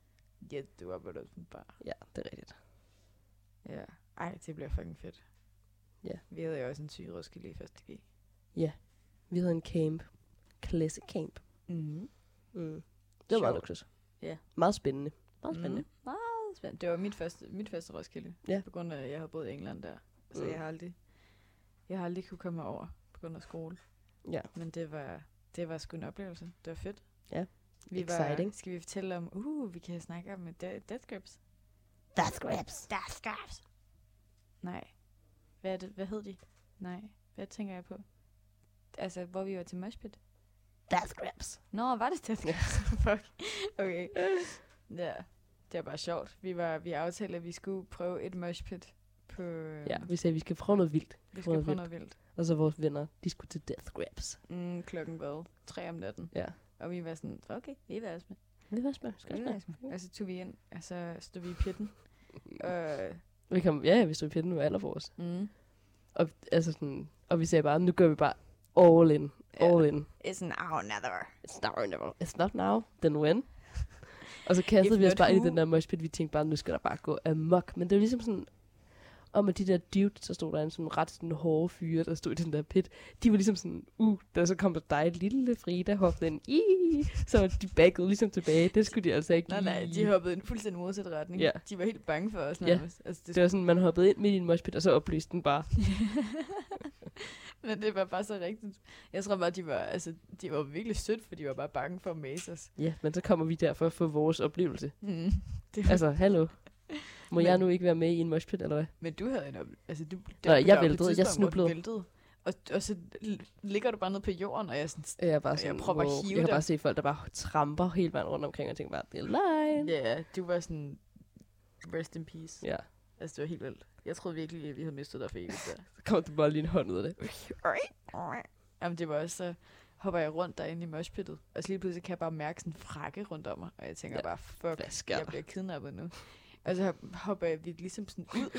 Speaker 2: Ja, du har bare sådan bare.
Speaker 1: Ja, det er rigtigt.
Speaker 2: Ja. Ej, det bliver fucking fedt.
Speaker 1: Ja.
Speaker 2: Vi havde jo også en syg Roskilde i første G.
Speaker 1: Vi havde en camp. Classic camp.
Speaker 2: Mm.
Speaker 1: Mm. Det var meget
Speaker 2: Sjovt.
Speaker 1: luksus.
Speaker 2: Ja.
Speaker 1: Meget spændende. Meget spændende.
Speaker 2: Mm. Meget spændende. Det var mit første, mit første Roskilde.
Speaker 1: Ja.
Speaker 2: På grund af, at jeg havde boet i England der. Så
Speaker 1: Mm.
Speaker 2: jeg har aldrig, jeg har aldrig kunne komme over på grund af skole.
Speaker 1: Ja.
Speaker 2: Men det var, det var sgu en oplevelse. Det var fedt.
Speaker 1: Ja.
Speaker 2: Vi Var,
Speaker 1: Exciting.
Speaker 2: skal vi fortælle om, uh, vi kan snakke om da- Death Grips.
Speaker 1: That's grabs.
Speaker 2: Death Grips. Nej. Hvad, er det, hvad hed de? Nej. Hvad tænker jeg på? Altså, hvor vi var til Moshpit.
Speaker 1: That's grabs.
Speaker 2: Nå, var det Death Grips? Fuck. Okay. Ja. Det var bare sjovt. Vi, var, vi aftalte, at vi skulle prøve et moshpit på... øh,
Speaker 1: Ja, vi sagde, at vi skal prøve noget vildt. prøve
Speaker 2: Vi skal
Speaker 1: noget
Speaker 2: prøve noget vildt.
Speaker 1: Og så vores venner, de skulle til death grabs.
Speaker 2: Mm, klokken var tre om natten.
Speaker 1: Ja.
Speaker 2: Og vi var sådan, okay, vi vil også med.
Speaker 1: Vi var spørge. Skal
Speaker 2: Vi
Speaker 1: vi
Speaker 2: vil også med. Og så tog vi ind, og så stod vi i pitten. og,
Speaker 1: Vi kom, ja, ja, vi stod i pinden med alder for os.
Speaker 2: mm,
Speaker 1: Og, altså sådan, og vi sagde bare, nu gør vi bare all in, all in.
Speaker 2: It's an hour another.
Speaker 1: It's not now, it's not now, then when? og så kastede
Speaker 2: If
Speaker 1: vi os
Speaker 2: not
Speaker 1: bare ind i
Speaker 2: who?
Speaker 1: den der mosh pit, vi tænkte bare, nu skal der bare gå amok. Men det var ligesom sådan, og med de der dude, så stod der en sådan ret sådan hårde fyre, der stod i den der pit. De var ligesom sådan, uh, der så kom der dig, lille Frida, hoppede ind, i, så de baggede ligesom tilbage. Det skulle de altså ikke
Speaker 2: Nej, nej, de
Speaker 1: lige.
Speaker 2: hoppede i en fuldstændig modsat retning.
Speaker 1: Ja.
Speaker 2: De var helt bange for os
Speaker 1: Ja.
Speaker 2: nærmest. Ja. Altså, det,
Speaker 1: Det var sådan, man hoppede ind midt i en mosh pit, og så oplyste den bare.
Speaker 2: Men det var bare så rigtigt. Jeg tror bare, de var, altså, de var virkelig sødt, for de var bare bange for at mase os.
Speaker 1: Ja, men så kommer vi der for at få vores oplevelse.
Speaker 2: Mm. Det var, altså,
Speaker 1: Altså, hallo. Må
Speaker 2: Men-
Speaker 1: jeg nu ikke være med i en moshpit, eller hvad?
Speaker 2: men du havde en oplevelse. Altså, du, der
Speaker 1: jeg
Speaker 2: blev der på et
Speaker 1: væltede, jeg
Speaker 2: tidspunkt, hvor
Speaker 1: snublede.
Speaker 2: du Væltede, og, og så l- ligger du bare nede på jorden, og jeg er sådan,
Speaker 1: Øh, Jeg, er bare
Speaker 2: Jeg
Speaker 1: sådan,
Speaker 2: prøver at hive
Speaker 1: jeg kan
Speaker 2: dig.
Speaker 1: bare se folk, der bare tramper hele vejen rundt omkring, og tænker bare, det er løgn.
Speaker 2: ja, yeah, du var sådan, rest in peace.
Speaker 1: Ja.
Speaker 2: Altså, det var helt vildt. Jeg troede virkelig, at vi havde mistet dig for evigt der.
Speaker 1: Så kommer du bare lige en hånd ud af det.
Speaker 2: Jamen, det var også så hopper jeg rundt derinde i moshpittet, og så lige pludselig kan jeg bare mærke sådan en frakke rundt om mig, og jeg tænker
Speaker 1: Ja,
Speaker 2: ja, bare, fuck,
Speaker 1: hvad sker
Speaker 2: jeg
Speaker 1: der?
Speaker 2: bliver kidnappet nu. Og så hopper jeg virkelig ligesom sådan ud,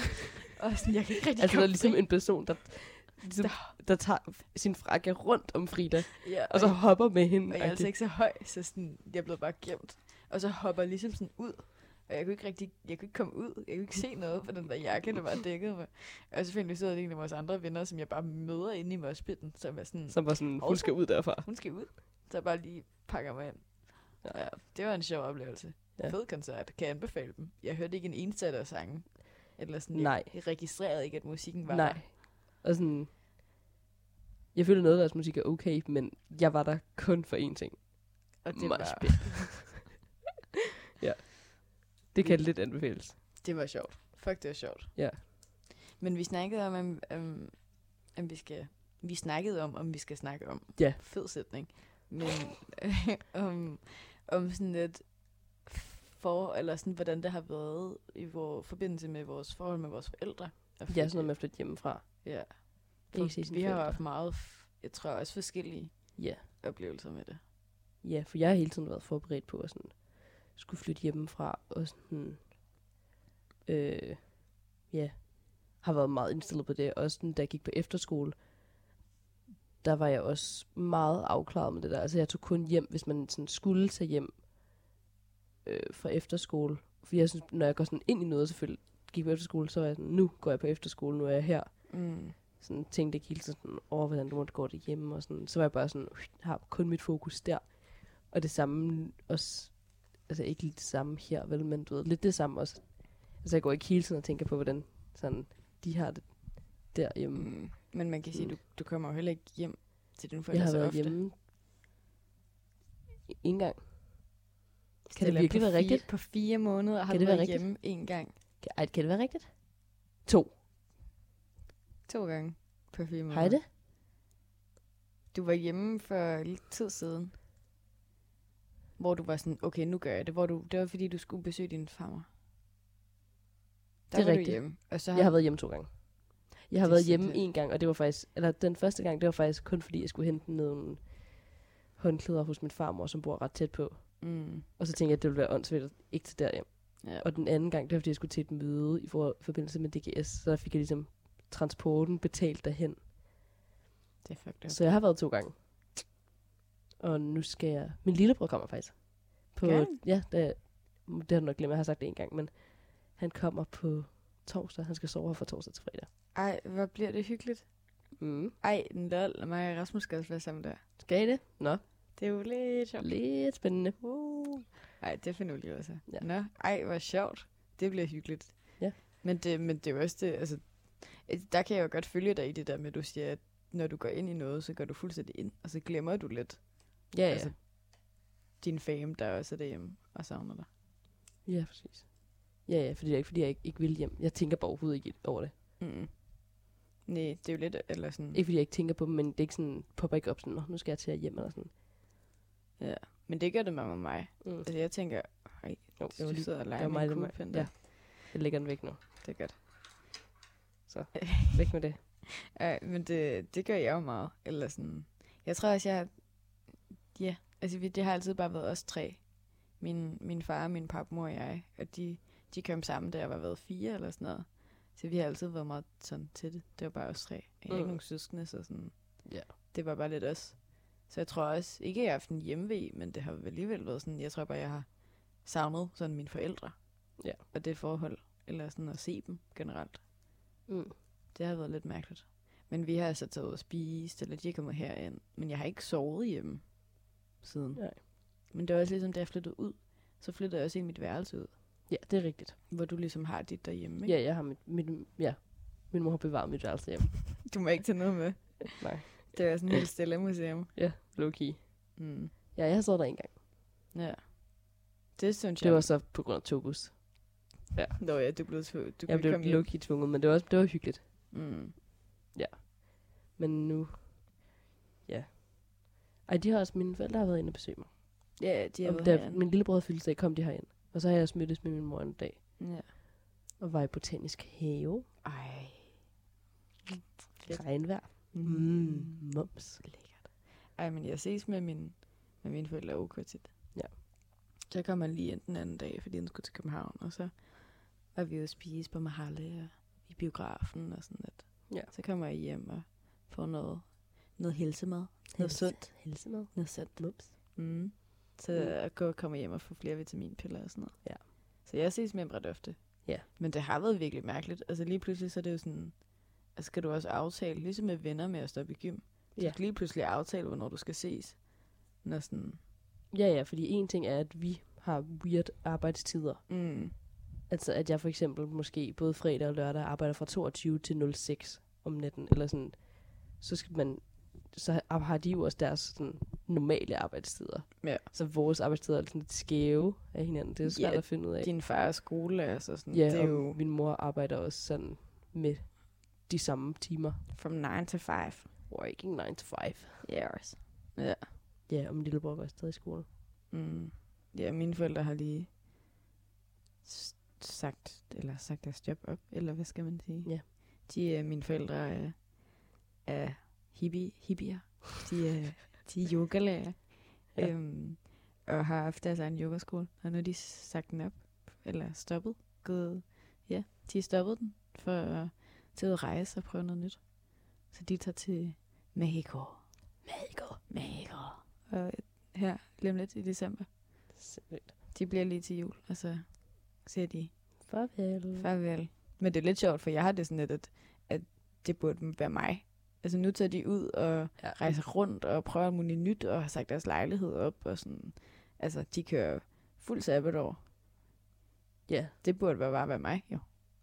Speaker 2: og sådan, jeg kan ikke rigtig
Speaker 1: Altså, der
Speaker 2: komme
Speaker 1: er ligesom
Speaker 2: fri.
Speaker 1: en person, der, ligesom, der tager sin frakke rundt om Frida,
Speaker 2: Ja,
Speaker 1: og så
Speaker 2: jeg-
Speaker 1: hopper med hende.
Speaker 2: og jeg er altså ikke så høj, så sådan, jeg blev bare gemt. Og så hopper jeg ligesom sådan ud, og jeg kunne ikke rigtig, jeg kunne ikke komme ud, jeg kunne ikke se noget på den der jakke, der var dækket mig. Og så finder jeg ud af, at det er en af vores andre venner, som jeg bare møder inde i moshpitten, som er sådan,
Speaker 1: Som var sådan, hun skal ud derfra.
Speaker 2: hun skal ud. Så jeg bare lige pakker mig ind. Ja. Ja, det var en sjov oplevelse.
Speaker 1: Ja.
Speaker 2: Ja. Fed koncert. Kan jeg anbefale dem? Jeg hørte ikke en eneste af deres sange. Eller sådan, jeg-
Speaker 1: Nej.
Speaker 2: Jeg registrerede ikke, at musikken var
Speaker 1: Nej. Og sådan, jeg føler noget af deres musik er okay, men jeg var der kun for én ting.
Speaker 2: Der. Og det var,
Speaker 1: Moshpit. ja. Det kan lidt anbefales.
Speaker 2: det var sjovt. Fuck, det var sjovt.
Speaker 1: Ja.
Speaker 2: Men vi snakkede om, om, om, om vi skal... Vi snakkede om, om vi skal snakke om.
Speaker 1: Ja.
Speaker 2: Fed sætning. Men om, om sådan lidt for, eller sådan, hvordan det har været i vores forbindelse med vores forhold med vores forældre. Og
Speaker 1: Ja, sådan noget med at flytte hjemmefra.
Speaker 2: Ja.
Speaker 1: Ikke se sine
Speaker 2: vi har
Speaker 1: forældre.
Speaker 2: haft meget, f- jeg tror også forskellige
Speaker 1: Ja.
Speaker 2: oplevelser med det.
Speaker 1: Ja, for jeg har hele tiden været forberedt på at sådan, skulle flytte hjemmefra og sådan øh, ja, har været meget indstillet på det. Også sådan, da jeg gik på efterskole, der var jeg også meget afklaret med det der. Altså jeg tog kun hjem, hvis man sådan skulle tage hjem øh, fra efterskole. For jeg synes, når jeg går sådan ind i noget, selvfølgelig gik på efterskole, så var jeg sådan, nu går jeg på efterskole, nu er jeg her.
Speaker 2: Mm.
Speaker 1: Sådan tænkte ikke hele tiden sådan, over, hvordan du måtte gå det hjemme, og sådan. Så var jeg bare sådan, "Uff, har kun mit fokus der. Og det samme også, altså ikke lige det samme her, vel, men du ved, lidt det samme også. Altså jeg går ikke hele tiden og tænker på, hvordan sådan, de har det derhjemme. Mm.
Speaker 2: Mm. Men man kan sige, du, du kommer jo heller ikke hjem til dine
Speaker 1: Jeg
Speaker 2: forældre
Speaker 1: har
Speaker 2: så
Speaker 1: været
Speaker 2: ofte.
Speaker 1: hjemme en gang. Kan det
Speaker 2: Stiller
Speaker 1: virkelig
Speaker 2: på
Speaker 1: være
Speaker 2: fire,
Speaker 1: rigtigt?
Speaker 2: På fire måneder har
Speaker 1: Kan
Speaker 2: kan
Speaker 1: det
Speaker 2: du
Speaker 1: være
Speaker 2: været
Speaker 1: rigtigt?
Speaker 2: hjemme en gang.
Speaker 1: Kan, ej, kan det være rigtigt? To.
Speaker 2: To gange på fire måneder.
Speaker 1: Har jeg det?
Speaker 2: Du var hjemme for lidt tid siden. Hvor du var sådan, okay, nu gør jeg det. Hvor du, det var fordi, du skulle besøge din farmor. Der
Speaker 1: Det er
Speaker 2: var
Speaker 1: rigtigt.
Speaker 2: Du hjemme, og så har,
Speaker 1: Jeg har været hjemme to gange. Jeg har
Speaker 2: Det er
Speaker 1: været hjemme
Speaker 2: simpelthen-
Speaker 1: en gang, og det var faktisk, eller den første gang, det var faktisk kun fordi, jeg skulle hente nogle håndklæder hos min farmor, som bor ret tæt på.
Speaker 2: Mm.
Speaker 1: Og så tænkte jeg, at det ville være åndssvagt at ikke tage derhjem.
Speaker 2: Ja.
Speaker 1: Og den anden gang, det var fordi, jeg skulle til et møde i for- forbindelse med DGS, så der fik jeg ligesom transporten betalt derhen.
Speaker 2: Det er fucked
Speaker 1: Ja.
Speaker 2: up.
Speaker 1: Så jeg har været to gange. Og nu skal jeg... Min lillebror kommer faktisk. På,
Speaker 2: Gør
Speaker 1: ja, det, det har du nok glemt, jeg har sagt det en gang, men han kommer på torsdag. Han skal sove her fra torsdag til fredag.
Speaker 2: Ej, hvor bliver det hyggeligt.
Speaker 1: Mm.
Speaker 2: Ej, den lol, mig og Rasmus skal også være sammen der.
Speaker 1: Skal I det? Nå,
Speaker 2: Det er jo lidt sjovt.
Speaker 1: lidt spændende.
Speaker 2: Uh. Ej, det finder vi lige også.
Speaker 1: Ja.
Speaker 2: Ja. Nå, ej, hvor sjovt. Det bliver hyggeligt.
Speaker 1: Ja.
Speaker 2: Men det, men det er jo også det, altså, øh, der kan jeg jo godt følge dig i det der med, at du siger, at når du går ind i noget, så går du fuldstændig ind, og så glemmer du lidt
Speaker 1: Ja, ja.
Speaker 2: Altså, din fame, der også er derhjemme og savner dig.
Speaker 1: ja, præcis. Ja, ja, fordi det er ikke, fordi jeg ikke, ikke vil hjem. Jeg tænker bare overhovedet ikke over det.
Speaker 2: Mm. Nej, det er jo lidt, eller sådan,
Speaker 1: Ikke fordi jeg ikke tænker på dem, men det er ikke sådan, popper ikke op sådan, "Nå, nu skal jeg til at hjem eller sådan.
Speaker 2: men det gør det med mig.
Speaker 1: Mm.
Speaker 2: Altså, jeg tænker, ej,
Speaker 1: Jo, det var
Speaker 2: du
Speaker 1: lige,
Speaker 2: sidder og
Speaker 1: det
Speaker 2: leger
Speaker 1: var
Speaker 2: med
Speaker 1: mig,
Speaker 2: en
Speaker 1: det var mig.
Speaker 2: kuglepen der.
Speaker 1: Ja. jeg lægger den væk nu.
Speaker 2: Det er godt.
Speaker 1: Væk med det.
Speaker 2: Ja, men det, det gør jeg jo meget. Eller sådan. Jeg tror også, jeg... Ja, altså vi, det har altid bare været os tre. Min, min far, min papmor og jeg. Og de, de kom sammen, da jeg var været fire eller sådan noget. Så vi har altid været meget sådan til det. Det var bare os tre. Jeg har
Speaker 1: Mm.
Speaker 2: ikke nogen søskende, så sådan...
Speaker 1: Ja.
Speaker 2: Det var bare lidt os. Så jeg tror også, ikke at jeg har haft en hjemve, men det har vel alligevel været sådan, jeg tror bare, jeg har savnet sådan mine forældre.
Speaker 1: Ja.
Speaker 2: Og det forhold, eller sådan at se dem generelt.
Speaker 1: Mm.
Speaker 2: Det har været lidt mærkeligt. Men vi har altså taget ud og spist, eller de er kommet herind. Men jeg har ikke sovet hjemme siden.
Speaker 1: Nej.
Speaker 2: Men det var også ligesom, da jeg flyttede ud, så flyttede jeg også i mit værelse ud.
Speaker 1: Ja, det er rigtigt.
Speaker 2: Hvor du ligesom har dit derhjemme, ikke?
Speaker 1: Ja, jeg har mit, mit, ja. Min mor har bevaret mit værelse hjem.
Speaker 2: Du må ikke tage noget med.
Speaker 1: Nej.
Speaker 2: Det var sådan et helt stille museum.
Speaker 1: Ja, low key.
Speaker 2: Mm.
Speaker 1: Ja, jeg har sovet der en gang.
Speaker 2: Ja. Det synes jeg.
Speaker 1: Det var så på grund af togbus.
Speaker 2: Nå ja, du blev, tv- du
Speaker 1: Jeg
Speaker 2: kunne
Speaker 1: blev
Speaker 2: komme
Speaker 1: low
Speaker 2: hjem.
Speaker 1: key tvunget, men det var, også, det var hyggeligt.
Speaker 2: Mm.
Speaker 1: Men nu... Ja. Ej, de har også... Mine forældre har været inde og besøge mig.
Speaker 2: Ja, de har
Speaker 1: Og
Speaker 2: været
Speaker 1: da
Speaker 2: herinde.
Speaker 1: min lillebror havde fødselsdag, kom de herind. Og så har jeg også mødtes med min mor en dag.
Speaker 2: Ja.
Speaker 1: Og var i botanisk have.
Speaker 2: Ej. Fedt.
Speaker 1: Regnvejr.
Speaker 2: Mm.
Speaker 1: Mm. Moms.
Speaker 2: Lækkert. Ej, men jeg ses med, min, med mine forældre ok tit.
Speaker 1: Ja.
Speaker 2: Så kom han lige ind den anden dag, fordi han skulle til København, og så var vi ude at spise på Mahalle og i biografen og sådan lidt.
Speaker 1: Ja.
Speaker 2: Så kommer jeg hjem og får noget, noget helsemad. Noget sundt.
Speaker 1: Helsemad.
Speaker 2: Noget sundt.
Speaker 1: Moms.
Speaker 2: Mm. Så
Speaker 1: Mm.
Speaker 2: jeg går- kommer hjem og får flere vitaminpiller og sådan noget.
Speaker 1: Ja.
Speaker 2: Så jeg ses med ham ret ofte.
Speaker 1: Ja.
Speaker 2: Men det har været virkelig mærkeligt. Altså lige pludselig så er det jo sådan, altså skal du også aftale, ligesom med venner med at stoppe i gym. Du
Speaker 1: Ja.
Speaker 2: skal lige pludselig aftale, hvornår du skal ses. Når sådan,
Speaker 1: Ja, ja, fordi en ting er, at vi har weird arbejdstider.
Speaker 2: mm,
Speaker 1: Altså, at jeg for eksempel måske både fredag og lørdag arbejder fra 22 til 06 om natten, eller sådan, så skal man, så har- har de jo også deres sådan, normale arbejdstider.
Speaker 2: Ja.
Speaker 1: Så vores arbejdstider er sådan lidt skæve af hinanden. Det er svært
Speaker 2: Ja,
Speaker 1: at finde ud af.
Speaker 2: din far er skolelærer, så sådan,
Speaker 1: ja,
Speaker 2: det er
Speaker 1: og
Speaker 2: jo
Speaker 1: min mor arbejder også sådan med de samme timer.
Speaker 2: from 9 to 5.
Speaker 1: Working 9 to 5.
Speaker 2: Yes.
Speaker 1: Ja, og min lillebror går stadig i skole.
Speaker 2: Mm. Ja, mine forældre har lige s- sagt, eller sagt deres job op, eller hvad skal man sige?
Speaker 1: Ja.
Speaker 2: De, øh, mine forældre er, er hippie, hippier. De er, de er yogalærer.
Speaker 1: Ja.
Speaker 2: ja. øhm, og har haft deres egen yogaskole, og nu har de sagt den op, eller stoppet, gået, ja, de stoppede den for til at rejse og prøve noget nyt. Så de tager til Mexico. Mexico. Mexico. Og her lige om lidt i december.
Speaker 1: Sindssygt.
Speaker 2: De bliver lige til jul, og så ser de
Speaker 1: Farvel.
Speaker 2: Farvel. Men det er lidt sjovt, for jeg har det sådan lidt, at, at det burde være mig. Altså nu tager de ud og
Speaker 1: Ja.
Speaker 2: rejser rundt og prøver alt muligt nyt og har sagt deres lejlighed op og sådan. Altså, de kører fuld sabbatår.
Speaker 1: Ja,
Speaker 2: Det burde være bare være mig, jo.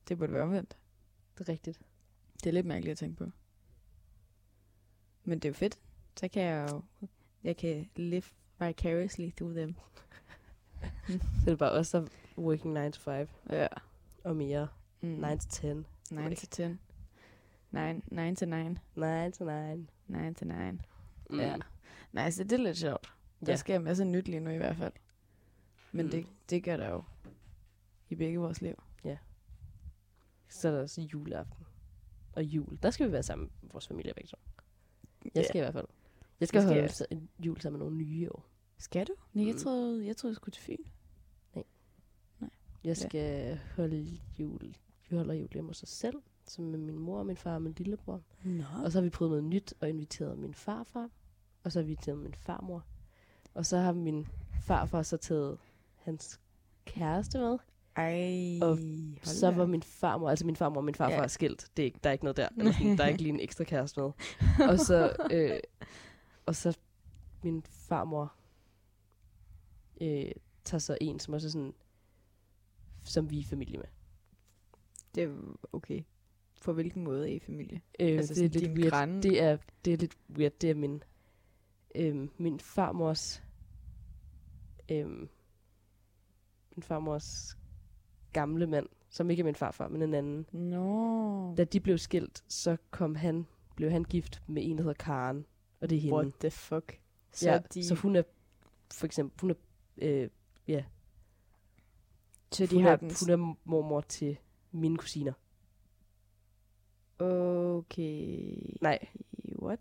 Speaker 2: Det burde være omvendt.
Speaker 1: det er rigtigt.
Speaker 2: Det er lidt mærkeligt at tænke på. Men det er jo fedt. Så kan jeg jo... Jeg kan live vicariously through them.
Speaker 1: Så det er bare også der er working 9 to 5
Speaker 2: Ja.
Speaker 1: og mere.
Speaker 2: Mm.
Speaker 1: 9 to 10.
Speaker 2: 9 til 10. 9, 9 til 9.
Speaker 1: 9 to 9.
Speaker 2: 9 til 9.
Speaker 1: Mm.
Speaker 2: Ja. Nej, så det er lidt sjovt. Der
Speaker 1: Ja.
Speaker 2: ja. sker en masse nyt lige nu i hvert fald. Men
Speaker 1: Mm.
Speaker 2: mm. det, det gør der jo i begge vores liv.
Speaker 1: Så er der også juleaften. Og jul. Der skal vi være sammen med vores familie begge to.
Speaker 2: Ja.
Speaker 1: Jeg skal i hvert fald. Jeg skal,
Speaker 2: Det skal
Speaker 1: holde
Speaker 2: jeg.
Speaker 1: så- en jul sammen med nogle nye i år.
Speaker 2: Skal du? Nej, jeg
Speaker 1: Mm.
Speaker 2: troede, jeg troede, du skulle til Fyn.
Speaker 1: Jeg
Speaker 2: Ja.
Speaker 1: skal ja. holde jul. Vi holder jul hjemme hos os selv. Som med min mor, min far og min lillebror.
Speaker 2: Nå.
Speaker 1: Og så har vi prøvet noget nyt og inviteret min farfar. Og så har vi inviteret min farmor. Og så har min farfar så taget hans kæreste med.
Speaker 2: Ej,
Speaker 1: Og
Speaker 2: hold
Speaker 1: Så
Speaker 2: da.
Speaker 1: var min farmor, altså min farmor og min farfar
Speaker 2: Ja.
Speaker 1: er skilt. Det er ikke, der er ikke noget der. Eller sådan, der er ikke lige en ekstra kæreste med. Og så, øh, og så min farmor øh, tager så en, som også er sådan, som vi er familie med.
Speaker 2: Det er okay. På hvilken måde er I familie?
Speaker 1: Øh,
Speaker 2: Altså
Speaker 1: altså, det er
Speaker 2: sådan
Speaker 1: lidt
Speaker 2: din
Speaker 1: weird.
Speaker 2: gran-
Speaker 1: Det er, det er lidt weird. Det er min, øh, min farmors... Øh, min farmors gamle mand, som ikke er min farfar, men en anden.
Speaker 2: Nå.
Speaker 1: Da de blev skilt, så kom han, blev han gift med en, der hedder Karen. Og det er hende.
Speaker 2: What the fuck? Så
Speaker 1: ja,
Speaker 2: de,
Speaker 1: så hun er for eksempel, hun er, øh,
Speaker 2: så de
Speaker 1: hun,
Speaker 2: har
Speaker 1: er,
Speaker 2: den...
Speaker 1: hun er mormor til mine kusiner.
Speaker 2: Okay.
Speaker 1: Nej,
Speaker 2: What?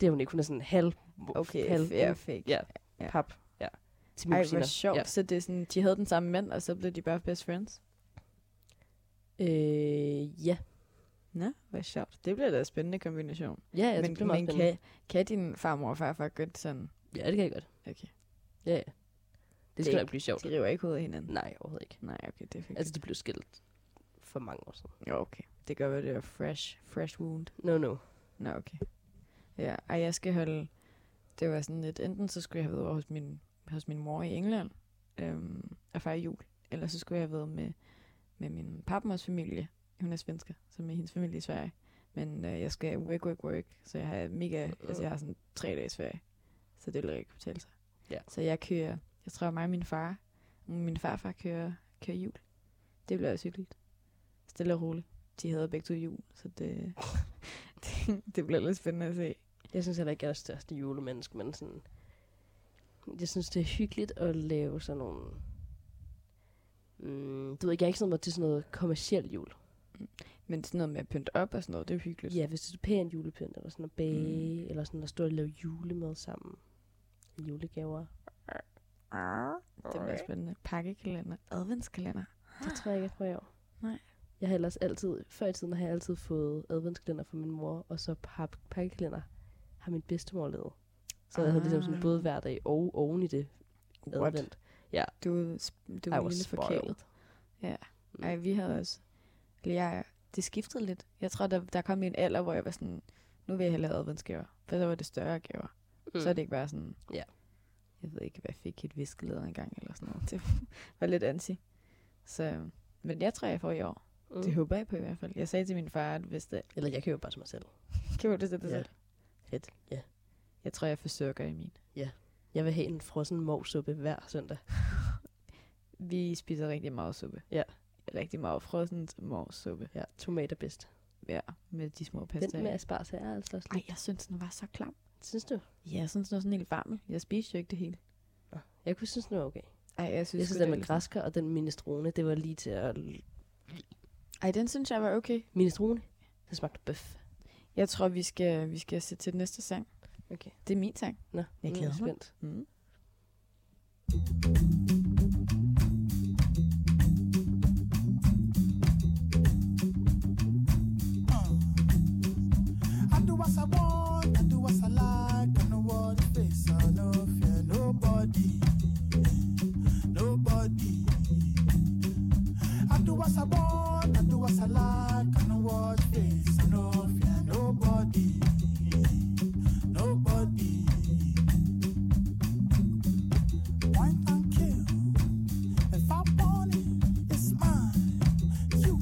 Speaker 1: det er hun ikke. Hun er sådan halv,
Speaker 2: Okay,
Speaker 1: halv
Speaker 2: jeg fik.
Speaker 1: ja,
Speaker 2: ja.
Speaker 1: pap. Ja. Til mine
Speaker 2: Ej,
Speaker 1: kusiner.
Speaker 2: hvor sjovt.
Speaker 1: Ja.
Speaker 2: Ja. Så det er sådan, de havde den samme mand, og så blev de bare best friends?
Speaker 1: Øh, ja.
Speaker 2: Nå, hvor sjovt. Det bliver da en spændende kombination.
Speaker 1: Ja, ja, det
Speaker 2: men
Speaker 1: bliver meget
Speaker 2: men
Speaker 1: spændende.
Speaker 2: kan, kan din farmor og farfar godt sådan...
Speaker 1: Ja, det kan jeg godt.
Speaker 2: Okay.
Speaker 1: Ja, ja. Det skal
Speaker 2: Det-
Speaker 1: nok blive sjovt.
Speaker 2: De river ikke hovedet af hinanden?
Speaker 1: Nej, overhovedet ikke.
Speaker 2: Nej, okay, det er fint.
Speaker 1: Altså, det blev skilt for mange år siden.
Speaker 2: Jo, okay. Det gør, at det er fresh, fresh wound.
Speaker 1: No, no.
Speaker 2: Nå, okay. Ja, og jeg skal holde... Det var sådan lidt... Enten så skulle jeg have været over hos min, hos min mor i England øhm, og fejre jul, eller så skulle jeg have været med, med min papmors familie. Hun er svensker, så med hendes familie i Sverige. Men øh, jeg skal work, work, work, så jeg har mega... Altså, jeg har sådan tre dages ferie, så det vil ikke kunne betale sig.
Speaker 1: Ja.
Speaker 2: Så jeg kører... Jeg tror, mig og min far... Min farfar kører, kører jul. Det bliver også hyggeligt. Stille og roligt. De havde begge to jul, så det... det, det bliver lidt spændende at se.
Speaker 1: Jeg synes heller ikke, jeg er det største julemenneske, men sådan... Jeg synes, det er hyggeligt at lave sådan nogle... Mm, du ved ikke, jeg er ikke sådan noget til sådan noget kommersiel jul.
Speaker 2: Men sådan noget med at pynte op og sådan noget, det er jo hyggeligt.
Speaker 1: Ja, hvis det er pæn julepynt, eller sådan at bage, mm. eller sådan at stå og lave julemad sammen. Julegaver.
Speaker 2: Det bliver spændende. Pakkekalender. Adventskalender.
Speaker 1: Det tror jeg ikke, jeg prøver i år.
Speaker 2: Nej.
Speaker 1: Jeg har ellers altid, før i tiden har jeg altid fået adventskalender fra min mor, og så pap- pakkekalender har min bedstemor lavet. Så jeg havde ligesom sådan
Speaker 2: Ah.
Speaker 1: både hverdag og oven i det
Speaker 2: What?
Speaker 1: advent.
Speaker 2: Du, er sp- du er
Speaker 1: I was
Speaker 2: lille
Speaker 1: spoiled.
Speaker 2: forkælet. Ja. Ej, vi havde også... Eller jeg, det skiftede lidt. Jeg tror, der, der kom en alder, hvor jeg var sådan... Nu vil jeg hellere have adventsgaver. For så var det større gaver. Mm. Så er det ikke bare sådan...
Speaker 1: Ja.
Speaker 2: Jeg ved ikke, hvad jeg fik et viskeleder engang eller sådan noget. Det var lidt anti. Så, men jeg tror, jeg får i år. Mm. Det håber jeg på i hvert fald. Jeg sagde til min far, at hvis det...
Speaker 1: Eller jeg køber bare til mig selv.
Speaker 2: Kan du det sætte
Speaker 1: Ja.
Speaker 2: selv? Fedt.
Speaker 1: Ja.
Speaker 2: Jeg tror, jeg forsøger i min.
Speaker 1: Jeg vil have en frossen morsuppe hver søndag.
Speaker 2: Vi spiser rigtig meget suppe.
Speaker 1: Ja.
Speaker 2: Rigtig meget frossent morsuppe.
Speaker 1: Ja, tomater bedst.
Speaker 2: Ja, med de små
Speaker 1: Den med
Speaker 2: pastaer.
Speaker 1: asparges her er altså sådan.
Speaker 2: Ej, jeg synes, den var så klam.
Speaker 1: Synes du?
Speaker 2: Ja, jeg synes, den var sådan helt varm. Jeg spiste jo ikke det hele.
Speaker 1: Jeg kunne synes, den var okay.
Speaker 2: Ej, jeg synes,
Speaker 1: Jeg synes,
Speaker 2: sgu,
Speaker 1: den
Speaker 2: det
Speaker 1: med
Speaker 2: var
Speaker 1: græsker og den minestrone, det var lige til at...
Speaker 2: lidt- Ej, den synes jeg var okay.
Speaker 1: Minestrone? Den smagte bøf.
Speaker 2: Jeg tror, vi skal, vi skal sætte til den næste sang.
Speaker 1: Okay.
Speaker 2: Det er min sang.
Speaker 1: Nå,
Speaker 2: Jeg glæder mig.
Speaker 1: spændt.
Speaker 2: Mm.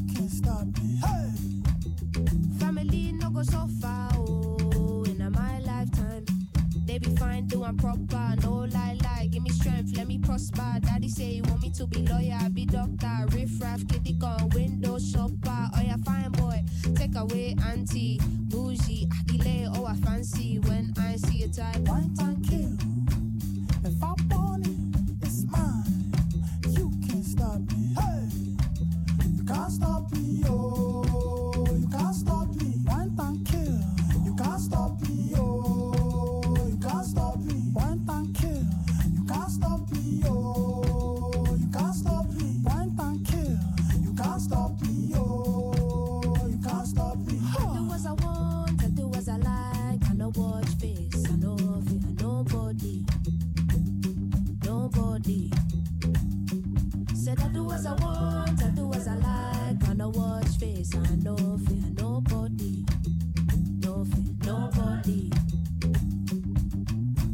Speaker 3: oh, one proper. No lie, lie, give me strength, let me prosper. Daddy say he want me to be lawyer, I be doctor. Riff raff, kitty gun, window shopper. Oh yeah, fine boy, take away auntie. Bougie, I delay, oh I fancy when I see a type.
Speaker 7: One time kill. If I want it, it's mine. You can't stop me. Hey, you can't stop me. Oh, you can't stop me. One time kill. You can't stop me. Oh, you can't stop me. One time kill. You can't stop me. Oh, you can't stop me. One time kill. You can't stop me. Oh, you can't stop me.
Speaker 3: I do as I want, I do as I like. I no watch face, I no fear nobody, nobody. Said I do as I want, I do as I like. I no watch face, I no fear nobody, no fear nobody.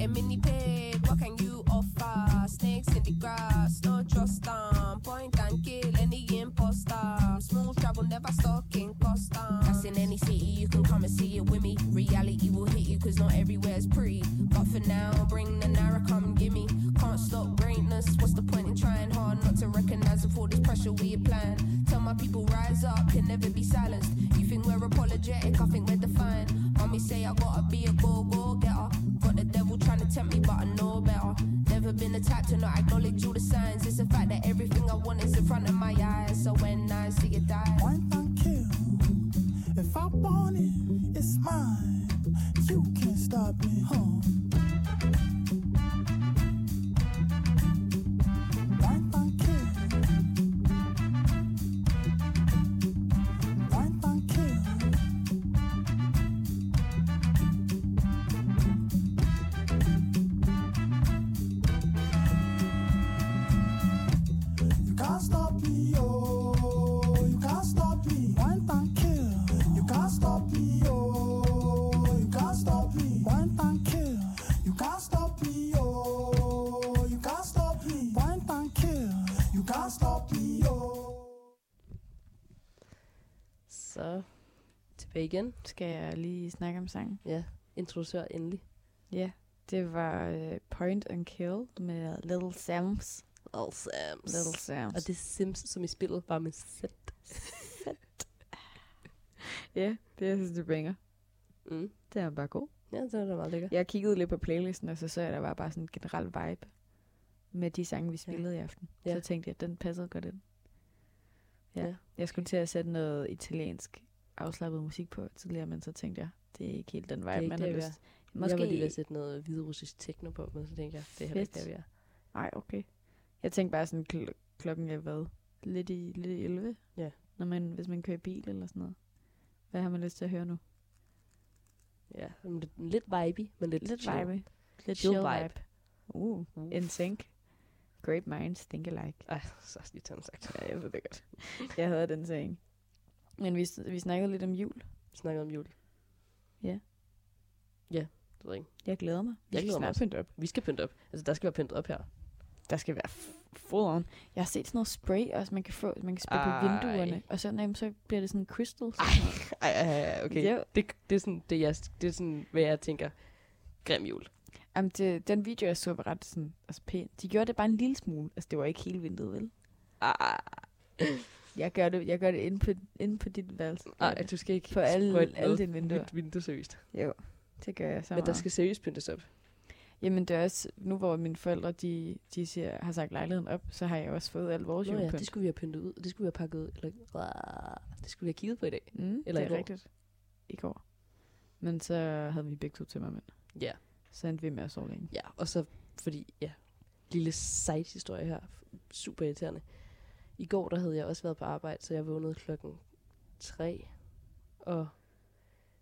Speaker 3: A mini pig, what can you offer? Snakes in the grass, no trust them. Point and kill any imposter. Smooth travel, never stuck in custom. That's in any city, you can come and see it with me. Reality will hit you, cause not everywhere's pretty. But for now, bring the narrow, come gimme. Can't stop greatness, what's the point in trying hard not to recognize if all this pressure we applying? Tell my people, rise up, can never be silenced. You think we're apologetic, I think we're defiant. Mommy say I gotta be a go go getter. Got the devil trying to tempt me, but I know better. Never been the type to not acknowledge all the signs. It's the fact that everything I want is in front of my eyes. So when I see it die,
Speaker 7: One time kill. If I want it, it's mine. You can't stop me, huh? One time kill. One time kill. You can't stop me, oh. You can't stop me. One time kill. You can't stop me, oh. You can't stop me. One time kill. You can't stop me, oh. You can't stop me. One time kill. You can't stop me, oh.
Speaker 1: Så tilbage igen.
Speaker 2: Skal jeg lige snakke om sangen?
Speaker 1: Ja, introducer endelig.
Speaker 2: Ja, det var øh, Point and Kill med Little Sams.
Speaker 1: All Sams.
Speaker 2: Little Sams.
Speaker 1: Og det er Sims, som i spillet, bare med Z.
Speaker 2: Ja, det jeg synes det bringer.
Speaker 1: Mm.
Speaker 2: Det er bare god.
Speaker 1: Ja, det var da meget lækkert.
Speaker 2: Jeg kiggede lidt på playlisten, og så så jeg, at der var bare sådan en generel vibe med de sange, vi spillede i aften.
Speaker 1: Ja.
Speaker 2: Så tænkte jeg, at den passede godt ind. Ja.
Speaker 1: Ja.
Speaker 2: ja. Jeg skulle til at sætte noget italiensk afslappet musik på tidligere, men så tænkte jeg, det er ikke helt den vibe,
Speaker 1: ikke
Speaker 2: man
Speaker 1: der,
Speaker 2: har
Speaker 1: vi er.
Speaker 2: lyst.
Speaker 1: Måske... Jeg var lige ved
Speaker 2: Måske
Speaker 1: at sætte noget hviderussisk techno på, men så tænkte jeg, det er heller ikke
Speaker 2: Fedt.
Speaker 1: der, vi er.
Speaker 2: Nej, okay. Jeg tænkte bare sådan, kl- klokken er hvad? Lidt i, lidt i 11?
Speaker 1: Ja.
Speaker 2: Når man, hvis man kører i bil eller sådan noget. Hvad har man lyst til at høre nu?
Speaker 1: Ja, sådan lidt, lidt vibey, men lidt,
Speaker 2: Lidt
Speaker 1: chill.
Speaker 2: vibe. Lidt
Speaker 1: Chill
Speaker 2: chill
Speaker 1: vibe.
Speaker 2: vibe. Uh, en sink. Great minds think alike.
Speaker 1: Ej, så skal jeg tage sagt.
Speaker 2: Ja, jeg ved det godt. jeg havde den saying. Men vi, vi snakkede lidt om jul.
Speaker 1: Vi snakker om jul.
Speaker 2: Ja.
Speaker 1: Ja, det ved jeg ikke.
Speaker 2: Jeg glæder mig. Vi
Speaker 1: Jeg
Speaker 2: skal
Speaker 1: glæder mig
Speaker 2: snart
Speaker 1: også.
Speaker 2: pynte op.
Speaker 1: Vi skal pynte op. Altså, der skal være pyntet op her.
Speaker 2: Der skal være f- full on. Jeg har set sådan noget spray også, man kan få, man kan spille på
Speaker 1: Ej.
Speaker 2: vinduerne. Og så, jamen, så bliver det sådan crystals. og sådan noget.
Speaker 1: Ej, ej, ej, okay.
Speaker 2: Ja.
Speaker 1: Det, det, er sådan, det, jeg, det er sådan, hvad jeg tænker. Grim jul.
Speaker 2: Jamen, det, den video, jeg så, var ret sådan, altså, pæn. De gjorde det bare en lille smule. Altså, det var ikke hele vinduet, vel?
Speaker 1: Ah,
Speaker 2: Jeg gør det, jeg gør det inde på, inde på dit værelse.
Speaker 1: nej, du skal ikke
Speaker 2: på alle,
Speaker 1: sprøjte
Speaker 2: alle
Speaker 1: noget
Speaker 2: dine vinduer.
Speaker 1: nyt vindue seriøst.
Speaker 2: Jo, det gør jeg så
Speaker 1: Men der
Speaker 2: meget.
Speaker 1: skal seriøst pyntes op.
Speaker 2: Jamen, det er også, nu hvor mine forældre, de, de siger, har sagt lejligheden op, så har jeg også fået alt vores
Speaker 1: Nå ja,
Speaker 2: julepynt.
Speaker 1: det skulle vi have pyntet ud. Det skulle vi have pakket ud. Eller, det skulle vi have kigget på i dag.
Speaker 2: Mm,
Speaker 1: Eller
Speaker 2: det
Speaker 1: i
Speaker 2: er
Speaker 1: går.
Speaker 2: rigtigt. I går. Men så havde vi begge to tømmermænd.
Speaker 1: Ja.
Speaker 2: Så endte vi med at sove længe.
Speaker 1: Ja, og så fordi, ja, lille sejt historie her. Super irriterende. I går, der havde jeg også været på arbejde, så jeg vågnede klokken 3 og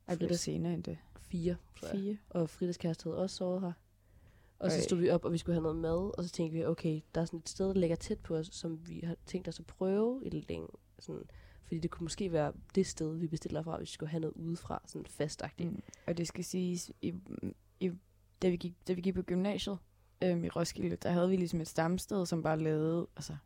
Speaker 2: Og blev det senere end det.
Speaker 1: 4, tror jeg.
Speaker 2: Fire.
Speaker 1: Og Fridas kæreste havde også sovet her. Og så
Speaker 2: Øj.
Speaker 1: stod vi op, og vi skulle have noget mad, og så tænkte vi, okay, der er sådan et sted, der ligger tæt på os, som vi har tænkt os at prøve i lidt længe. Sådan, fordi det kunne måske være det sted, vi bestiller fra, hvis vi skulle have noget udefra, sådan fastagtigt. Mm.
Speaker 2: Mm. Og det skal siges, i, i, da, vi gik, da vi gik på gymnasiet øhm, i Roskilde, der havde vi ligesom et stamsted, som bare lavede, altså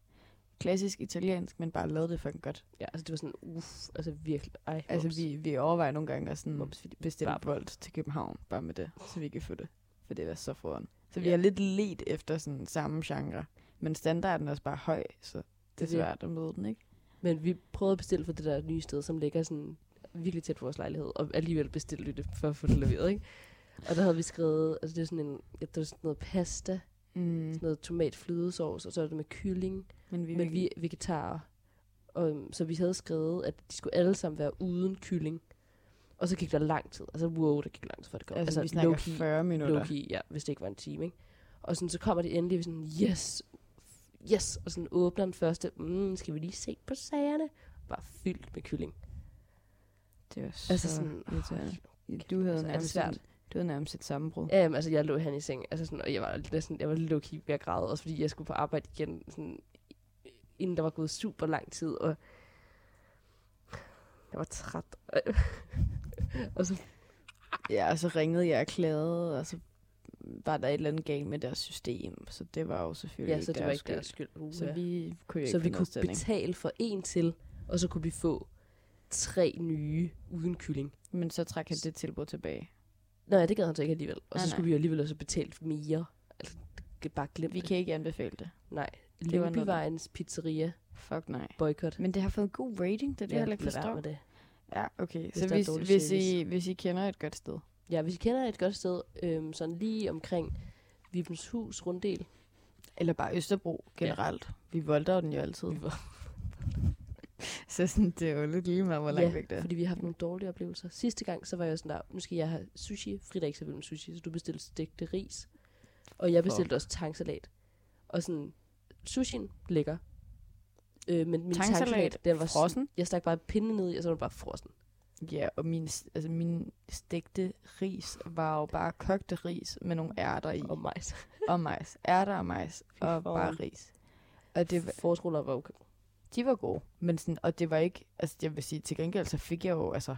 Speaker 2: klassisk italiensk, men bare lavede det fucking godt.
Speaker 1: Ja, altså det var sådan, uff, altså virkelig, ej,
Speaker 2: Altså,
Speaker 1: ups.
Speaker 2: vi, mm. vi overvejer nogle gange at sådan
Speaker 1: Ups, fordi
Speaker 2: bestille
Speaker 1: bare-
Speaker 2: bold til København, bare med det, så vi kan få det. For det var så foran. Så vi
Speaker 8: Ja.
Speaker 2: har lidt let efter sådan samme genre. Men standarden er også bare høj, så det er
Speaker 1: Det er det.
Speaker 2: svært at møde den, ikke?
Speaker 1: Men vi prøvede at bestille for det der nye sted, som ligger sådan virkelig tæt på vores lejlighed, og alligevel bestilte vi det for at få det leveret, ikke? Og der havde vi skrevet, altså det er sådan en, det var sådan noget pasta,
Speaker 2: Mm.
Speaker 1: noget tomatflydesovs, og så er det med kylling,
Speaker 2: Men vi,
Speaker 1: men vi er vegetarer. Og, øhm, så vi havde skrevet, at de skulle alle sammen være uden kylling. Og så gik der lang tid. Altså, wow, der gik lang tid, før det kom.
Speaker 2: altså, altså, vi snakker
Speaker 1: low-key-
Speaker 2: 40 minutter.
Speaker 1: Loki, ja, hvis det ikke var en time, ikke? Og sådan, så kommer det endelig, og vi sådan, yes, yes, og sådan åbner den første, mm, skal vi lige se på sagerne? Bare fyldt med kylling.
Speaker 2: Det var så
Speaker 1: Altså sådan,
Speaker 2: irriterende. Du havde,
Speaker 1: altså, er det
Speaker 2: nærmest
Speaker 1: svært?
Speaker 2: et, du havde nærmest et sammenbrud.
Speaker 1: Ja, altså, jeg lå hen i seng, altså sådan, og jeg var næsten, jeg var Loki ved at græde, også fordi jeg skulle på arbejde igen, sådan, inden der var gået super lang tid, og jeg var træt. og så,
Speaker 2: Ja, og så ringede jeg og klagede, og så var der et eller andet galt med deres system, så det var jo selvfølgelig
Speaker 1: ja, så det
Speaker 2: deres
Speaker 1: var ikke
Speaker 2: skyld.
Speaker 1: deres skyld. Uh,
Speaker 2: Så vi kunne jo
Speaker 1: så
Speaker 2: ikke
Speaker 1: vi
Speaker 2: finde
Speaker 1: kunne
Speaker 2: afstemning.
Speaker 1: betale for en til, og så kunne vi få tre nye uden kylling.
Speaker 2: Men så trak han det tilbud tilbage.
Speaker 1: Nej, det gad han så ikke alligevel. Og
Speaker 2: Nej,
Speaker 1: så
Speaker 2: nej.
Speaker 1: skulle vi jo alligevel også betale mere. Altså, det kan bare glemme
Speaker 2: Vi kan ikke anbefale det.
Speaker 1: Nej,
Speaker 2: det var noget-
Speaker 1: Lyngbyvejens pizzeria
Speaker 2: Fuck nej.
Speaker 1: boykot.
Speaker 2: Men det har fået en god rating, det er det, ja, jeg heller ikke forstår.
Speaker 1: med det.
Speaker 2: Ja, okay.
Speaker 1: der
Speaker 2: Så
Speaker 1: er
Speaker 2: hvis,
Speaker 1: dårlig
Speaker 2: hvis,
Speaker 1: service.
Speaker 2: I, hvis I kender et godt sted.
Speaker 1: Ja, hvis I kender et godt sted, øhm, sådan lige omkring Vibens Hus runddel.
Speaker 2: Eller bare Østerbro generelt. Ja. Vi voldter den jo altid.
Speaker 1: Vi
Speaker 2: så sådan, det er jo lidt lige meget, hvor langt
Speaker 1: ja,
Speaker 2: ja, væk det er.
Speaker 1: fordi vi har haft nogle dårlige oplevelser. Sidste gang, så var jeg sådan der, nu skal jeg have sushi. Frida er ikke så vild med sushi, så du bestilte stegte ris. Og jeg bestilte også tangsalat. Og sådan, sushien lækker. Øh, men min
Speaker 2: Tangsalat,
Speaker 1: tangsalat, den var sådan-
Speaker 2: frossen?
Speaker 1: Jeg stak bare pinden ned i, og så var den bare frossen.
Speaker 2: Ja, og min, s- altså min stegte ris var jo bare kogte ris med nogle ærter i.
Speaker 1: Og majs.
Speaker 2: og majs. Ærter og majs. Og
Speaker 1: for.
Speaker 2: bare ris. Og det,
Speaker 1: Det
Speaker 2: var-
Speaker 1: forårsruller var okay.
Speaker 2: de var gode. Men sådan, og det var ikke... Altså, jeg vil sige, til gengæld, så fik jeg jo altså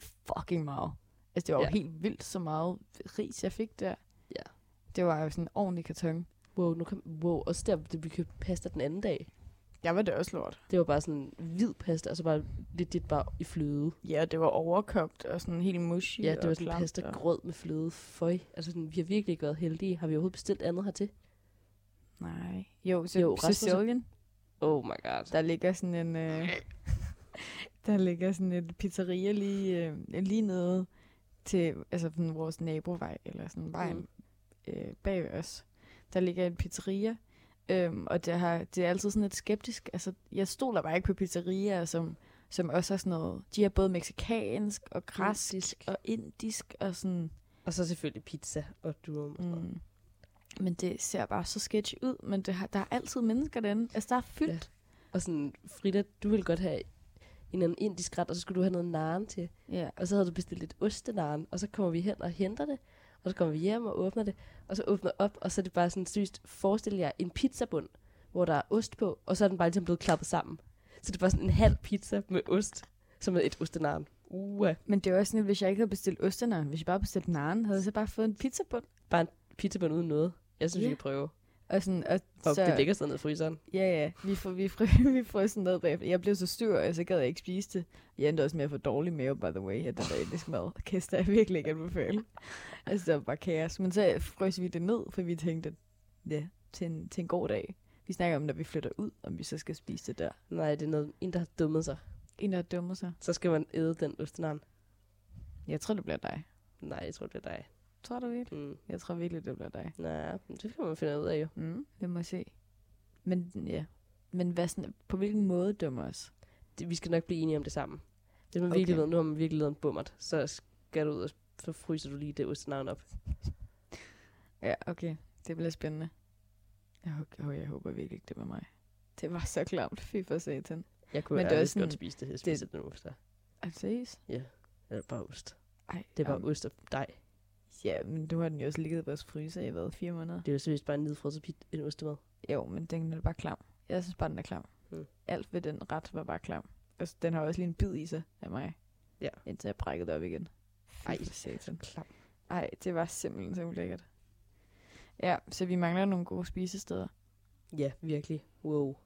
Speaker 2: fucking meget. Altså, det var jo
Speaker 1: Ja.
Speaker 2: helt vildt så meget ris, jeg fik der.
Speaker 1: Ja.
Speaker 2: Det var jo sådan en ordentlig karton.
Speaker 1: Wow, nu kom, wow. Også der, da vi købte pasta den anden dag.
Speaker 2: Jeg var det også lort.
Speaker 1: Det var bare sådan hvid pasta, og så bare lidt dit bare i fløde.
Speaker 2: Ja, det var overkogt og sådan helt mushy
Speaker 1: Ja, det
Speaker 2: og
Speaker 1: var sådan
Speaker 2: klamt
Speaker 1: pasta
Speaker 2: og-
Speaker 1: grød med fløde. Føj. Altså, sådan, vi har virkelig ikke været heldige. Har vi overhovedet bestilt andet hertil?
Speaker 2: Nej. Jo, så
Speaker 1: Jo,
Speaker 2: jo,
Speaker 1: resten-
Speaker 2: Sicilien.
Speaker 1: Oh my god.
Speaker 2: Der ligger sådan en... Øh, der ligger sådan et pizzeria lige, øh, lige nede til altså sådan vores nabovej, eller sådan vejen
Speaker 1: Mm.
Speaker 2: mm. øh, bag os. Der ligger et pizzeria, øhm, og det, har, det er altid sådan lidt skeptisk. Altså, jeg stoler bare ikke på pizzerier, som, som også er sådan noget... De har både meksikansk og græsk
Speaker 1: Indisk.
Speaker 2: og indisk og sådan...
Speaker 1: Og så selvfølgelig pizza og durum. Mm.
Speaker 2: Mm. Men det ser bare så sketchy ud, men det har, der er altid mennesker derinde. Altså, der er fyldt.
Speaker 1: Ja. Og sådan, Frida, du ville godt have en anden indisk ret, og så skulle du have noget naren til.
Speaker 2: Ja.
Speaker 1: Og så havde du bestilt lidt ostenaren, og så kommer vi hen og henter det, og så kommer vi hjem og åbner det, og så åbner op, og så er det bare sådan sygt, forestil jer en pizzabund, hvor der er ost på, og så er den bare ligesom blevet klappet sammen. Så det var sådan en halv pizza med ost, som er et ostenaren. Uha,
Speaker 2: Men det er jo også sådan, at hvis jeg ikke havde bestilt ostenaren, hvis jeg bare bestilte naren, havde jeg så bare fået en pizzabund.
Speaker 1: pizzabund uden noget. Jeg synes,
Speaker 2: Ja.
Speaker 1: vi kan prøve.
Speaker 2: Og sådan, og
Speaker 1: Og
Speaker 2: så,
Speaker 1: så... det ligger sådan nede i fryseren.
Speaker 2: Ja, ja, vi får, vi, får, vi får sådan noget bagefter. Jeg blev så styr, og så gad jeg ikke spise det. Jeg endte også med at få dårlig mave, by the way, at den der indisk mad. Kæst, der er virkelig ikke anbefale. altså, det var bare kaos. Men så frøs vi det ned, for vi tænkte, at ja, til en, til en god dag. Vi snakker om, når vi flytter ud, om vi så skal spise det der.
Speaker 1: Nej, det er noget, en, der har dummet sig.
Speaker 2: En, der dummer sig.
Speaker 1: Så skal man æde den ostenaren.
Speaker 2: Jeg tror, det bliver dig.
Speaker 1: Nej, jeg tror, det er dig.
Speaker 2: Tror du virkelig?
Speaker 1: Mm.
Speaker 2: Jeg tror virkelig, det bliver dig.
Speaker 1: Nej, men det kan man finde ud af jo.
Speaker 2: Mm, det må jeg se. Men ja, men hvad sådan, på hvilken måde dømmer os?
Speaker 1: det, vi skal nok blive enige om det samme. Hvis man virkelig
Speaker 2: Okay.
Speaker 1: ved, nu har man virkelig lavet en bummert, så skal du ud og så fryser du lige det ostenavn op.
Speaker 2: Ja, okay. Det bliver spændende. Jeg, hå- åh, jeg håber virkelig ikke, det var mig. Det var så klamt. Fy for satan.
Speaker 1: Jeg kunne
Speaker 2: Men
Speaker 1: Men
Speaker 2: det er
Speaker 1: ærligt
Speaker 2: også
Speaker 1: godt
Speaker 2: sådan-
Speaker 1: spise det her, spise det, nu efter.
Speaker 2: Er det seriøst?
Speaker 1: Eller bare ost.
Speaker 2: Ej,
Speaker 1: Det er bare
Speaker 2: jamen,
Speaker 1: ost og dej.
Speaker 2: Ja, men nu har den jo også ligget i vores fryser i, hvad, fire måneder?
Speaker 1: Det er jo seriøst bare en nedfrosset pit, en ostemad.
Speaker 2: Jo, men den er bare klam. Jeg synes bare, den er klam.
Speaker 1: Mm.
Speaker 2: Alt ved den ret var bare klam. Altså, den har også lige en bid i sig af mig.
Speaker 1: Ja.
Speaker 2: Indtil jeg brækkede det op igen. Fy
Speaker 1: Ej,
Speaker 2: for satan.
Speaker 1: klam.
Speaker 2: Ej, det var simpelthen så ulækkert. Ja, så vi mangler nogle gode spisesteder.
Speaker 1: Ja, virkelig. Wow.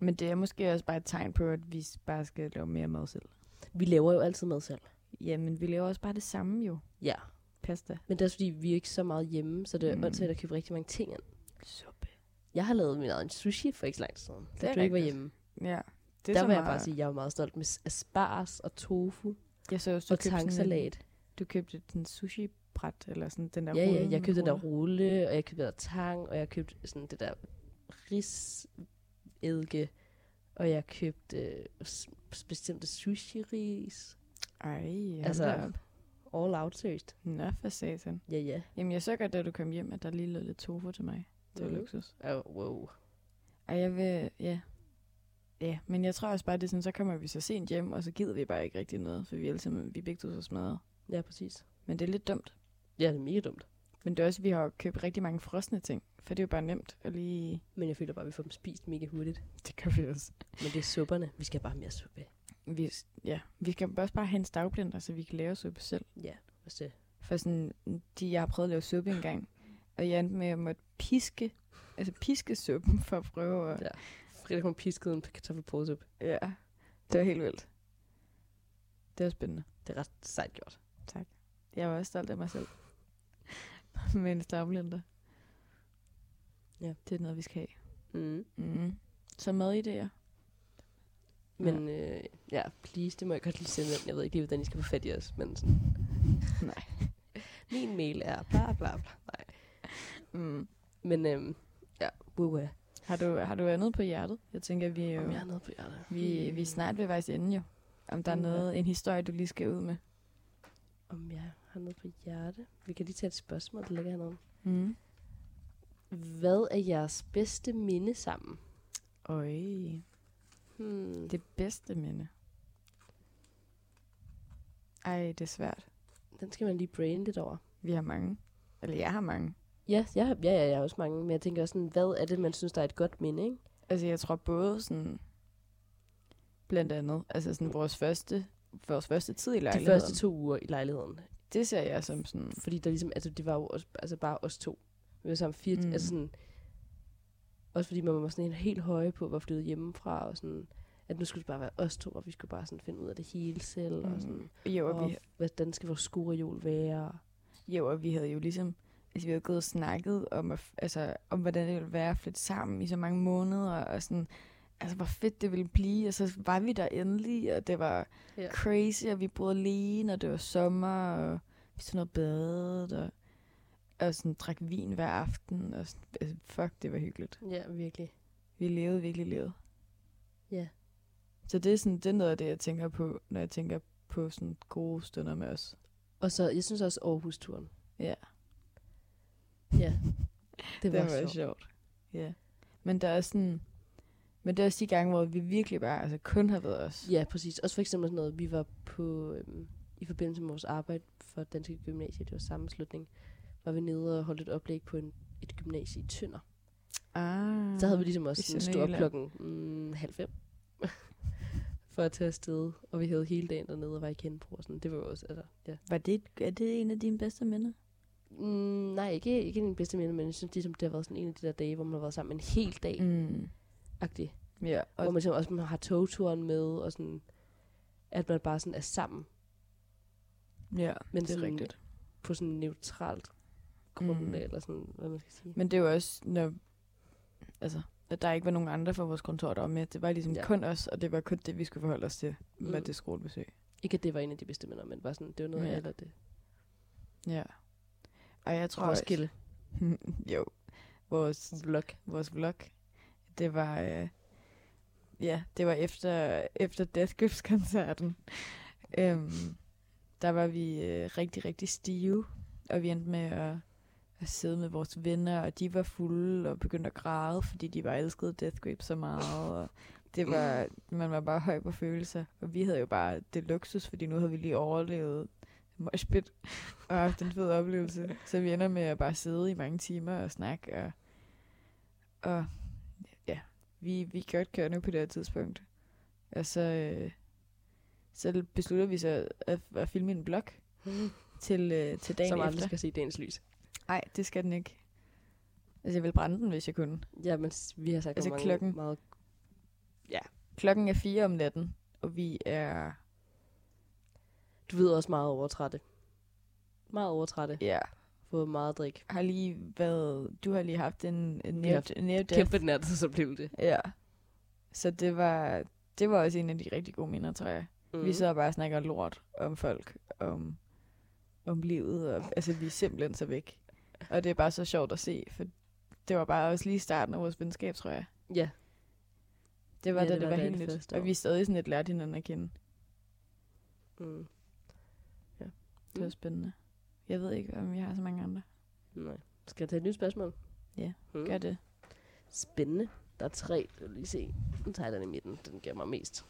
Speaker 2: Men det er måske også bare et tegn på, at vi bare skal lave mere mad selv.
Speaker 1: Vi laver jo altid mad selv.
Speaker 2: Jamen, vi laver også bare det samme jo.
Speaker 1: Ja.
Speaker 2: pasta.
Speaker 1: Men det er også fordi, vi er ikke så meget hjemme, så det er
Speaker 2: Mm.
Speaker 1: mm. åndssvagt at købe rigtig mange ting ind.
Speaker 2: Suppe.
Speaker 1: Jeg har lavet min egen sushi for ikke så lang tid siden,
Speaker 2: Det
Speaker 1: da
Speaker 2: er
Speaker 1: du ikke var
Speaker 2: rigtigt.
Speaker 1: hjemme.
Speaker 2: Ja. Det
Speaker 1: Det der vil jeg bare sige, at jeg var meget stolt med s- asparges og tofu
Speaker 2: jeg så også,
Speaker 1: og
Speaker 2: købte sådan en-
Speaker 1: tangsalat.
Speaker 2: Du købte sådan en sushi-bræt, eller sådan den der
Speaker 1: Ja, ja,
Speaker 2: rulle
Speaker 1: jeg
Speaker 2: med
Speaker 1: købte den der
Speaker 2: ruller.
Speaker 1: rulle, og jeg købte der tang, og jeg købte sådan det der risedike, og jeg købte øh, s- bestemte sushi-ris.
Speaker 2: Ej, ja,
Speaker 1: Altså-
Speaker 2: altså... Op.
Speaker 1: All out, seriøst.
Speaker 2: Nå, for satan.
Speaker 1: Ja, ja.
Speaker 2: Jamen, jeg så godt, da du kom hjem, at der lige lå lidt tofu til mig. Det var
Speaker 1: Mhm.
Speaker 2: luksus.
Speaker 1: Oh, wow.
Speaker 2: Og jeg vil, ja. Ja, men jeg tror også bare, det er sådan, så kommer vi så sent hjem, og så gider vi bare ikke rigtig noget, for vi er, alle sammen, vi er begge to så smadret.
Speaker 1: Ja, præcis.
Speaker 2: Men det er lidt dumt.
Speaker 1: Ja, det er mega dumt.
Speaker 2: Men det er også, at vi har jo købt rigtig mange frosne ting, for det er jo bare nemt at lige...
Speaker 1: Men jeg føler bare, at vi får dem spist mega hurtigt.
Speaker 2: Det gør vi også.
Speaker 1: Men det er supperne. Vi skal bare have mere suppe.
Speaker 2: Vi, ja, vi skal også bare have en stavblender, så vi kan lave suppe selv.
Speaker 1: Ja, hvis det
Speaker 2: For sådan, de, jeg har prøvet at lave suppe engang, og jeg endte med at måtte piske, altså piske suppen for at prøve at...
Speaker 1: Ja. Frida, hun piskede en kartoffelpose op.
Speaker 2: Ja, det var helt vildt. Det var spændende.
Speaker 1: Det er ret sejt gjort.
Speaker 2: Jeg var også stolt af mig selv. Med en stavblender.
Speaker 1: Ja.
Speaker 2: Det er noget, vi skal have.
Speaker 1: Mm.
Speaker 2: Mm. Så madidéer.
Speaker 1: Men ja. Øh, ja, please, det må jeg godt lige sende ind. Jeg ved ikke lige, hvordan I skal få fat i os, men sådan.
Speaker 2: Nej.
Speaker 1: Min mail er bla bla bla. Nej.
Speaker 2: Mm.
Speaker 1: Men øhm, ja, wuha.
Speaker 2: Har, du, har du andet på hjertet? Jeg tænker, vi er jo...
Speaker 1: Om jeg er nede på hjertet. Hmm. Mm.
Speaker 2: Vi, vi er snart ved vejs ende jo. Om der er
Speaker 1: Uha.
Speaker 2: noget, en historie, du lige skal ud med.
Speaker 1: Om jeg har noget på hjerte. Vi kan lige tage et spørgsmål, der ligger hernede.
Speaker 2: Mm.
Speaker 1: Hvad er jeres bedste minde sammen?
Speaker 2: Øj.
Speaker 1: Hmm.
Speaker 2: Det bedste minde. Ej, det er svært.
Speaker 1: Den skal man lige brain lidt over.
Speaker 2: Vi har mange. Eller jeg har mange.
Speaker 1: Ja, jeg, har- ja, ja, jeg har også mange, men jeg tænker også sådan, hvad er det, man synes, der er et godt minde, ikke?
Speaker 2: Altså, jeg tror både sådan... Blandt andet, altså sådan vores første, vores første tid i
Speaker 1: De
Speaker 2: lejligheden.
Speaker 1: første to uger i lejligheden.
Speaker 2: Det ser jeg som sådan...
Speaker 1: Fordi der ligesom, altså det var jo også, altså bare os to. Vi var sammen fire,
Speaker 2: Mm.
Speaker 1: mm. altså sådan, også fordi man var sådan helt- helt høje på, hvor flyttet hjemmefra, og sådan, at nu skulle det bare være os to, og vi skulle bare sådan finde ud af det hele selv, mm.
Speaker 2: Mm.
Speaker 1: og sådan,
Speaker 2: Jo, og
Speaker 1: og
Speaker 2: vi,
Speaker 1: hvordan skal vores skoreol være?
Speaker 2: jo, og vi havde jo ligesom... Altså, vi havde gået og snakket om, at, f- altså, om, hvordan det ville være at flytte sammen i så mange måneder, og sådan... Altså, hvor fedt det ville blive, og så var vi der endelig, og det var
Speaker 1: Ja.
Speaker 2: ja. crazy, og vi boede alene, og det var sommer, og vi tog noget badet, og, og sådan drak vin hver aften, og sådan, altså, fuck, det var hyggeligt.
Speaker 1: Ja, virkelig.
Speaker 2: Vi levede virkelig livet.
Speaker 1: Ja.
Speaker 2: Så det er, sådan, det er noget af det, jeg tænker på, når jeg tænker på sådan gode stunder med os.
Speaker 1: Og så, jeg synes også Aarhus-turen.
Speaker 2: Ja.
Speaker 1: Ja. Det var, det var sjovt.
Speaker 2: sjovt. Ja. Men der er også sådan... Men det er også de gange, hvor vi virkelig bare altså, kun har været os.
Speaker 1: Ja, præcis. Også for eksempel sådan noget, vi var på, øhm, i forbindelse med vores arbejde for Danske Gymnasier, det var sammenslutning, var vi nede og holdt et oplæg på en, et gymnasie i Tønder.
Speaker 2: Ah.
Speaker 1: Så havde vi ligesom også
Speaker 2: I
Speaker 1: sådan stået op
Speaker 2: Sønderjylland.
Speaker 1: klokken mm, halv fem for at tage afsted, og vi havde hele dagen dernede og var i Kennebro og sådan. Det var jo også, altså, ja.
Speaker 2: Var det, er det en af dine bedste minder?
Speaker 1: Mm, nej, ikke, ikke den bedste minde, men jeg synes ligesom, det har været sådan en af de der dage, hvor man har været sammen en hel dag, mm.
Speaker 2: Mm. Ja,
Speaker 1: Hvor man
Speaker 2: og
Speaker 1: ligesom også man har togturen med, og sådan, at man bare sådan er sammen
Speaker 2: ja
Speaker 1: Men
Speaker 2: men det er
Speaker 1: sådan-
Speaker 2: rigtigt.
Speaker 1: på sådan en neutralt grundlag,
Speaker 2: Mm.
Speaker 1: mm. eller sådan, hvad man skal sige.
Speaker 2: Men det er jo også, når, altså, at der ikke var nogen andre fra vores kontor, der var med. Det var ligesom
Speaker 1: Ja.
Speaker 2: ja. kun os, og det var kun det, vi skulle forholde os til med
Speaker 1: Mm.
Speaker 2: det skolebesøg.
Speaker 1: Ikke at det var en af de bedste minder, men bare sådan, det var noget
Speaker 2: Ja.
Speaker 1: ja. eller det.
Speaker 2: Ja. Og jeg tror
Speaker 1: Roskilde
Speaker 2: jo, vores,
Speaker 1: vlog.
Speaker 2: vores vlog, det var, øh, ja, det var efter, efter Death Grips koncerten. øhm, der var vi øh, rigtig, rigtig stive, og vi endte med at, at sidde med vores venner, og de var fulde og begyndte at græde, fordi de var elskede Death Grips så meget, og det var, man var bare høj på følelser, og vi havde jo bare det luksus, fordi nu havde vi lige overlevet moshpit og haft en fed oplevelse. Så vi ender med at bare sidde i mange timer og snakke, og, og ja, vi, vi er godt kørt nu på det her tidspunkt. Og så, øh, så beslutter vi så at, at filme en blog til, øh, til dagen
Speaker 1: Som aldrig
Speaker 2: efter.
Speaker 1: skal se dagens lys.
Speaker 2: Nej, det skal den ikke. Altså, jeg vil brænde den, hvis jeg kunne.
Speaker 1: Ja, men s- vi har sagt
Speaker 2: Altså,
Speaker 1: hvor mange
Speaker 2: klokken.
Speaker 1: meget...
Speaker 2: Klokken er fire om natten, og vi er...
Speaker 1: Du ved også meget overtrætte. Meget overtrætte.
Speaker 2: Ja.
Speaker 1: Fået meget drik.
Speaker 2: Har lige været, du har lige haft en, en near, near death.
Speaker 1: Kæmpe nærtidsoplevelse.
Speaker 2: Ja. Så det var, det var også en af de rigtig gode minder, tror jeg. Mm. Vi sidder og bare og snakker lort om folk, om, om livet. Og, altså, vi er simpelthen så væk. Og det er bare så sjovt at se, for det var bare også lige starten af vores venskab, tror jeg.
Speaker 1: Ja.
Speaker 2: Det var,
Speaker 1: Ja,
Speaker 2: ja, da
Speaker 1: det
Speaker 2: det,
Speaker 1: var
Speaker 2: var,
Speaker 1: da
Speaker 2: helt
Speaker 1: det
Speaker 2: nyt.
Speaker 1: første år.
Speaker 2: Og vi er stadig sådan lidt lært hinanden at kende.
Speaker 1: Mm.
Speaker 2: Det var
Speaker 1: Mm.
Speaker 2: spændende. Jeg ved ikke, om vi har så mange andre.
Speaker 1: Nej. Skal jeg tage et nyt spørgsmål?
Speaker 2: Ja,
Speaker 1: Mm.
Speaker 2: Gør det.
Speaker 1: Spændende. Der er tre. Jeg vil lige se. Nu tager jeg den i midten. Den giver mig mest.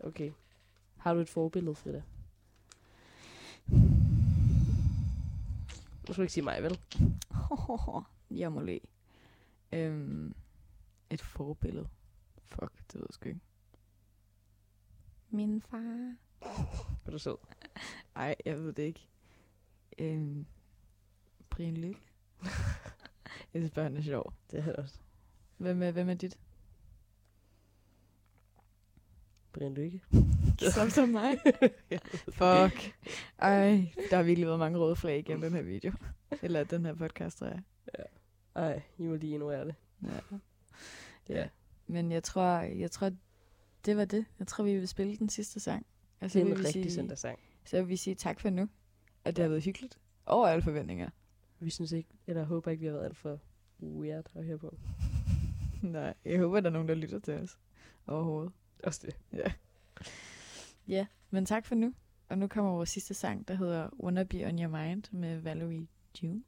Speaker 1: Okay. Har du et forbillede, Frida? Nu skal du ikke sige mig, vel?
Speaker 2: Jeg må le. Øhm, et forbillede. Fuck, det ved jeg sgu ikke. Min far.
Speaker 1: Er du sød?
Speaker 2: Nej, jeg ved det ikke. Øhm, Brian Lykke. jeg synes bare, han er sjov.
Speaker 1: Det er også.
Speaker 2: Hvem er, hvem er dit?
Speaker 1: Brian Lykke.
Speaker 2: Som som mig. Fuck. Ej, der har virkelig været mange røde flag igennem den her video. Eller den her podcast, tror jeg.
Speaker 1: Ej, I må lige ignorere det.
Speaker 2: Ja.
Speaker 1: Ja.
Speaker 2: Men jeg tror, jeg tror, det var det. Jeg tror, vi vil spille den sidste sang. Og
Speaker 1: Det er
Speaker 2: vil
Speaker 1: en
Speaker 2: vi
Speaker 1: rigtig
Speaker 2: sige,
Speaker 1: søndagssang.
Speaker 2: Så vil vi sige tak for nu. Og det har været hyggeligt. Over alle forventninger.
Speaker 1: Vi synes ikke, eller håber ikke, vi har været alt for weird at høre på.
Speaker 2: Nej, jeg håber, der er nogen, der lytter til os. Overhovedet.
Speaker 1: Også det.
Speaker 2: Ja, men tak for nu. Og nu kommer vores sidste sang, der hedder Wanna Be On Your Mind med Valerie June.